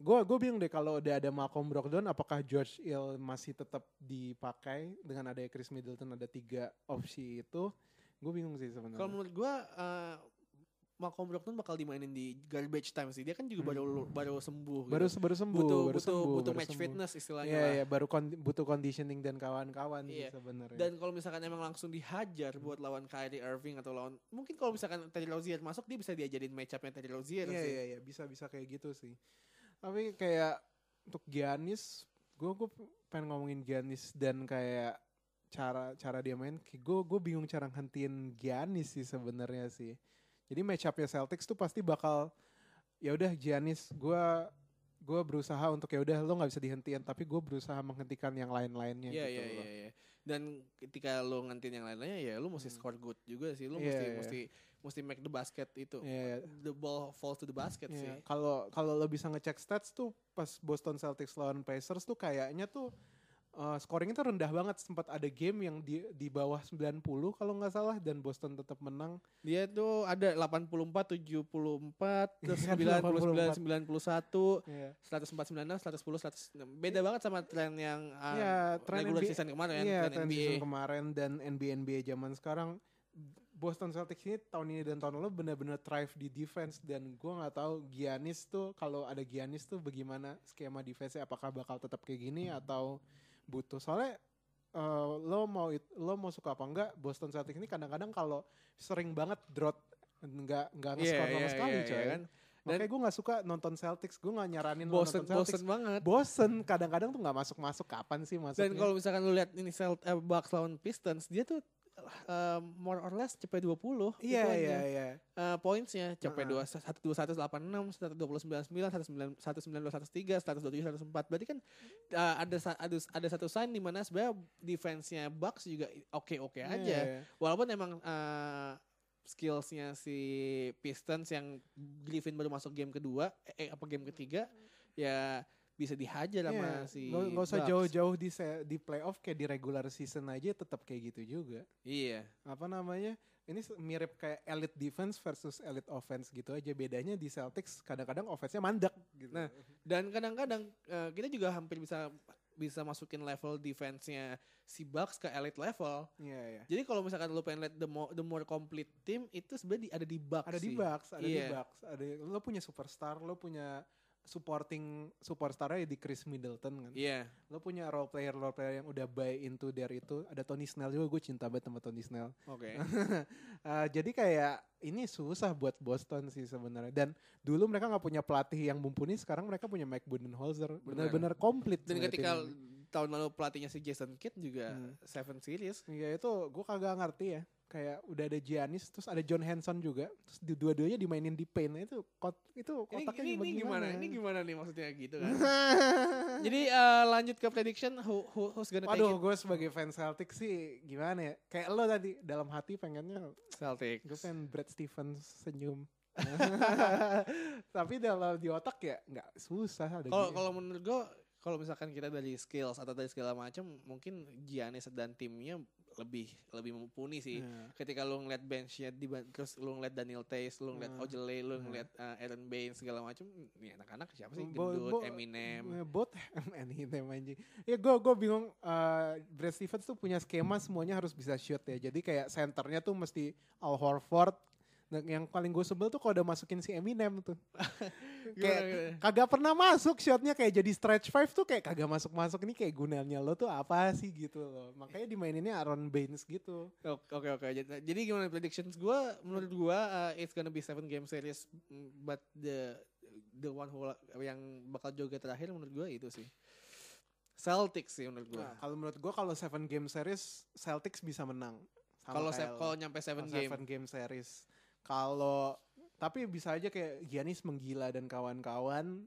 [SPEAKER 2] Gue gue bingung deh kalau udah ada Malcolm Brogdon apakah George Hill masih tetap dipakai dengan ada Chris Middleton ada tiga opsi itu. Gue bingung sih
[SPEAKER 1] Kalau
[SPEAKER 2] sebenarnya.
[SPEAKER 1] menurut gua eh, Malcolm Brogdon bakal dimainin di garbage time sih. Dia kan juga
[SPEAKER 2] Hmm.
[SPEAKER 1] baru baru sembuh.
[SPEAKER 2] Baru
[SPEAKER 1] gitu.
[SPEAKER 2] baru sembuh,
[SPEAKER 1] butuh
[SPEAKER 2] baru
[SPEAKER 1] butuh
[SPEAKER 2] sembuh,
[SPEAKER 1] butuh
[SPEAKER 2] baru
[SPEAKER 1] match
[SPEAKER 2] sembuh.
[SPEAKER 1] fitness istilahnya
[SPEAKER 2] Iya
[SPEAKER 1] lah.
[SPEAKER 2] iya baru con- butuh conditioning dan kawan-kawan
[SPEAKER 1] Iya.
[SPEAKER 2] sih sebenarnya.
[SPEAKER 1] Dan kalau misalkan emang langsung dihajar buat lawan Kyrie Irving atau lawan mungkin kalau misalkan Terry Rozier masuk dia bisa diajarin match up-nya Terry Rozier
[SPEAKER 2] Iya
[SPEAKER 1] sih.
[SPEAKER 2] iya iya bisa bisa kayak gitu sih. Tapi kayak untuk Giannis, gue gue pengen ngomongin Giannis dan kayak cara cara dia main, gue gue bingung cara ngentiin Giannis sih sebenarnya sih. Jadi match up-nya Celtics tuh pasti bakal ya udah Giannis, gue gue berusaha untuk ya udah lo nggak bisa dihentiin, tapi gue berusaha menghentikan yang lain-lainnya
[SPEAKER 1] Iya
[SPEAKER 2] gitu
[SPEAKER 1] iya
[SPEAKER 2] loh.
[SPEAKER 1] iya iya. Dan ketika lu ngantin yang lain-lainnya ya lu mesti
[SPEAKER 2] Hmm.
[SPEAKER 1] score good juga sih. Lu
[SPEAKER 2] Iya,
[SPEAKER 1] mesti
[SPEAKER 2] iya.
[SPEAKER 1] mesti mesti make the basket itu.
[SPEAKER 2] Iya, iya.
[SPEAKER 1] The ball falls to the basket
[SPEAKER 2] Iya,
[SPEAKER 1] sih.
[SPEAKER 2] Kalau kalau lo bisa ngecek stats tuh pas Boston Celtics lawan Pacers tuh kayaknya tuh eh, scoringnya tuh rendah banget. Sempat ada game yang di di bawah 90 kalau nggak salah dan Boston tetap menang.
[SPEAKER 1] Dia tuh ada 84, [LAUGHS] 74, terus
[SPEAKER 2] Iya,
[SPEAKER 1] 99,
[SPEAKER 2] 84.
[SPEAKER 1] 91,
[SPEAKER 2] Iya.
[SPEAKER 1] 104, 96, 110, 106. Beda banget sama tren yang uh,
[SPEAKER 2] Iya, tren
[SPEAKER 1] regular
[SPEAKER 2] NBA
[SPEAKER 1] season kemarin,
[SPEAKER 2] Iya,
[SPEAKER 1] tren
[SPEAKER 2] tren
[SPEAKER 1] NBA.
[SPEAKER 2] season kemarin dan NBA NBA zaman sekarang Boston Celtics ini tahun ini dan tahun lalu benar-benar thrive di defense dan gua nggak tahu Giannis tuh kalau ada Giannis tuh bagaimana skema defense apakah bakal tetap kayak gini
[SPEAKER 1] Hmm.
[SPEAKER 2] atau butuh soalnya eh, lo mau it- lo mau suka apa enggak Boston Celtics ini kadang-kadang kalau sering banget drop nggak nggak
[SPEAKER 1] Iya,
[SPEAKER 2] nge-score sama
[SPEAKER 1] iya,
[SPEAKER 2] sekali
[SPEAKER 1] iya,
[SPEAKER 2] coy.
[SPEAKER 1] iya kan? Dan-
[SPEAKER 2] Makanya gue nggak suka nonton Celtics, gue nggak nyaranin lo
[SPEAKER 1] Bosen,
[SPEAKER 2] nonton Celtics.
[SPEAKER 1] bosen banget.
[SPEAKER 2] Bosen, kadang-kadang tuh nggak masuk-masuk kapan sih masuknya?
[SPEAKER 1] Dan kalau misalkan lu lihat ini Celt, eh, Bucks lawan Pistons, dia tuh uh, more or less CP 20 itu gitu
[SPEAKER 2] Iya
[SPEAKER 1] aja.
[SPEAKER 2] iya iya.
[SPEAKER 1] Uh, pointsnya CP 2 121
[SPEAKER 2] Heeh.
[SPEAKER 1] 86 129 119 192 103 127 104 berarti kan uh, ada sa- ada ada satu sign di mana sebenarnya defense-nya Bucks juga oke-oke
[SPEAKER 2] Iya,
[SPEAKER 1] aja
[SPEAKER 2] iya.
[SPEAKER 1] walaupun emang uh, skills-nya si Pistons yang Griffin baru masuk game kedua eh eh, apa game ketiga ya bisa dihajar sama
[SPEAKER 2] Iya,
[SPEAKER 1] si
[SPEAKER 2] nggak- nggak usah
[SPEAKER 1] Bucks.
[SPEAKER 2] jauh-jauh di se- di playoff kayak di regular season aja tetap kayak gitu juga
[SPEAKER 1] Iya.
[SPEAKER 2] apa namanya ini se- mirip kayak elite defense versus elite offense gitu aja bedanya di Celtics kadang-kadang offense-nya mandek gitu.
[SPEAKER 1] Nah, Dan kadang-kadang eh, kita juga hampir bisa bisa masukin level defense-nya si Bucks ke elite level.
[SPEAKER 2] iya iya
[SPEAKER 1] Jadi kalau misalkan lu pengen lihat the more, the more complete team itu sebenarnya di- ada di Bucks
[SPEAKER 2] ada di
[SPEAKER 1] sih.
[SPEAKER 2] Bucks ada
[SPEAKER 1] Iya.
[SPEAKER 2] di Bucks ada lo punya superstar lo punya supporting superstarnya di Chris Middleton kan
[SPEAKER 1] Iya.
[SPEAKER 2] lo punya role player role player yang udah buy into there itu ada Tony Snell juga gue cinta banget sama Tony Snell
[SPEAKER 1] Oke.
[SPEAKER 2] Eh, jadi kayak ini susah buat Boston sih sebenarnya. Dan dulu mereka nggak punya pelatih yang mumpuni, sekarang mereka punya Mike Budenholzer. Benar-benar komplit.
[SPEAKER 1] Dan
[SPEAKER 2] sebenarnya
[SPEAKER 1] ketika
[SPEAKER 2] tim ini.
[SPEAKER 1] tahun lalu pelatihnya si Jason Kidd juga
[SPEAKER 2] Hmm.
[SPEAKER 1] Seven Series.
[SPEAKER 2] Iya itu gue kagak ngerti ya. Kayak udah ada Giannis, terus ada John Henson juga. Terus di- dua-duanya dimainin di paint. Itu kot, itu
[SPEAKER 1] Ini,
[SPEAKER 2] kotaknya
[SPEAKER 1] ini, ini gimana?
[SPEAKER 2] gimana?
[SPEAKER 1] Ini
[SPEAKER 2] [LAUGHS]
[SPEAKER 1] gimana nih maksudnya gitu kan? Jadi eh, lanjut ke prediction who, who, who's gonna
[SPEAKER 2] Waduh,
[SPEAKER 1] take
[SPEAKER 2] gue sebagai fans Celtics sih gimana ya? Kayak lo tadi dalam hati pengennya
[SPEAKER 1] it? Celtics.
[SPEAKER 2] Gue pengen Brad Stevens
[SPEAKER 1] [LAUGHS]
[SPEAKER 2] senyum. [LAUGHS] Tapi dalam di otak ya nggak susah ada
[SPEAKER 1] Kalau
[SPEAKER 2] dia.
[SPEAKER 1] kalau menurut gua kalau misalkan kita dari skills atau dari segala macam mungkin Giannis dan timnya lebih lebih mumpuni sih.
[SPEAKER 2] Iya.
[SPEAKER 1] Ketika lu ngeliat benchnya di terus lu ngeliat Daniel Tays, lu ngeliat
[SPEAKER 2] Ah.
[SPEAKER 1] Ojele, lu
[SPEAKER 2] Ah.
[SPEAKER 1] ngeliat uh, Aaron Baines segala macam, nih anak-anak siapa sih
[SPEAKER 2] Bo-
[SPEAKER 1] gendut,
[SPEAKER 2] bo-
[SPEAKER 1] Eminem.
[SPEAKER 2] Eh, Both Eminem Eminem anjing. Ya gue gue bingung. eh, Brad Stevens tuh punya skema semuanya harus bisa shoot ya. Jadi kayak senternya tuh mesti Al Horford. Nah, yang paling gue sebel tuh kalau udah masukin si Eminem tuh.
[SPEAKER 1] Gimana,
[SPEAKER 2] kayak
[SPEAKER 1] gimana?
[SPEAKER 2] kagak pernah masuk shotnya kayak jadi stretch five tuh kayak kagak masuk-masuk ini kayak gunanya lo tuh apa sih gitu loh. Makanya dimaininnya Aaron Baines gitu.
[SPEAKER 1] Oke oke oke. Jadi- Jadi gimana predictions gua menurut gua uh, it's gonna be seven game series mm, but the the one who la- yang bakal joget terakhir menurut gua itu sih. Celtics sih menurut gua.
[SPEAKER 2] Nah, kalau menurut gue kalau seven game series Celtics bisa menang. Sama
[SPEAKER 1] Kalau se-
[SPEAKER 2] kayak lo.
[SPEAKER 1] kalau nyampe seven game.
[SPEAKER 2] seven game series. Kalau tapi bisa aja kayak Giannis menggila dan kawan-kawan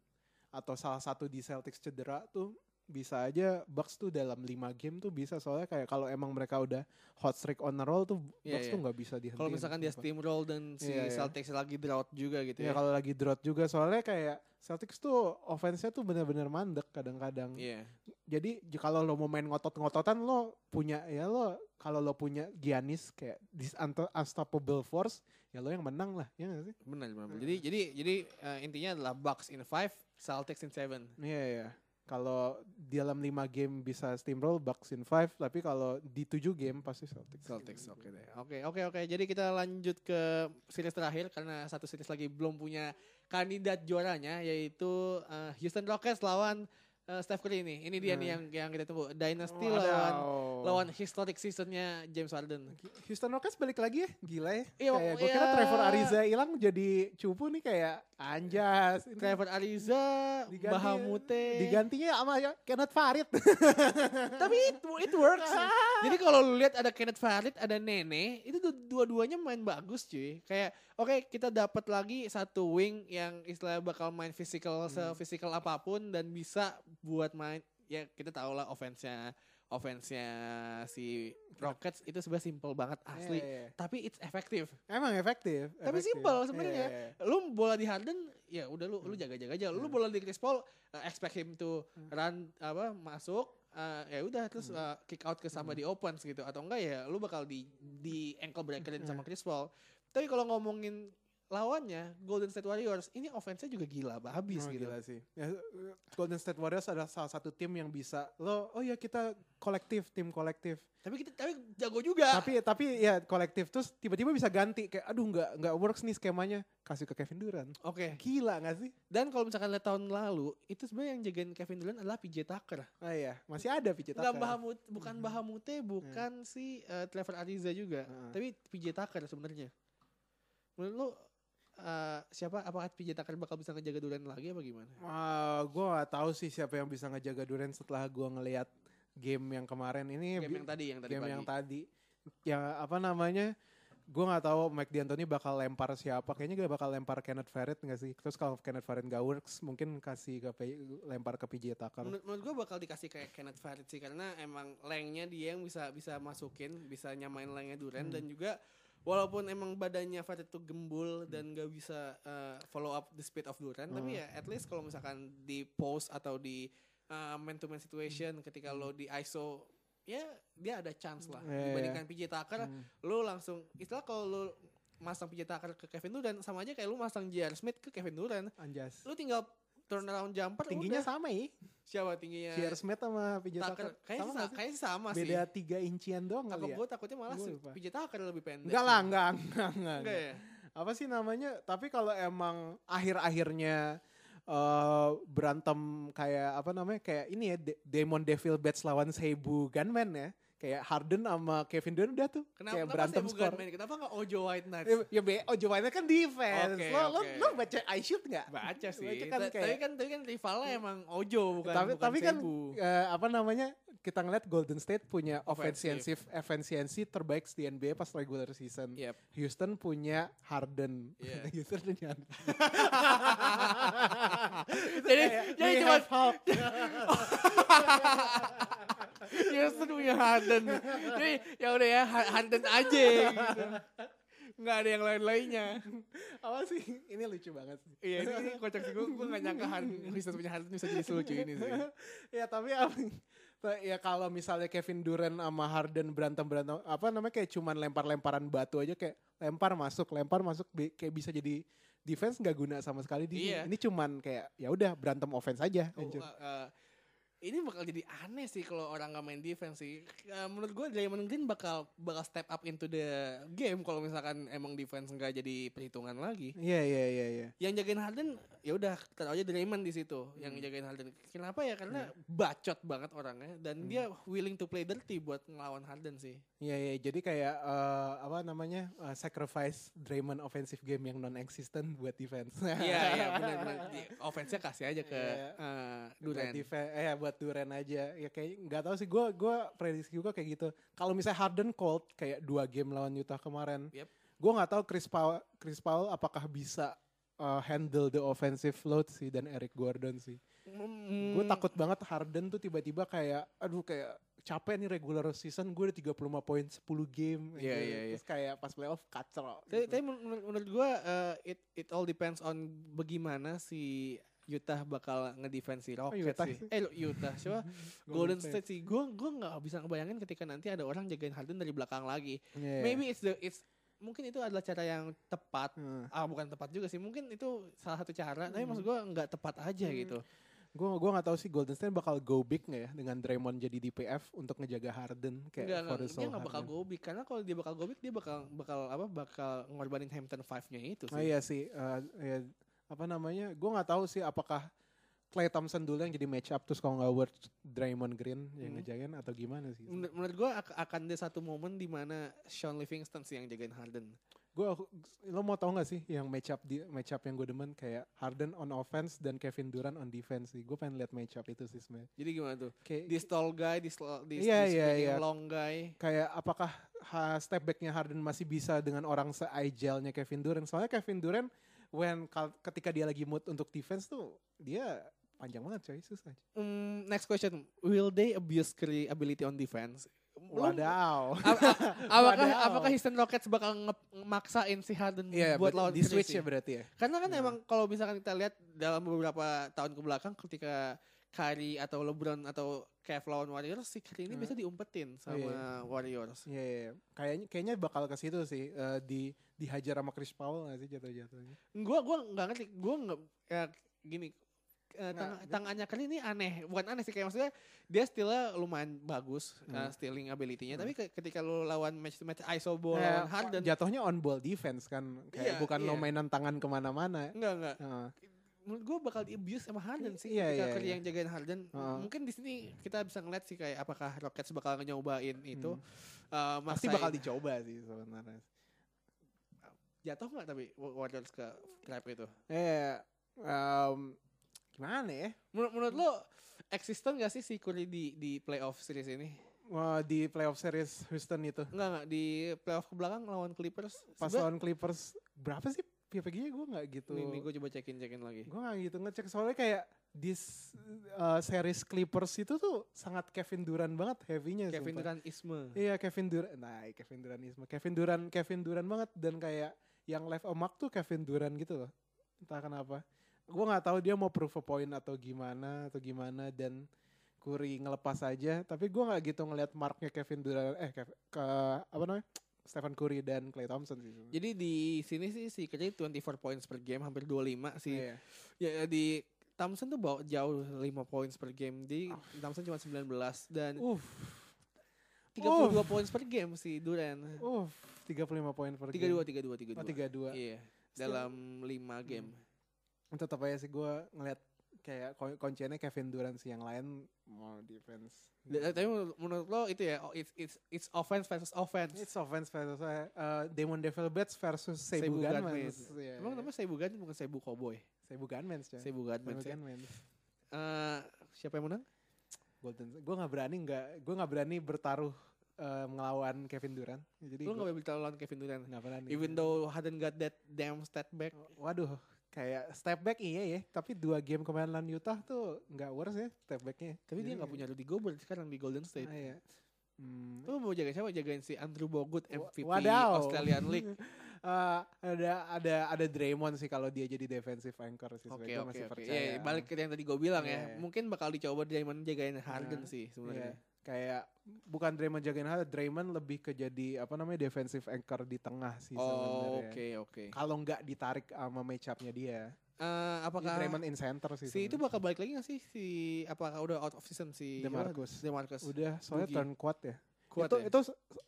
[SPEAKER 2] atau salah satu di Celtics cedera tuh bisa aja Bucks tuh dalam 5 game tuh bisa soalnya kayak kalau emang mereka udah hot streak on a roll tuh
[SPEAKER 1] Iya,
[SPEAKER 2] Bucks
[SPEAKER 1] iya.
[SPEAKER 2] tuh nggak bisa dihentiin.
[SPEAKER 1] Kalau misalkan dia
[SPEAKER 2] Kenapa?
[SPEAKER 1] steamroll dan si
[SPEAKER 2] Iya, iya.
[SPEAKER 1] Celtics lagi drought juga gitu
[SPEAKER 2] Ya
[SPEAKER 1] ya.
[SPEAKER 2] kalau lagi drought juga soalnya kayak Celtics tuh offense-nya tuh bener-bener mandek kadang-kadang.
[SPEAKER 1] Iya.
[SPEAKER 2] Jadi j- kalau lo mau main ngotot-ngototan lo punya ya lo kalau lo punya Giannis kayak this unto- unstoppable force ya lo yang menang lah ya gak sih?
[SPEAKER 1] Benar, benar. Jadi jadi jadi eh, intinya adalah Bucks in 5, Celtics in 7.
[SPEAKER 2] Iya iya. Kalau di dalam 5 game bisa steamroll Bucks in 5 tapi kalau di 7 game pasti Celtics.
[SPEAKER 1] Celtics, oke deh. Oke, oke, oke. Jadi kita lanjut ke series terakhir karena satu series lagi belum punya kandidat juaranya yaitu eh, Houston Rockets lawan eh, Steph Curry ini. Ini dia nih
[SPEAKER 2] Nah.
[SPEAKER 1] yang yang kita tunggu. Dynasty
[SPEAKER 2] Wadaw.
[SPEAKER 1] lawan lawan historic seasonnya James
[SPEAKER 2] [LAUGHS]
[SPEAKER 1] Harden.
[SPEAKER 2] Houston Rockets balik lagi ya, gila ya.
[SPEAKER 1] Iya,
[SPEAKER 2] kayak
[SPEAKER 1] wak-
[SPEAKER 2] gue kira
[SPEAKER 1] iya.
[SPEAKER 2] Trevor Ariza hilang jadi cupu nih kayak anjas. Ini
[SPEAKER 1] Trevor Ariza,
[SPEAKER 2] diganti-
[SPEAKER 1] Bahamute.
[SPEAKER 2] Digantinya sama ya Kenneth Farid.
[SPEAKER 1] Tapi it, it works. Jadi kalau lu lihat ada Kenneth Farid, ada Nene, itu du- dua-duanya main bagus cuy. Kayak oke kita dapat lagi satu wing yang istilahnya bakal main physical se
[SPEAKER 2] Hmm.
[SPEAKER 1] physical apapun dan bisa buat main ya kita tahu lah offense-nya offense-nya si Rockets itu sebenarnya simple banget asli.
[SPEAKER 2] Iya, iya.
[SPEAKER 1] Tapi it's efektif.
[SPEAKER 2] Emang efektif.
[SPEAKER 1] Tapi
[SPEAKER 2] efektif.
[SPEAKER 1] simple sebenarnya.
[SPEAKER 2] Iya, iya.
[SPEAKER 1] Lu bola di Harden, ya udah lu
[SPEAKER 2] Hmm.
[SPEAKER 1] lu jaga-jaga aja. Lu bola di Chris Paul, uh, expect him to run apa masuk uh, ya udah terus
[SPEAKER 2] Hmm.
[SPEAKER 1] uh, kick out ke sama di opens gitu atau enggak ya lu bakal di di ankle breakerin
[SPEAKER 2] Hmm.
[SPEAKER 1] sama Chris Paul. Tapi kalau ngomongin lawannya Golden State Warriors, ini offense-nya juga gila
[SPEAKER 2] Oh,
[SPEAKER 1] habis gitu.
[SPEAKER 2] gila sih. Ya, eh, Golden State Warriors adalah salah satu tim yang bisa lo oh ya kita kolektif, tim kolektif.
[SPEAKER 1] Tapi kita tapi jago juga.
[SPEAKER 2] tapi tapi ya kolektif terus tiba-tiba bisa ganti kayak aduh nggak nggak works nih skemanya kasih ke Kevin Durant
[SPEAKER 1] Oke.
[SPEAKER 2] gila nggak sih
[SPEAKER 1] Dan kalau misalkan lihat tahun lalu, itu sebenarnya yang jagain Kevin Durant adalah PJ Tucker.
[SPEAKER 2] ah iya masih ada pijat
[SPEAKER 1] Enggak
[SPEAKER 2] Tucker.
[SPEAKER 1] Bahamut, bukan
[SPEAKER 2] Mm-hmm.
[SPEAKER 1] Bahamute, bukan si eh, Trevor Ariza juga,
[SPEAKER 2] Heeh.
[SPEAKER 1] tapi PJ Tucker sebenarnya. Menurut lu eh, siapa apakah PJ Tucker bakal bisa ngejaga Duran lagi apa gimana?
[SPEAKER 2] Wah, gue gak Ah, tahu sih siapa yang bisa ngejaga Durant setelah gue ngelihat game yang kemarin ini
[SPEAKER 1] Game yang tadi yang tadi
[SPEAKER 2] game
[SPEAKER 1] pagi.
[SPEAKER 2] yang tadi ya apa namanya gue nggak tahu Mike D'Antoni bakal lempar siapa kayaknya dia bakal lempar Kenneth Farid nggak sih terus kalau Kenneth Farid nggak works mungkin kasih ke P- lempar ke PJ Tucker
[SPEAKER 1] Menurut, gue bakal dikasih kayak Kenneth Farid sih karena emang lengnya dia yang bisa bisa masukin, bisa nyamain lengnya
[SPEAKER 2] Hmm.
[SPEAKER 1] Duran dan juga walaupun emang badannya Farid tuh
[SPEAKER 2] Hmm.
[SPEAKER 1] gembul dan gak bisa eh, follow up the speed of Duran, tapi ya at least kalau misalkan di post atau di man to man
[SPEAKER 2] Hmm.
[SPEAKER 1] situation ketika lo di ISO ya dia ada chance lah
[SPEAKER 2] Iya, iya.
[SPEAKER 1] dibandingkan PJ Tucker
[SPEAKER 2] Hmm.
[SPEAKER 1] lo langsung istilah kalau lo masang PJ Tucker ke Kevin Durant sama aja kayak lo masang JR Smith ke Kevin Durant
[SPEAKER 2] anjas
[SPEAKER 1] lo tinggal turn around jumper
[SPEAKER 2] tingginya
[SPEAKER 1] udah.
[SPEAKER 2] sama ya
[SPEAKER 1] siapa tingginya
[SPEAKER 2] J.R. Smith sama PJ
[SPEAKER 1] Tucker
[SPEAKER 2] Tucker
[SPEAKER 1] kayaknya
[SPEAKER 2] sama
[SPEAKER 1] sama,
[SPEAKER 2] nggak sih?
[SPEAKER 1] kayaknya sama sih.
[SPEAKER 2] beda tiga incian doang
[SPEAKER 1] Apa
[SPEAKER 2] kali ya?
[SPEAKER 1] gue takutnya malah
[SPEAKER 2] Gua
[SPEAKER 1] si
[SPEAKER 2] lupa.
[SPEAKER 1] PJ Tucker lebih pendek.
[SPEAKER 2] Enggak lah, enggak, enggak, enggak.
[SPEAKER 1] Enggak ya?
[SPEAKER 2] Apa sih namanya? Tapi kalau emang akhir-akhirnya eh berantem kayak apa namanya? Kayak ini ya, De- Demon Devil Bats lawan Seibu Gunman ya. Kayak Harden sama Kevin Durant udah tuh.
[SPEAKER 1] Kenapa,
[SPEAKER 2] kayak
[SPEAKER 1] kenapa
[SPEAKER 2] berantem
[SPEAKER 1] saya bukan
[SPEAKER 2] skor.
[SPEAKER 1] main? Kenapa gak Ojo White Knight?
[SPEAKER 2] Ya, Ya, be, oh jawabannya kan defense.
[SPEAKER 1] Oke,
[SPEAKER 2] lo, lo,
[SPEAKER 1] oke.
[SPEAKER 2] lo baca I shoot nggak?
[SPEAKER 1] Baca sih.
[SPEAKER 2] Baca kan
[SPEAKER 1] Ta-
[SPEAKER 2] kayak- Iya.
[SPEAKER 1] tapi kan tapi kan rivalnya emang Ojo bukan
[SPEAKER 2] tapi
[SPEAKER 1] bukan
[SPEAKER 2] tapi kan
[SPEAKER 1] Sebu.
[SPEAKER 2] eh, apa namanya kita ngeliat Golden State punya
[SPEAKER 1] Offensive.
[SPEAKER 2] offensive efisiensi terbaik di NBA pas regular season.
[SPEAKER 1] Yep.
[SPEAKER 2] Houston punya Harden.
[SPEAKER 1] Iya.
[SPEAKER 2] [LAUGHS] Houston punya
[SPEAKER 1] [LAUGHS]
[SPEAKER 2] Harden.
[SPEAKER 1] jadi jadi
[SPEAKER 2] We
[SPEAKER 1] cuma
[SPEAKER 2] have hope.
[SPEAKER 1] Houston punya Iya, ya, Harden. jadi ya udah ya Ha- Harden aja gitu. Nggak ada yang lain-lainnya.
[SPEAKER 2] apa sih? Ini lucu banget sih.
[SPEAKER 1] Iya ini, ini kocak sih gue. Gue gak nyangka Harden, Houston punya Harden bisa jadi selucu ini sih.
[SPEAKER 2] ya tapi apa- T- ya kalau misalnya Kevin Durant sama Harden berantem berantem apa namanya kayak cuman lempar lemparan batu aja kayak lempar masuk lempar masuk bi- kayak bisa jadi defense nggak guna sama sekali di
[SPEAKER 1] Iya.
[SPEAKER 2] sini. ini cuman kayak ya udah berantem offense aja
[SPEAKER 1] Oh,
[SPEAKER 2] anjir.
[SPEAKER 1] eh, eh, ini bakal jadi aneh sih kalau orang nggak main defense sih. Eh, menurut gue Draymond Green bakal bakal step up into the game kalau misalkan emang defense nggak jadi perhitungan lagi.
[SPEAKER 2] Iya iya iya iya.
[SPEAKER 1] Yang jagain Harden ya udah taruh aja Draymond di situ yang
[SPEAKER 2] Hmm.
[SPEAKER 1] jagain Harden. Kenapa ya? Karena bacot banget orangnya dan
[SPEAKER 2] Iya. Hmm.
[SPEAKER 1] dia willing to play dirty buat ngelawan Harden
[SPEAKER 2] [LAUGHS]
[SPEAKER 1] sih.
[SPEAKER 2] Iya iya jadi kayak eh, apa namanya eh, sacrifice Draymond offensive game yang non existent buat defense. [LAUGHS]
[SPEAKER 1] Iya iya benar-benar Di- offense-nya kasih aja ke
[SPEAKER 2] Iya.
[SPEAKER 1] eh,
[SPEAKER 2] Buat
[SPEAKER 1] Durant.
[SPEAKER 2] defe- eh buat Duren aja. Ya kayak nggak tahu sih gue gua prediksi gue kayak gitu. Kalau misalnya Harden cold kayak dua game lawan Utah kemarin.
[SPEAKER 1] Yep.
[SPEAKER 2] Gue nggak tahu Chris Paul Chris Paul apakah bisa uh, handle the offensive load sih dan Eric Gordon sih. Gue
[SPEAKER 1] Mm,
[SPEAKER 2] takut banget Harden tuh tiba-tiba kayak aduh kayak capek nih regular season gue udah 35 poin 10 game
[SPEAKER 1] Iya,
[SPEAKER 2] gitu.
[SPEAKER 1] iya, iya.
[SPEAKER 2] terus kayak pas playoff kacau
[SPEAKER 1] Tapi,
[SPEAKER 2] gitu.
[SPEAKER 1] tapi menur- menur- menurut gue it it all depends on bagaimana si Utah bakal ngedefense si Rockets
[SPEAKER 2] Utah
[SPEAKER 1] sih.
[SPEAKER 2] sih.
[SPEAKER 1] Eh lo- Utah siapa?
[SPEAKER 2] [LAUGHS] Golden
[SPEAKER 1] Golden State sih. Gue gue nggak bisa ngebayangin ketika nanti ada orang jagain Harden dari belakang lagi.
[SPEAKER 2] Iya, iya.
[SPEAKER 1] Maybe it's the it's mungkin itu adalah cara yang tepat.
[SPEAKER 2] Heeh.
[SPEAKER 1] Ah bukan tepat juga sih. Mungkin itu salah satu cara. Tapi
[SPEAKER 2] Hmm.
[SPEAKER 1] maksud gue nggak tepat aja
[SPEAKER 2] Hmm.
[SPEAKER 1] gitu.
[SPEAKER 2] Gue gua nggak tahu sih Golden State bakal go big nggak ya dengan Draymond jadi DPF untuk ngejaga Harden kayak
[SPEAKER 1] Nggak,
[SPEAKER 2] for
[SPEAKER 1] nggak,
[SPEAKER 2] his
[SPEAKER 1] dia
[SPEAKER 2] soul
[SPEAKER 1] nggak bakal
[SPEAKER 2] Harden.
[SPEAKER 1] go big karena kalau dia bakal go big dia bakal bakal apa bakal ngorbanin Hampton Five-nya itu
[SPEAKER 2] Oh
[SPEAKER 1] sih.
[SPEAKER 2] iya sih, eh, ya, apa namanya? Gue nggak tahu sih apakah Clay Thompson dulu yang jadi match up terus kalau nggak Howard Draymond Green yang
[SPEAKER 1] Hmm.
[SPEAKER 2] ngejagain atau gimana sih?
[SPEAKER 1] Menur- menurut gue akan ada satu momen di mana Sean Livingston sih yang jagain Harden.
[SPEAKER 2] Gue lo mau tau nggak sih yang match up di match up yang gue demen kayak Harden on offense dan Kevin Durant on defense sih. Gue pengen lihat match up itu sih sebenarnya.
[SPEAKER 1] Jadi gimana tuh?
[SPEAKER 2] Kayak
[SPEAKER 1] This tall guy, this, lo- this,
[SPEAKER 2] Iya,
[SPEAKER 1] this
[SPEAKER 2] iya,
[SPEAKER 1] really
[SPEAKER 2] iya.
[SPEAKER 1] long guy.
[SPEAKER 2] kayak apakah ha, step backnya Harden masih bisa dengan orang se-agile-nya Kevin Durant? Soalnya Kevin Durant when kal- ketika dia lagi mood untuk defense tuh dia panjang banget coy susah.
[SPEAKER 1] Mm, next question, will they abuse Curry ability on defense? Lo-
[SPEAKER 2] [LAUGHS] Wadaw.
[SPEAKER 1] a- a- apakah
[SPEAKER 2] Wadaw.
[SPEAKER 1] apakah Houston Rockets bakal nge- ngemaksain si Harden
[SPEAKER 2] Iya,
[SPEAKER 1] buat
[SPEAKER 2] berarti
[SPEAKER 1] lawan
[SPEAKER 2] di
[SPEAKER 1] Curry
[SPEAKER 2] switch
[SPEAKER 1] sih?
[SPEAKER 2] ya berarti ya.
[SPEAKER 1] Karena kan
[SPEAKER 2] Nah.
[SPEAKER 1] emang kalau misalkan kita lihat dalam beberapa tahun ke belakang ketika Curry atau LeBron atau Kev lawan Warriors si Curry ini
[SPEAKER 2] Nah.
[SPEAKER 1] bisa diumpetin sama Warriors.
[SPEAKER 2] Iya, iya. kayaknya kayaknya bakal ke situ sih eh, di dihajar sama Chris Paul nggak sih jatuh-jatuhnya.
[SPEAKER 1] Gua gua nggak ngerti, gua nggak ya, gini eh, tang-
[SPEAKER 2] Nggak,
[SPEAKER 1] tangannya kali ini aneh, bukan aneh sih kayak maksudnya dia stillnya lumayan bagus eh,
[SPEAKER 2] Hmm.
[SPEAKER 1] stealing ability-nya,
[SPEAKER 2] Hmm.
[SPEAKER 1] tapi ke- ketika lu lawan match to match iso ball
[SPEAKER 2] Eh,
[SPEAKER 1] lawan Harden
[SPEAKER 2] Jatuhnya on ball defense kan,
[SPEAKER 1] Iya,
[SPEAKER 2] kayak bukan
[SPEAKER 1] iya.
[SPEAKER 2] lo mainan tangan kemana-mana.
[SPEAKER 1] enggak enggak.
[SPEAKER 2] Heeh.
[SPEAKER 1] Menurut gua bakal di abuse sama Harden sih
[SPEAKER 2] Iya,
[SPEAKER 1] ketika
[SPEAKER 2] iya,
[SPEAKER 1] Curry
[SPEAKER 2] iya.
[SPEAKER 1] yang jagain Harden.
[SPEAKER 2] Heeh.
[SPEAKER 1] Mungkin di sini kita bisa ngeliat sih kayak apakah Rockets bakal nyobain itu. eh,
[SPEAKER 2] Hmm. pasti
[SPEAKER 1] maksain.
[SPEAKER 2] bakal dicoba sih sebenarnya.
[SPEAKER 1] jatuh nggak tapi Warriors ke trap itu.
[SPEAKER 2] Eh, em, gimana ya?
[SPEAKER 1] Menurut, menurut lo eksisten gak sih si Curry di di playoff series ini?
[SPEAKER 2] Wah, eh, di playoff series Houston itu
[SPEAKER 1] Enggak enggak di playoff ke belakang lawan Clippers.
[SPEAKER 2] pas
[SPEAKER 1] Sebenernya-
[SPEAKER 2] lawan Clippers berapa sih PPG-nya gue nggak gitu.
[SPEAKER 1] Nih, nih gue coba cekin cekin lagi.
[SPEAKER 2] Gue gak gitu ngecek soalnya kayak di series Clippers itu tuh sangat Kevin Durant banget heavy-nya.
[SPEAKER 1] Kevin
[SPEAKER 2] sumpah.
[SPEAKER 1] Durant Isme.
[SPEAKER 2] Iya Kevin Durant, nah Kevin Durant Kevin Durant, Kevin Durant banget dan kayak yang left omak tuh Kevin Durant gitu loh. Entah kenapa. Gue nggak tahu dia mau proof a point atau gimana atau gimana dan Curry ngelepas aja. Tapi gue nggak gitu ngelihat marknya Kevin Durant, eh Kev- ke apa namanya Stephen Curry dan Clay Thompson sih. sebenarnya.
[SPEAKER 1] Jadi di sini sih si Curry 24 points per game hampir 25 sih. Ya,
[SPEAKER 2] Iya.
[SPEAKER 1] di Thompson tuh bawa jauh 5 points per game. Di
[SPEAKER 2] Ah.
[SPEAKER 1] Thompson cuma 19 dan
[SPEAKER 2] Uff,
[SPEAKER 1] 32 points per game si Durant.
[SPEAKER 2] uff, 35 poin per
[SPEAKER 1] 32
[SPEAKER 2] game.
[SPEAKER 1] 32 32.
[SPEAKER 2] Oh, 32.
[SPEAKER 1] Iya.
[SPEAKER 2] Still- Hmm.
[SPEAKER 1] Dalam 5 game.
[SPEAKER 2] Tetap aja sih gue ngeliat kayak kun- kunciannya Kevin Durant sih yang lain mau defense.
[SPEAKER 1] Da- Tapi menurut, menurut lo itu ya oh, it's it's it's offense versus offense.
[SPEAKER 2] It's offense versus uh, Demon Devil Bats versus
[SPEAKER 1] Seibu
[SPEAKER 2] Seibu, Gunmans.
[SPEAKER 1] Gunmans.
[SPEAKER 2] Iya,
[SPEAKER 1] Emang
[SPEAKER 2] iya.
[SPEAKER 1] namanya Seibu Gunman bukan Seibu Cowboy.
[SPEAKER 2] Seibu Gunmans, coy.
[SPEAKER 1] Seibu Gunman.
[SPEAKER 2] Iya. Seibu
[SPEAKER 1] sih.
[SPEAKER 2] Gunmans.
[SPEAKER 1] Eh, siapa yang menang?
[SPEAKER 2] Golden. Gue nggak berani nggak, gue nggak berani bertaruh eh, melawan Kevin Durant. Jadi
[SPEAKER 1] Lo
[SPEAKER 2] gua
[SPEAKER 1] gak bisa lawan Kevin Durant.
[SPEAKER 2] nggak berani. Oh,
[SPEAKER 1] Even though Harden got that damn step back.
[SPEAKER 2] Waduh, kayak step back iya ya. Tapi dua game kemarin lawan Utah tuh nggak worth ya step backnya.
[SPEAKER 1] Tapi dia
[SPEAKER 2] Jadi-
[SPEAKER 1] gak punya Rudy Gobert sekarang di Golden State.
[SPEAKER 2] Ah, iya. Hmm.
[SPEAKER 1] Lo mau jaga siapa? Jagain si Andrew Bogut
[SPEAKER 2] Wa-
[SPEAKER 1] MVP
[SPEAKER 2] wadaw.
[SPEAKER 1] Australian League.
[SPEAKER 2] [LAUGHS] eh, ada ada ada Draymond sih kalau dia jadi defensive anchor sih.
[SPEAKER 1] Oke
[SPEAKER 2] Sebenarnya gua
[SPEAKER 1] oke
[SPEAKER 2] masih
[SPEAKER 1] oke.
[SPEAKER 2] percaya.
[SPEAKER 1] Ya, balik ke yang tadi gue bilang
[SPEAKER 2] Iya,
[SPEAKER 1] ya.
[SPEAKER 2] iya.
[SPEAKER 1] Mungkin bakal dicoba Draymond jagain Harden
[SPEAKER 2] Nah,
[SPEAKER 1] sih
[SPEAKER 2] Iya.
[SPEAKER 1] sebenarnya.
[SPEAKER 2] Kayak bukan Draymond jagain hal, Draymond lebih ke jadi apa namanya defensive anchor di ya. tengah sih
[SPEAKER 1] Oh,
[SPEAKER 2] sebenarnya.
[SPEAKER 1] Oke oke.
[SPEAKER 2] Kalau nggak ditarik sama match up-nya dia.
[SPEAKER 1] Eh,
[SPEAKER 2] Ini
[SPEAKER 1] Apakah
[SPEAKER 2] Draymond in center sih.
[SPEAKER 1] si itu
[SPEAKER 2] sebenarnya.
[SPEAKER 1] bakal balik lagi gak sih si apakah udah out of season si
[SPEAKER 2] DeMarcus.
[SPEAKER 1] siapa? DeMarcus.
[SPEAKER 2] udah soalnya
[SPEAKER 1] Boogie.
[SPEAKER 2] turn kuat ya.
[SPEAKER 1] Kuat
[SPEAKER 2] itu
[SPEAKER 1] ya?
[SPEAKER 2] itu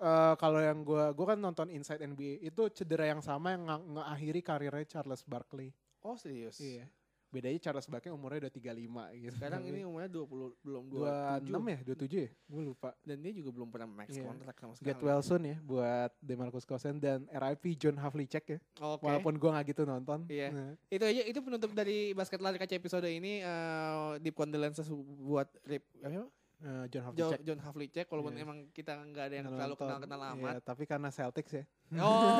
[SPEAKER 2] eh, kalau yang gua gua kan nonton Inside NBA itu cedera yang sama yang nge- ngeakhiri karirnya Charles Barkley.
[SPEAKER 1] Oh serius.
[SPEAKER 2] Iya. Bedanya Charles Barkley umurnya udah 35 gitu.
[SPEAKER 1] Sekarang ini umurnya 20 belum
[SPEAKER 2] 26
[SPEAKER 1] 27
[SPEAKER 2] ya, 27 ya? Gue lupa.
[SPEAKER 1] dan dia juga belum pernah max
[SPEAKER 2] Iya.
[SPEAKER 1] kontrak sama sekali.
[SPEAKER 2] Get well soon ya buat DeMarcus Cousins dan RIP John Havlicek ya.
[SPEAKER 1] Oke.
[SPEAKER 2] Walaupun gue gak gitu nonton.
[SPEAKER 1] Iya.
[SPEAKER 2] Nah,
[SPEAKER 1] Itu aja itu penutup dari basket lari kaca episode ini eh deep condolences buat Rip apa?
[SPEAKER 2] eh, John Havlicek.
[SPEAKER 1] Jo- John Havlicek walaupun
[SPEAKER 2] Iya.
[SPEAKER 1] emang kita nggak ada yang
[SPEAKER 2] nggak
[SPEAKER 1] terlalu
[SPEAKER 2] nonton.
[SPEAKER 1] kenal-kenal
[SPEAKER 2] Iya,
[SPEAKER 1] amat.
[SPEAKER 2] [LAUGHS] tapi karena Celtics [LAUGHS] ya.
[SPEAKER 1] Oh,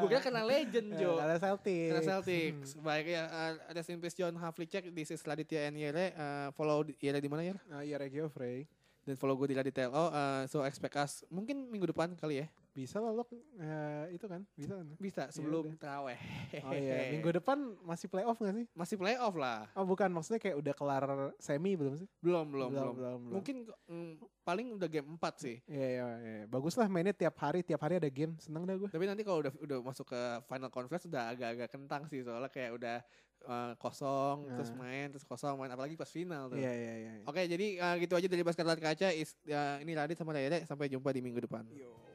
[SPEAKER 1] gue kira kenal legend
[SPEAKER 2] Eh,
[SPEAKER 1] Jo.
[SPEAKER 2] Karena Celtics.
[SPEAKER 1] Karena Celtics. Baik ya, uh, rest in peace John Havlicek. This is Raditya and Yere. Uh, follow di- Yere di mana ya?
[SPEAKER 2] Nah, ya Regio Frey.
[SPEAKER 1] Dan follow gue di Raditya LO. Uh, so expect us mungkin minggu depan kali ya.
[SPEAKER 2] Bisa lah lo eh, itu kan. Bisa kan.
[SPEAKER 1] Bisa sebelum teraweh.
[SPEAKER 2] Oh iya, [LAUGHS] minggu depan masih playoff gak sih?
[SPEAKER 1] Masih playoff lah.
[SPEAKER 2] Oh bukan, maksudnya kayak udah kelar semi belum sih?
[SPEAKER 1] Belum, belum, belum.
[SPEAKER 2] belum. belum,
[SPEAKER 1] Mungkin mm, paling udah game 4 sih.
[SPEAKER 2] Iya, iya, iya. Bagus lah mainnya tiap hari, tiap hari ada game. Seneng dah gue.
[SPEAKER 1] Tapi nanti kalau udah udah masuk ke final conference udah agak-agak kentang sih soalnya kayak udah uh, kosong terus
[SPEAKER 2] Nah.
[SPEAKER 1] main terus kosong main apalagi pas final tuh. eh,
[SPEAKER 2] Iya, iya, iya.
[SPEAKER 1] Oh, ya, Oke, jadi uh, gitu aja dari basket lari kaca. Is, uh, ini Radit sama Rere. Sampai jumpa di minggu depan.
[SPEAKER 2] Yo.